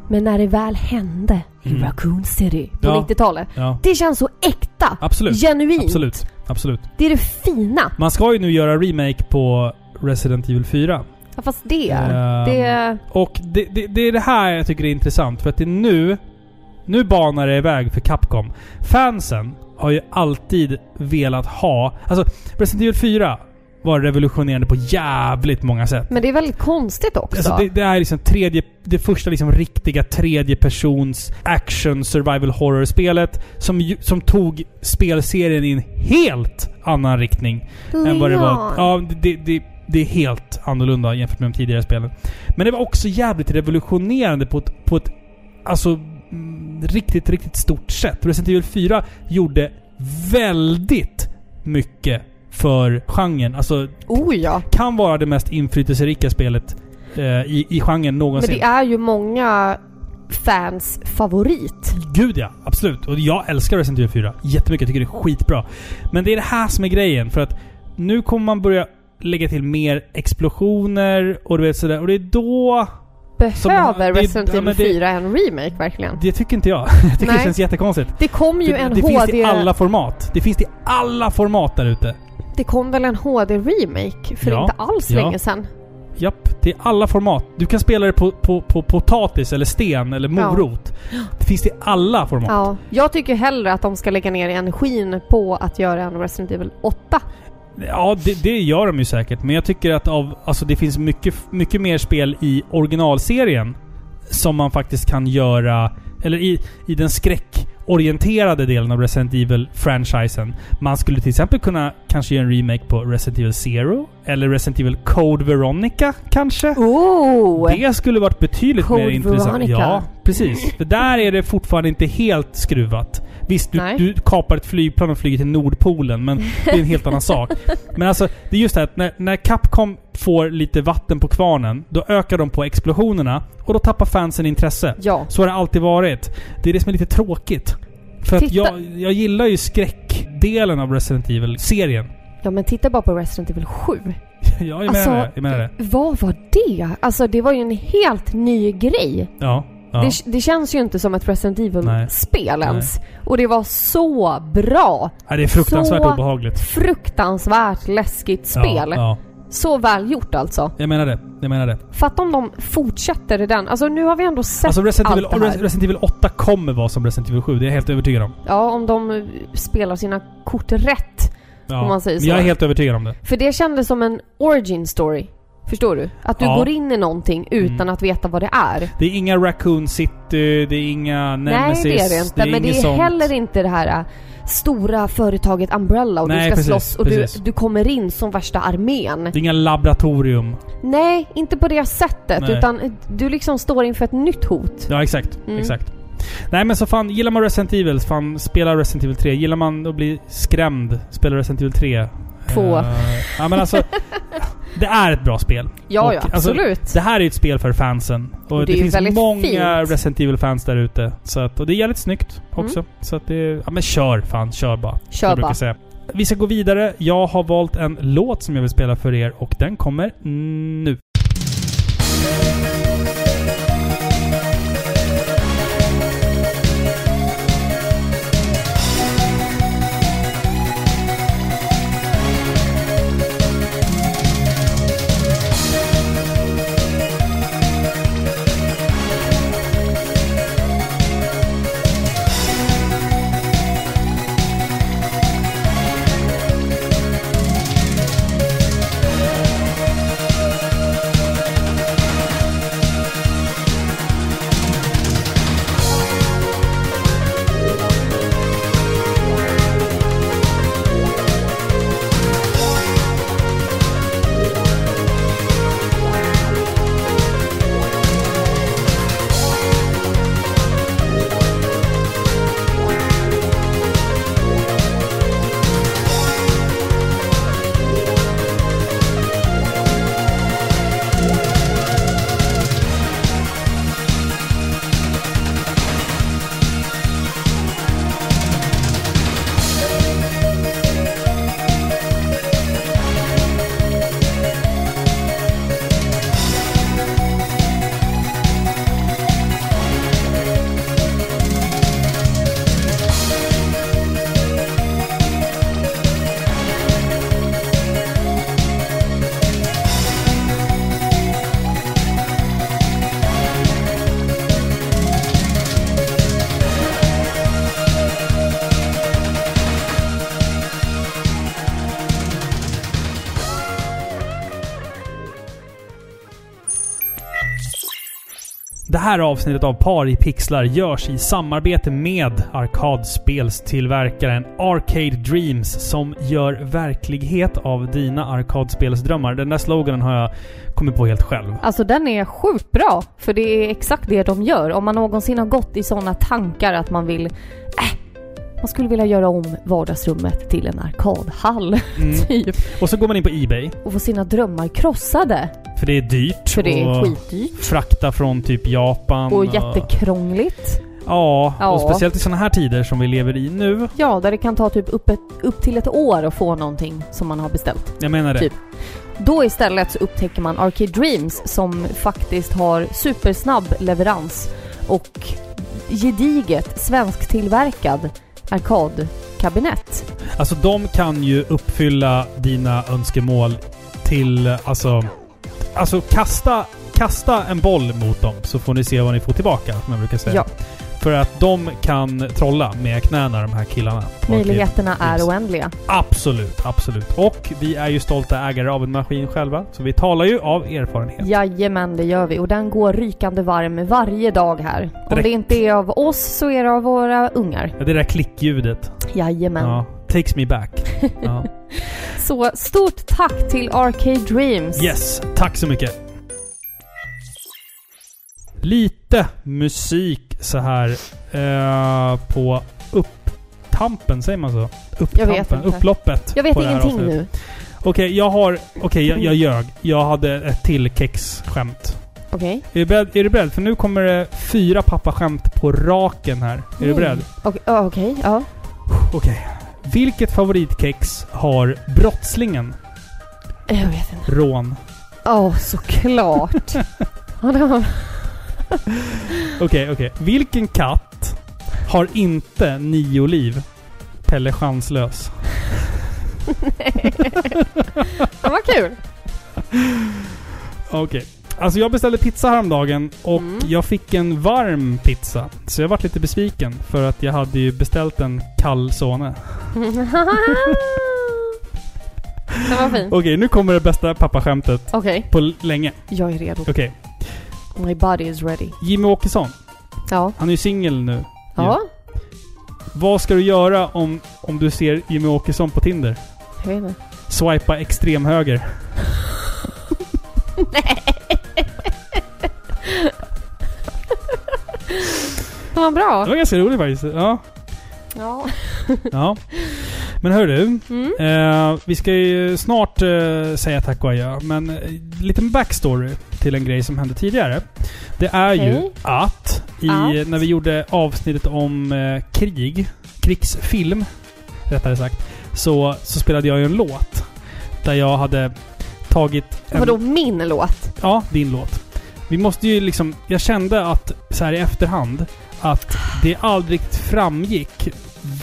Speaker 2: Men när det väl hände i Raccoon City på ja. 90-talet. Det känns så äkta.
Speaker 1: Absolut.
Speaker 2: Genuint.
Speaker 1: Absolut. Absolut.
Speaker 2: Det är det fina.
Speaker 1: Man ska ju nu göra remake på Resident Evil 4.
Speaker 2: Ja, fast det... Um, det...
Speaker 1: Och det, det, det, är det här jag tycker är intressant, för att det är nu... Nu banar det iväg för Capcom. Fansen har ju alltid velat ha... Alltså, Resident Evil 4 var revolutionerande på jävligt många sätt.
Speaker 2: Men det är väldigt konstigt också.
Speaker 1: Alltså det, det är liksom tredje, det första liksom riktiga tredje persons action survival horror-spelet som, som tog spelserien i en helt annan riktning.
Speaker 2: Leon.
Speaker 1: Än vad det var. Ja, det, det det är helt annorlunda jämfört med de tidigare spelen. Men det var också jävligt revolutionerande på ett, på ett alltså, riktigt, riktigt stort sätt. Resident Evil 4 gjorde väldigt mycket för genren. Alltså,
Speaker 2: oh ja.
Speaker 1: kan vara det mest inflytelserika spelet eh, i, i genren någonsin.
Speaker 2: Men det är ju många fans favorit.
Speaker 1: Gud ja, absolut. Och jag älskar Resident Evil 4 jättemycket. Jag tycker det är skitbra. Men det är det här som är grejen. För att nu kommer man börja lägga till mer explosioner och du vet sådär. Och det är då...
Speaker 2: Behöver man, Resident Evil 4 en remake verkligen?
Speaker 1: Det tycker inte jag. (laughs) Jag tycker Nej. det känns jättekonstigt.
Speaker 2: Det kom ju
Speaker 1: det,
Speaker 2: en
Speaker 1: det
Speaker 2: HD...
Speaker 1: Det finns i alla format. Det finns i alla format där ute.
Speaker 2: Det kom väl en HD-remake för ja. inte alls ja. länge sedan?
Speaker 1: Japp, det är alla format. Du kan spela det på, på, på potatis eller sten eller morot. Ja. Det finns i alla format. Ja.
Speaker 2: Jag tycker hellre att de ska lägga ner energin på att göra en Resident Evil 8
Speaker 1: Ja, det, det, gör de ju säkert. Men jag tycker att av, alltså det finns mycket, mycket mer spel i originalserien som man faktiskt kan göra... Eller i, i den skräckorienterade delen av Resident Evil-franchisen. Man skulle till exempel kunna kanske göra en remake på Resident Evil Zero. Eller Resident Evil Code Veronica kanske.
Speaker 2: Oh.
Speaker 1: Det skulle varit betydligt
Speaker 2: Code
Speaker 1: mer intressant.
Speaker 2: Veronica.
Speaker 1: Ja, precis. För där är det fortfarande inte helt skruvat. Visst, du, du, kapar ett flygplan och flyger till Nordpolen, men det är en helt annan
Speaker 2: (laughs)
Speaker 1: sak. Men alltså, det är just det här att när, när Capcom får lite vatten på kvarnen, då ökar de på explosionerna och då tappar fansen intresse.
Speaker 2: Ja.
Speaker 1: Så har det alltid varit. Det är det som är lite tråkigt. För titta. att jag, jag gillar ju skräckdelen av Resident Evil-serien. (laughs)
Speaker 2: Ja, men titta bara på Resident Evil 7.
Speaker 1: ja, jag menar, alltså, det. jag menar det.
Speaker 2: Vad var det? Alltså, det var ju en helt ny grej.
Speaker 1: Ja.
Speaker 2: Ja. Det, det, känns ju inte som ett Resident Evil-spel ens. Och det var så bra.
Speaker 1: Ja, det är fruktansvärt
Speaker 2: så
Speaker 1: obehagligt.
Speaker 2: fruktansvärt läskigt spel.
Speaker 1: Ja,
Speaker 2: så välgjort alltså.
Speaker 1: Jag menar det. Jag menar det.
Speaker 2: Fatta om de fortsätter i den. Alltså nu har vi ändå sett
Speaker 1: alltså, Resident
Speaker 2: allt
Speaker 1: Evil, det här. Resident Evil 8 kommer vara som Resident Evil 7. Det är jag helt övertygad om.
Speaker 2: Ja, om de eh, spelar sina kort rätt. om man säger så.
Speaker 1: Jag är helt övertygad om det.
Speaker 2: För det kändes som en origin story. Förstår du? Att du ja. går in i någonting utan mm. att veta vad det är.
Speaker 1: Det är inga Raccoon City, det är inga Nemesis.
Speaker 2: Nej, det är det inte.
Speaker 1: Det är
Speaker 2: men det är
Speaker 1: sånt.
Speaker 2: heller inte det här eh, stora företaget Umbrella och Nej, du ska precis, slåss och precis. Du, du kommer in som värsta armén.
Speaker 1: Det är inga laboratorium.
Speaker 2: Nej, inte på det sättet. Nej. Utan du liksom står inför ett nytt hot.
Speaker 1: Ja, exakt. Mm. Exakt. Nej men så fan, gillar man Resident Evil, fan spela Resident Evil 3. Gillar man att bli skrämd, spela Resident Evil 3.
Speaker 2: Två. Uh,
Speaker 1: ja men
Speaker 2: (laughs)
Speaker 1: alltså... det är ett bra spel.
Speaker 2: Ja, och, ja absolut. Alltså,
Speaker 1: det här är ett spel för fansen. Och det, det finns många fint. Resident Evil-fans där ute. Och det är jävligt snyggt också. Mm. Så att det... Ja men kör fan, kör bara.
Speaker 2: Kör bara.
Speaker 1: Säga. Vi ska gå vidare. Jag har valt en låt som jag vill spela för er och den kommer nu. Det här avsnittet av Par i pixlar görs i samarbete med arkadspelstillverkaren Arcade Dreams som gör verklighet av dina arkadspelsdrömmar. Den där sloganen har jag kommit på helt själv.
Speaker 2: Alltså den är sjukt bra, för det är exakt det de gör. Om man någonsin har gått i sådana tankar att man vill äh, man skulle vilja göra om vardagsrummet till en arkadhall, mm. (laughs) typ.
Speaker 1: Och så går man in på Ebay.
Speaker 2: Och får sina drömmar krossade.
Speaker 1: För det är dyrt.
Speaker 2: För det är skitdyrt.
Speaker 1: Frakta från typ Japan.
Speaker 2: Och, och... jättekrångligt.
Speaker 1: Ja, ja, och speciellt i sådana här tider som vi lever i nu.
Speaker 2: Ja, där det kan ta typ upp, ett, upp till ett år att få någonting som man har beställt.
Speaker 1: Jag menar det.
Speaker 2: Typ. Då istället så upptäcker man Arcade Dreams som faktiskt har supersnabb leverans och gediget svensktillverkad arkadkabinett.
Speaker 1: Alltså de kan ju uppfylla dina önskemål till, alltså... Alltså kasta, kasta en boll mot dem så får ni se vad ni får tillbaka, som jag brukar säga.
Speaker 2: Ja.
Speaker 1: För att de kan trolla med knäna, de här killarna.
Speaker 2: Möjligheterna är oändliga.
Speaker 1: Absolut, absolut. Och vi är ju stolta ägare av en maskin själva, så vi talar ju av erfarenhet.
Speaker 2: Jajamän, det gör vi. Och den går rykande varm varje dag här. Direkt. Om det inte är av oss så är det av våra ungar.
Speaker 1: Ja, det där klickljudet.
Speaker 2: Jajamän. Ja,
Speaker 1: takes me back.
Speaker 2: (laughs)
Speaker 1: Ja.
Speaker 2: så stort tack till Arcade Dreams.
Speaker 1: Yes, tack så mycket. Lite musik så här eh, på upptampen, säger man så? Upptampen,
Speaker 2: jag
Speaker 1: upploppet.
Speaker 2: Jag vet ingenting nu.
Speaker 1: Okej, okay, jag har... Okej, okay, jag, jag ljög. Jag hade ett till kexskämt.
Speaker 2: Okej.
Speaker 1: Okay. Är, du beredd? är du beredd? För nu kommer det fyra pappaskämt på raken här. Är mm. du beredd?
Speaker 2: Okej, ja.
Speaker 1: Okej. Vilket favoritkex har brottslingen?
Speaker 2: Jag vet inte.
Speaker 1: Rån.
Speaker 2: Ja, oh, såklart.
Speaker 1: Okej, okej. Okay, okay. Vilken katt har inte nio liv? Pelle Chanslös.
Speaker 2: Nej. Det var kul.
Speaker 1: Okej. Okay. Alltså jag beställde pizza häromdagen och mm. jag fick en varm pizza. Så jag vart lite besviken för att jag hade ju beställt en kall såne.
Speaker 2: Den var fin.
Speaker 1: Okej, nu kommer det bästa pappaskämtet
Speaker 2: Okej.
Speaker 1: på länge.
Speaker 2: Jag är redo.
Speaker 1: Okej.
Speaker 2: My body is ready.
Speaker 1: Jimmy Åkesson.
Speaker 2: Ja.
Speaker 1: Han är ju singel nu.
Speaker 2: Ja. ja.
Speaker 1: Vad ska du göra om, om du ser Jimmy Åkesson på Tinder?
Speaker 2: Jag vet inte.
Speaker 1: Swipa extremhöger.
Speaker 2: Nej! Det var bra.
Speaker 1: Det var ganska roligt faktiskt. Ja.
Speaker 2: Ja.
Speaker 1: ja. Men hör du. Mm. Eh, vi ska ju snart eh, säga tack och adjö, men eh, liten backstory till en grej som hände tidigare. Det är okay. ju att, i, att. när vi gjorde avsnittet om eh, krig, krigsfilm, rättare sagt, så, så spelade jag ju en låt. Där jag hade tagit...
Speaker 2: En, Vadå min låt?
Speaker 1: Ja, din låt. Vi måste ju liksom... Jag kände att, så här i efterhand, att det aldrig framgick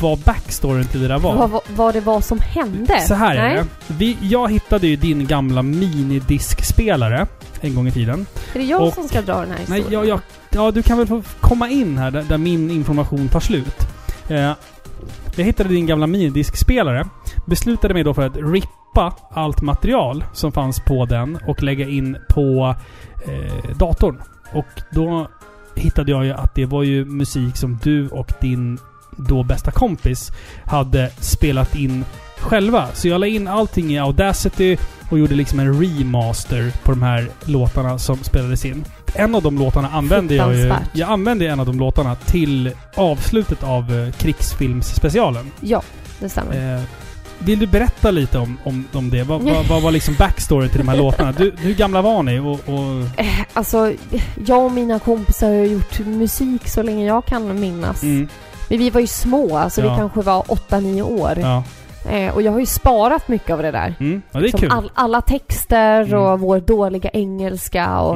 Speaker 1: vad backstoryn till det där var.
Speaker 2: Vad, vad, vad det var som hände?
Speaker 1: Så här Nej. är det. Vi, jag hittade ju din gamla minidiskspelare en gång i tiden.
Speaker 2: Är det jag och, som ska dra den här historien?
Speaker 1: Nej, jag, jag, ja, du kan väl få komma in här där, där min information tar slut. Eh, jag hittade din gamla minidiskspelare. Beslutade mig då för att rippa allt material som fanns på den och lägga in på eh, datorn. Och då hittade jag ju att det var ju musik som du och din då bästa kompis hade spelat in själva. Så jag la in allting i Audacity och gjorde liksom en remaster på de här låtarna som spelades in. En av de låtarna använde jag ju... Jag använde en av de låtarna till avslutet av eh, krigsfilmsspecialen.
Speaker 2: Ja, det stämmer. Eh,
Speaker 1: vill du berätta lite om, om, om det? Vad, vad, vad var liksom backstory till de här låtarna? Du, hur gamla var ni? Och, och...
Speaker 2: Alltså, jag och mina kompisar har gjort musik så länge jag kan minnas. Mm. Men vi var ju små, alltså ja. vi kanske var 8-9 år.
Speaker 1: Ja.
Speaker 2: Eh, och jag har ju sparat mycket av det där.
Speaker 1: Mm. Ja, det är
Speaker 2: Som
Speaker 1: kul.
Speaker 2: All, alla texter mm. och vår dåliga engelska och...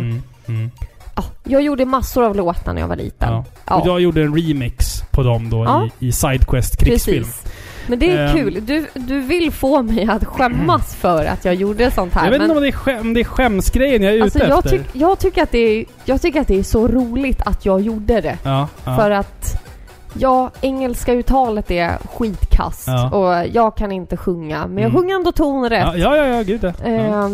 Speaker 2: Mm. Ah, jag gjorde massor av låtar när jag var liten. Ja.
Speaker 1: Ja. Och jag gjorde en remix på dem då ja. i, i Sidequest krigsfilm. Eh. Precis.
Speaker 2: Men det är um, kul. Du, du vill få mig att skämmas för att jag gjorde sånt här.
Speaker 1: Jag vet inte om det är, skäm, det är skämsgrejen jag är alltså ute
Speaker 2: jag
Speaker 1: efter.
Speaker 2: Tyck, jag, tycker att det är, jag tycker att det är så roligt att jag gjorde det. För att... Ja, engelska uttalet är skitkast ja. och jag kan inte sjunga. Men jag mm. sjunger ändå ton rätt.
Speaker 1: Ja, ja, ja, gud ja.
Speaker 2: Eh,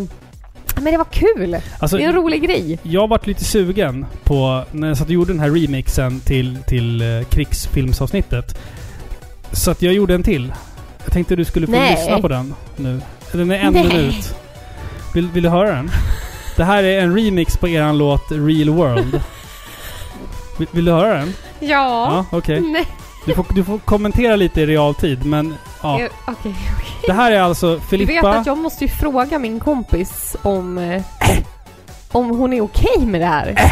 Speaker 2: Men det var kul!
Speaker 1: Alltså,
Speaker 2: det är en rolig grej.
Speaker 1: Jag vart lite sugen på, när jag satt och gjorde den här remixen till, till eh, krigsfilmsavsnittet. Så att jag gjorde en till. Jag tänkte du skulle få
Speaker 2: Nej.
Speaker 1: lyssna på den nu. Den är en
Speaker 2: Nej.
Speaker 1: minut. Vill, vill du höra den? Det här är en remix på eran låt Real World.
Speaker 2: (laughs)
Speaker 1: Vill, vill du höra den?
Speaker 2: Ja.
Speaker 1: okej.
Speaker 2: Nej.
Speaker 1: Du, får, du får kommentera lite i realtid, men ja.
Speaker 2: Eh, Okej, okej.
Speaker 1: Det här är alltså
Speaker 2: Du
Speaker 1: Filippa...
Speaker 2: vet att jag måste ju fråga min kompis om... eh, Om hon är okej med det här.
Speaker 1: Eh.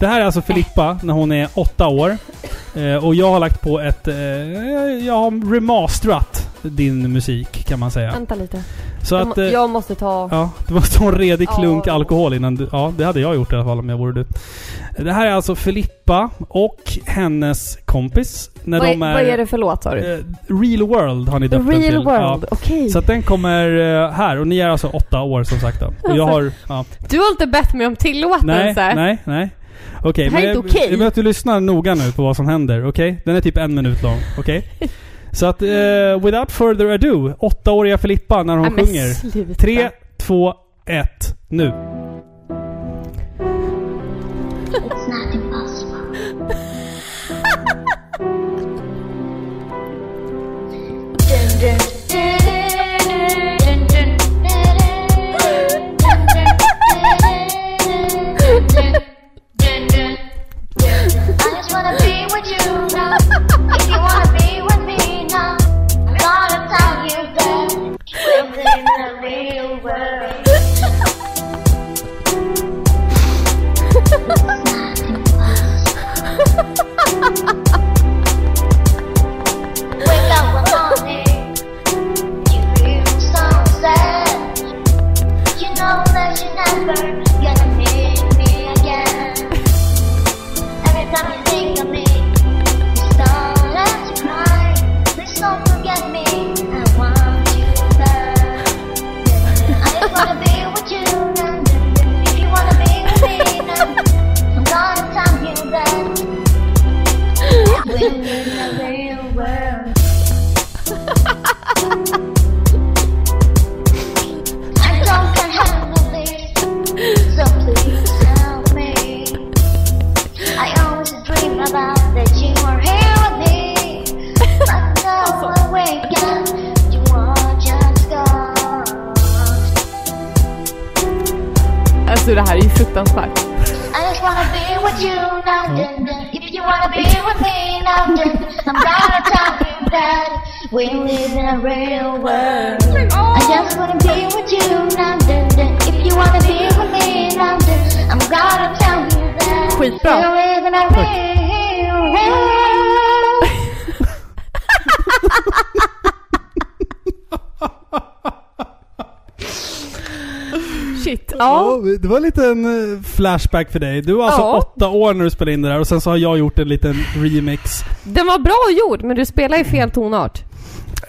Speaker 1: Det här är alltså Filippa när hon är åtta år. Eh, och jag har lagt på ett... Eh, jag har remasterat din musik kan man säga.
Speaker 2: Vänta lite.
Speaker 1: Så
Speaker 2: jag,
Speaker 1: att...
Speaker 2: må,
Speaker 1: Eh,
Speaker 2: jag måste ta...
Speaker 1: ja, det var en redig klunk
Speaker 2: Ja.
Speaker 1: alkohol innan du... Ja, det hade jag gjort i alla fall om jag vore du. Det här är alltså Filippa och hennes kompis. När
Speaker 2: vad, är,
Speaker 1: de är...
Speaker 2: vad är det för låt sa du?
Speaker 1: eh, Real World har ni döpt den till.
Speaker 2: Real
Speaker 1: Ja.
Speaker 2: World,
Speaker 1: (laughs)
Speaker 2: okej.
Speaker 1: Så att den kommer eh, här och ni är alltså åtta år som sagt då. Och
Speaker 2: Alltså.
Speaker 1: jag har... Ja.
Speaker 2: Du har inte bett mig om
Speaker 1: Nej,
Speaker 2: tillåtelse.
Speaker 1: nej, nej. Okej,
Speaker 2: Det här är
Speaker 1: men
Speaker 2: inte okej.
Speaker 1: jag, jag vill att du lyssnar noga nu på vad som händer, okej? Den är typ en minut lång, okej?
Speaker 2: (laughs)
Speaker 1: Så att, eh, without further ado, åttaåriga Filippa när hon
Speaker 2: Nej, men
Speaker 1: sjunger.
Speaker 2: sluta.
Speaker 1: Tre, två, ett, nu.
Speaker 9: It's not impossible. dun, dun, dun, dun, dun, dun, dun, dun, dun, dun, dun. I just wanna be with you now. If you wanna be with me now, I'm gonna tell you that we're in the real world. Wake up one morning, you feel so sad. You know that you're never gonna meet me again. Every time you think of me, you start to cry. Please don't forget me. I want you back. I just wanna be with you now. If you wanna be with me now, I'm gonna tell you that we're in the real world. I don't can handle this, so please help me. I always dream about that you are here with me, but now when we can, you are just gone.
Speaker 2: Alltså det här är ju fruktansvärt.
Speaker 9: I just wanna be with you now, dun, dun. If you wanna be with me now, dun, dun. I'm gonna tell you that we live in a real world. I just wanna be with you now, dun, dun. If you wanna be with me now, dun, I'm gonna tell you that we
Speaker 2: Skitbra.
Speaker 9: live in a real world.
Speaker 2: Shit. Ja.
Speaker 1: det var en liten eh, flashback för dig. Du var alltså
Speaker 2: Ja.
Speaker 1: åtta år när du spelade in det där och sen så har jag gjort en liten remix.
Speaker 2: Den var bra gjord, men du spelar i fel tonart.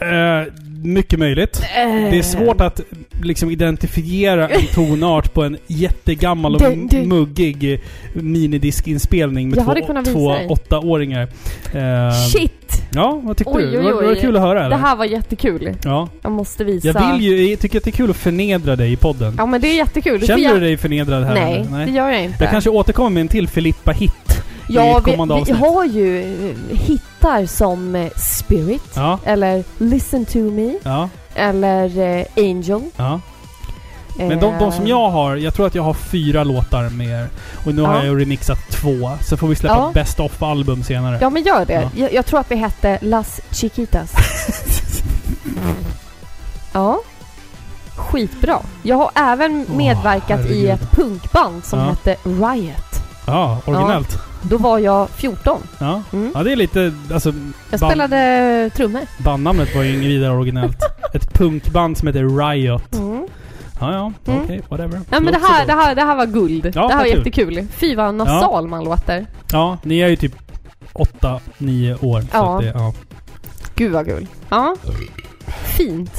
Speaker 1: Eh, mycket möjligt.
Speaker 2: Eh.
Speaker 1: Det är svårt att liksom identifiera en tonart på en jättegammal och
Speaker 2: Det- det-
Speaker 1: muggig eh, minidiskinspelning
Speaker 2: Jag
Speaker 1: med
Speaker 2: hade
Speaker 1: två,
Speaker 2: kunnat visa
Speaker 1: två
Speaker 2: dig.
Speaker 1: åttaåringar. Eh,
Speaker 2: Shit!
Speaker 1: Ja, vad tyckte
Speaker 2: Oj,
Speaker 1: du?
Speaker 2: oj,
Speaker 1: Det var- Det var
Speaker 2: oj.
Speaker 1: kul att höra eller?
Speaker 2: Det här var jättekul.
Speaker 1: Ja.
Speaker 2: Jag måste visa.
Speaker 1: Jag vill ju, jag tycker att det är kul att förnedra dig i podden.
Speaker 2: Ja men det är jättekul. får
Speaker 1: Känner
Speaker 2: jag...
Speaker 1: du dig förnedrad här?
Speaker 2: Nej,
Speaker 1: eller?
Speaker 2: det gör jag inte.
Speaker 1: Jag kanske återkommer med en till Filippa-hit. i
Speaker 2: ja,
Speaker 1: ett
Speaker 2: vi,
Speaker 1: kommande
Speaker 2: vi
Speaker 1: avsnitt.
Speaker 2: har ju eh, hittar som eh, Spirit,
Speaker 1: Ja,
Speaker 2: eller Listen to me,
Speaker 1: ja,
Speaker 2: eller eh, Angel.
Speaker 1: ja. Men de, de som jag har, jag tror att jag har fyra låtar med er. Och nu har
Speaker 2: Ja.
Speaker 1: jag ju remixat två. Så får vi släppa
Speaker 2: Ja.
Speaker 1: ett best of album senare.
Speaker 2: eh, Ja men gör det.
Speaker 1: Ja.
Speaker 2: Jag, jag tror att vi hette Las
Speaker 1: (laughs)
Speaker 2: Chiquitas. ja. Skitbra. Jag har även
Speaker 1: Åh,
Speaker 2: medverkat i
Speaker 1: herregud.
Speaker 2: ett punkband som
Speaker 1: Ja.
Speaker 2: hette Riot.
Speaker 1: Ja, originellt.
Speaker 2: Då var jag 14.
Speaker 1: Ja.
Speaker 2: Mm.
Speaker 1: ja, det är lite... Alltså,
Speaker 2: Jag
Speaker 1: Band.
Speaker 2: spelade trummor.
Speaker 1: bandnamnet var ju inget vidare
Speaker 2: (laughs)
Speaker 1: originellt. ett punkband som heter Riot.
Speaker 2: Mm.
Speaker 1: Ja, ja.
Speaker 2: Mm.
Speaker 1: Okej, whatever.
Speaker 2: Ja men det
Speaker 1: låter
Speaker 2: här,
Speaker 1: bra.
Speaker 2: det, här, det här var guld. det här
Speaker 1: vad
Speaker 2: var
Speaker 1: kul.
Speaker 2: jättekul. Fy vad nasal man låter.
Speaker 1: Ja, ni är ju typ åtta, nio år. Så
Speaker 2: Ja.
Speaker 1: att det, ja.
Speaker 2: Gud vad guld. Ja. Fint.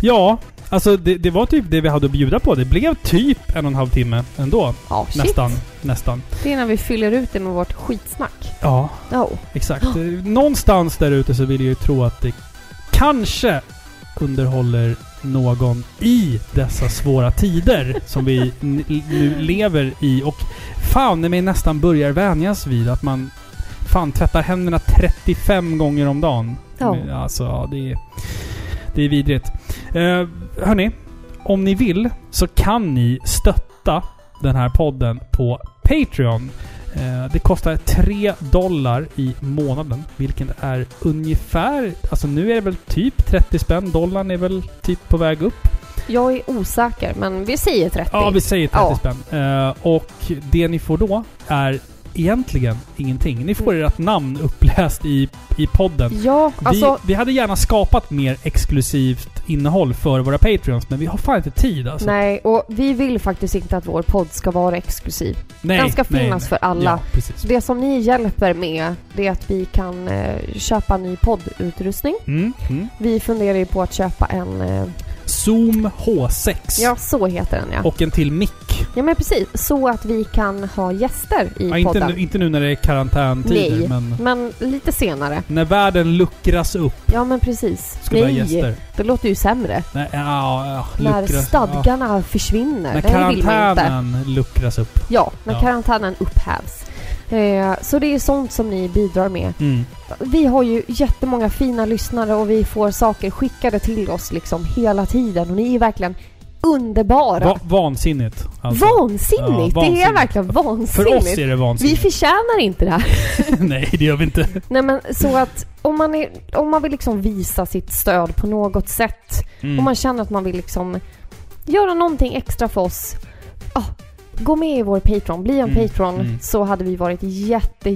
Speaker 1: ja, alltså det, det var typ det vi hade att bjuda på. Det blev typ en och en halv timme ändå.
Speaker 2: Ja, shit.
Speaker 1: Nästan. Nästan.
Speaker 2: Det är när vi fyller ut det med vårt skitsnack.
Speaker 1: Ja,
Speaker 2: Ja.
Speaker 1: exakt. Eh, Någonstans där ute så vill jag ju tro att det kanske underhåller någon i dessa svåra tider som vi n- nu lever i. Och fan i mig nästan börjar vänjas vid att man fan tvättar händerna 35 gånger om dagen.
Speaker 2: Ja.
Speaker 1: Alltså, ja, det är, det är vidrigt. Eh, hörni, om ni vill så kan ni stötta den här podden på Patreon. Eh, Det kostar 3 dollar i månaden, vilket är ungefär... Alltså nu är det väl typ 30 spänn. Dollarn är väl typ på väg upp.
Speaker 2: Jag är osäker, men vi säger 30.
Speaker 1: Ja, vi säger 30
Speaker 2: Ja.
Speaker 1: spänn. Eh, och det ni får då är egentligen ingenting. Ni
Speaker 2: Mm.
Speaker 1: får ert namn uppläst i, i podden.
Speaker 2: Ja, alltså...
Speaker 1: vi, vi hade gärna skapat mer exklusivt innehåll för våra Patreons, men vi har fan inte tid alltså.
Speaker 2: Nej, och vi vill faktiskt inte att vår podd ska vara exklusiv.
Speaker 1: Nej,
Speaker 2: Den ska
Speaker 1: nej,
Speaker 2: finnas
Speaker 1: nej.
Speaker 2: för alla.
Speaker 1: Ja, precis.
Speaker 2: Så det som ni hjälper med, det är att vi kan eh, köpa ny poddutrustning.
Speaker 1: Mm, mm.
Speaker 2: Vi funderar ju på att köpa en... Eh,
Speaker 1: Zoom H6.
Speaker 2: ja, så heter den ja.
Speaker 1: Och en till mick.
Speaker 2: Ja men precis, så att vi kan ha gäster i
Speaker 1: Ja, inte,
Speaker 2: podden.
Speaker 1: nu, inte nu när det är karantäntider,
Speaker 2: Nej.
Speaker 1: men
Speaker 2: Men lite senare.
Speaker 1: när världen luckras upp
Speaker 2: Ja men precis.
Speaker 1: ska vi ha gäster.
Speaker 2: det låter ju sämre.
Speaker 1: Nej, ja, ja,
Speaker 2: När
Speaker 1: luckras- ja.
Speaker 2: stadgarna försvinner.
Speaker 1: När
Speaker 2: Nej, det vill man inte.
Speaker 1: karantänen luckras upp.
Speaker 2: Ja, när
Speaker 1: Ja.
Speaker 2: karantänen upphävs. Eh, så det är sånt som ni bidrar med.
Speaker 1: Mm.
Speaker 2: Vi har ju jättemånga fina lyssnare och vi får saker skickade till oss liksom hela tiden och ni är verkligen underbara.
Speaker 1: Va- vansinnigt. alltså.
Speaker 2: vansinnigt!
Speaker 1: Ja,
Speaker 2: Det är
Speaker 1: vansinnigt.
Speaker 2: verkligen
Speaker 1: För
Speaker 2: vansinnigt.
Speaker 1: oss är det
Speaker 2: vi
Speaker 1: vansinnigt.
Speaker 2: förtjänar inte det här.
Speaker 1: (laughs) Nej, det gör vi inte.
Speaker 2: Nej men så att om man, är, om man vill liksom visa sitt stöd på något sätt,
Speaker 1: Mm.
Speaker 2: om man känner att man vill liksom göra någonting extra för oss, ah, gå med i vår Patreon, bli en
Speaker 1: Mm,
Speaker 2: Patreon,
Speaker 1: mm.
Speaker 2: så hade vi varit jätte,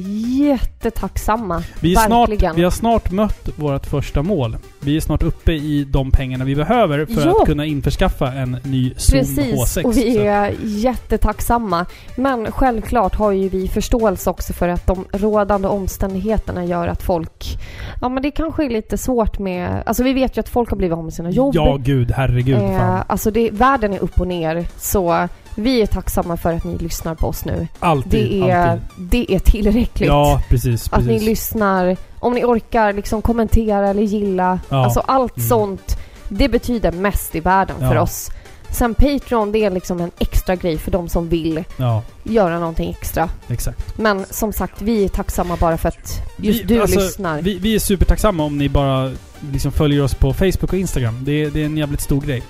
Speaker 2: jättetacksamma.
Speaker 1: Vi, är snart,
Speaker 2: Verkligen.
Speaker 1: vi har snart mött vårt första mål. Vi är snart uppe i de pengarna vi behöver för
Speaker 2: Ja.
Speaker 1: att kunna införskaffa en ny Zoom
Speaker 2: Precis,
Speaker 1: H6.
Speaker 2: och vi
Speaker 1: Så-
Speaker 2: är jättetacksamma. Men självklart har ju vi förståelse också för att de rådande omständigheterna gör att folk... Ja, men det kanske är lite svårt med... Alltså vi vet ju att folk har blivit av med sina jobb.
Speaker 1: Ja, gud. Herregud.
Speaker 2: Eh,
Speaker 1: fan.
Speaker 2: alltså det, världen är upp och ner, så vi är tacksamma för att ni lyssnar på oss nu.
Speaker 1: Alltid.
Speaker 2: Det är,
Speaker 1: alltid.
Speaker 2: det är tillräckligt.
Speaker 1: Ja, precis.
Speaker 2: att ni
Speaker 1: precis.
Speaker 2: lyssnar, om ni orkar liksom kommentera eller gilla.
Speaker 1: Ja.
Speaker 2: Alltså allt
Speaker 1: Mm.
Speaker 2: sånt, det betyder mest i världen för
Speaker 1: Ja.
Speaker 2: oss. Sen Patreon, det är liksom en extra grej för de som vill
Speaker 1: ja,
Speaker 2: göra någonting extra.
Speaker 1: exakt.
Speaker 2: Men som sagt, vi är tacksamma bara för att just
Speaker 1: Vi-
Speaker 2: du
Speaker 1: alltså,
Speaker 2: lyssnar.
Speaker 1: Vi, vi är supertacksamma om ni bara liksom följer oss på Facebook och Instagram. Det, är- det är en jävligt stor grej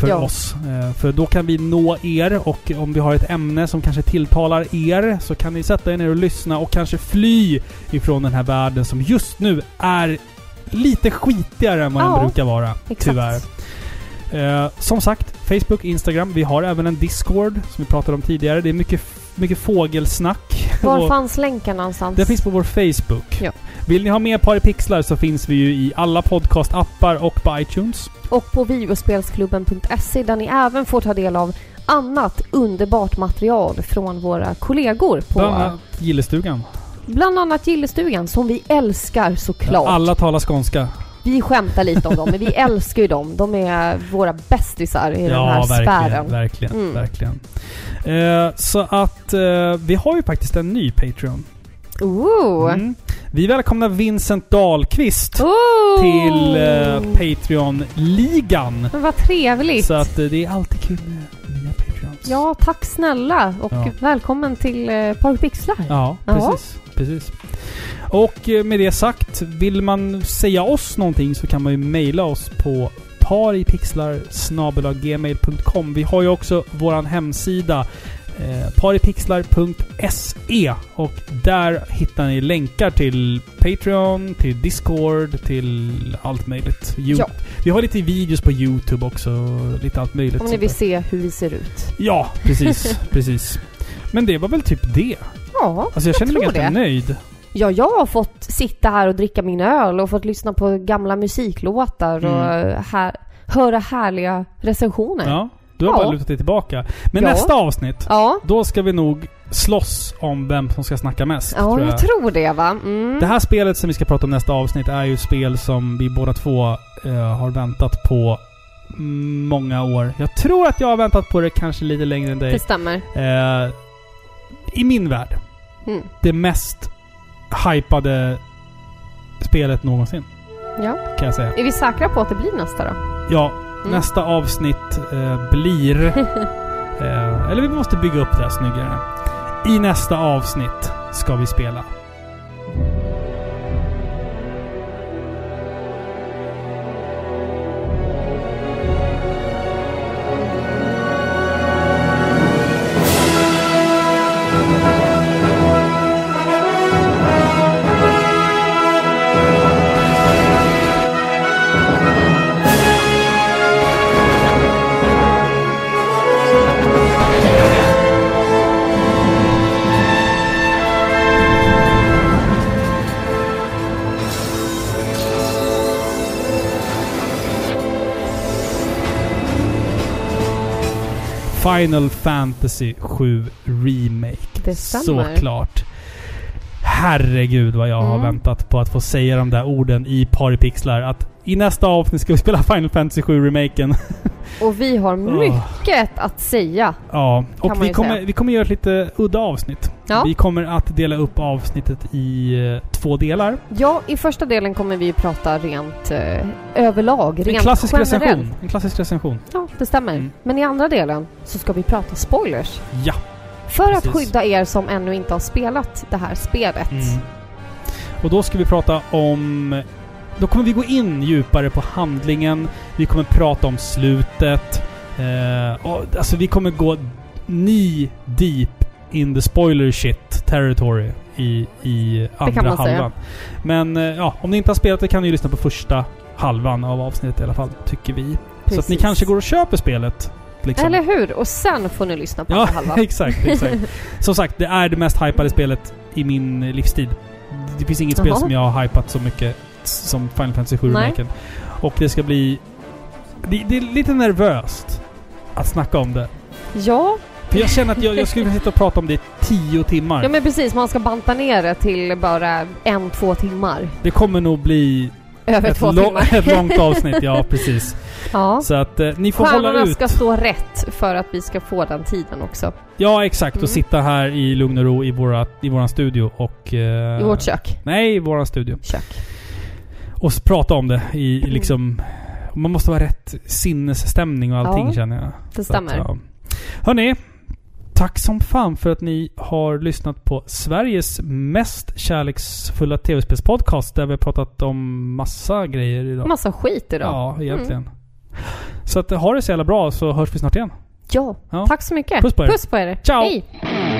Speaker 1: för
Speaker 2: Ja.
Speaker 1: oss. Eh, för då kan vi nå er och om vi har ett ämne som kanske tilltalar er så kan ni sätta er ner och lyssna och kanske fly ifrån den här världen som just nu är lite skitigare än vad
Speaker 2: Ja,
Speaker 1: den brukar vara. Tyvärr. Eh, som sagt, Facebook, Instagram. Vi har även en Discord som vi pratade om tidigare. Det är mycket, mycket fågelsnack.
Speaker 2: Var
Speaker 1: Och-
Speaker 2: fanns länken någonstans?
Speaker 1: den finns på vår Facebook.
Speaker 2: Ja.
Speaker 1: Vill ni ha mer Paripixlar så finns vi ju i alla podcastappar och på iTunes.
Speaker 2: och på videospelsklubben.se där ni även får ta del av annat underbart material från våra kollegor på
Speaker 1: Bland annat Gillestugan.
Speaker 2: bland annat Gillestugan som vi älskar såklart.
Speaker 1: Alla talar skånska.
Speaker 2: Vi skämtar lite om dem men
Speaker 1: (laughs)
Speaker 2: vi älskar ju dem. De är våra bästisar i den här
Speaker 1: verkligen.
Speaker 2: sfären.
Speaker 1: Verkligen.
Speaker 2: Mm.
Speaker 1: verkligen. Eh, så att eh, vi har ju faktiskt en ny Patreon.
Speaker 2: Ooh.
Speaker 1: Mm. Vi välkomnar Vincent Dahlqvist
Speaker 2: Ooh.
Speaker 1: till eh, Patreon-ligan.
Speaker 2: Men vad trevligt.
Speaker 1: Så att eh, det är alltid kul med nya Patreons.
Speaker 2: Ja, tack snälla och
Speaker 1: Ja.
Speaker 2: välkommen till eh, Par Pixlar.
Speaker 1: Ja,
Speaker 2: Ja.
Speaker 1: precis. precis. Och eh, med det sagt, vill man säga oss någonting så kan man ju mejla oss på paripixlar.gmail.com. Vi har ju också vår hemsida eh, paripixlar.se och där hittar ni länkar till Patreon, till Discord, till allt möjligt. Ju-
Speaker 2: Ja.
Speaker 1: Vi har lite videos på YouTube också, lite allt möjligt.
Speaker 2: Om ni
Speaker 1: sånt
Speaker 2: vill
Speaker 1: där.
Speaker 2: se hur vi ser ut.
Speaker 1: Ja, precis. (laughs) precis. Men det var väl typ det.
Speaker 2: Ja,
Speaker 1: Alltså jag, känner mig
Speaker 2: tror
Speaker 1: ganska
Speaker 2: det.
Speaker 1: nöjd.
Speaker 2: Ja, jag har fått sitta här och dricka min öl och fått lyssna på gamla musiklåtar och här, höra härliga recensioner.
Speaker 1: Mm. Ja, du har
Speaker 2: Ja.
Speaker 1: bara lutat dig tillbaka. Men
Speaker 2: Ja.
Speaker 1: nästa avsnitt,
Speaker 2: ja.
Speaker 1: då ska vi nog slåss om vem som ska snacka mest.
Speaker 2: Ja,
Speaker 1: tror
Speaker 2: jag.
Speaker 1: jag.
Speaker 2: tror det va. Mm.
Speaker 1: Det här spelet som vi ska prata om nästa avsnitt är ju ett spel som vi båda två eh, har väntat på många år. Jag tror att jag har väntat på det kanske lite längre än dig.
Speaker 2: Det stämmer.
Speaker 1: Eh, I min värld,
Speaker 2: Mm.
Speaker 1: det mest hypade spelet någonsin.
Speaker 2: Ja.
Speaker 1: Kan jag säga.
Speaker 2: Är vi säkra på att det blir nästa då?
Speaker 1: Ja, Nästa avsnitt eh,
Speaker 2: (laughs)
Speaker 1: blir... eh, eller vi måste bygga upp det här snyggare. I nästa avsnitt ska vi spela Final Fantasy 7 Remake.
Speaker 2: Det stämmer.
Speaker 1: Såklart. Herregud vad jag har
Speaker 2: Mm.
Speaker 1: väntat på att få säga de där orden i Paripixlar. Att i nästa avsnitt ska vi spela Final Fantasy 7-remaken.
Speaker 2: Och vi har mycket att säga.
Speaker 1: ja,
Speaker 2: man
Speaker 1: och vi
Speaker 2: ju
Speaker 1: kommer,
Speaker 2: säga.
Speaker 1: vi kommer göra ett lite udda avsnitt.
Speaker 2: Ja.
Speaker 1: Vi kommer att dela upp avsnittet i eh, två delar.
Speaker 2: Ja, i första delen kommer vi ju prata rent eh, överlag,
Speaker 1: En
Speaker 2: rent
Speaker 1: klassisk,
Speaker 2: generellt.
Speaker 1: recension. en klassisk recension.
Speaker 2: Ja, det stämmer.
Speaker 1: Mm.
Speaker 2: Men i andra delen så ska vi prata spoilers.
Speaker 1: Ja.
Speaker 2: För
Speaker 1: Precis.
Speaker 2: att skydda er som ännu inte har spelat det här spelet.
Speaker 1: Mm. Och då ska vi prata om... Då kommer vi gå in djupare på handlingen. Vi kommer prata om slutet. Eh, och, alltså vi kommer gå ny deep in the spoiler shit territory i, i andra
Speaker 2: kan man säga.
Speaker 1: halvan. Men eh, ja, om ni inte har spelat det kan ni ju lyssna på första halvan av avsnittet i alla fall, tycker vi. Så att ni
Speaker 2: Precis.
Speaker 1: kanske går och köper spelet. Liksom.
Speaker 2: Eller hur? Och sen får ni lyssna på
Speaker 1: Ja,
Speaker 2: andra
Speaker 1: (laughs)
Speaker 2: halvan.
Speaker 1: exakt,
Speaker 2: (laughs)
Speaker 1: exakt. Som sagt, det är det mest hypade spelet i min livstid. Det finns inget spel
Speaker 2: Jaha.
Speaker 1: som jag har hypat så mycket som Final Fantasy 7
Speaker 2: Nej.
Speaker 1: remaken. Och det ska bli... Det, det är lite nervöst att snacka om det.
Speaker 2: Ja,
Speaker 1: För jag känner att jag, jag skulle kunna sitta och prata om det i tio timmar.
Speaker 2: ja, men precis. Man ska banta ner det till bara en, två timmar.
Speaker 1: Det kommer nog bli
Speaker 2: Över
Speaker 1: ett,
Speaker 2: två
Speaker 1: lång-
Speaker 2: timmar.
Speaker 1: (laughs) ett långt avsnitt,
Speaker 2: (laughs)
Speaker 1: ja precis.
Speaker 2: Ja.
Speaker 1: Så att eh, ni får hålla
Speaker 2: Stjärnorna
Speaker 1: ut.
Speaker 2: ska stå rätt för att vi ska få den tiden också.
Speaker 1: Ja exakt, och
Speaker 2: Mm.
Speaker 1: sitta här i lugn och ro i, våra, i våran studio och... eh,
Speaker 2: I vårt kök.
Speaker 1: Nej, i våran studio.
Speaker 2: kök.
Speaker 1: och s- prata om det i i liksom... Man måste vara rätt sinnesstämning och allting
Speaker 2: Ja,
Speaker 1: känner jag.
Speaker 2: Det
Speaker 1: Så att,
Speaker 2: stämmer.
Speaker 1: ja. Hörni, tack som fan för att ni har lyssnat på Sveriges mest kärleksfulla tv-spelspodcast där vi har pratat om massa grejer idag.
Speaker 2: Massa Mm. skit idag.
Speaker 1: Ja, egentligen. Så att, ha det så jävla bra så hörs vi snart igen.
Speaker 2: Ja.
Speaker 1: Ja.
Speaker 2: Tack så mycket.
Speaker 1: Puss på er.
Speaker 2: Puss på er.
Speaker 1: Ciao.
Speaker 2: Hej.
Speaker 9: Mm.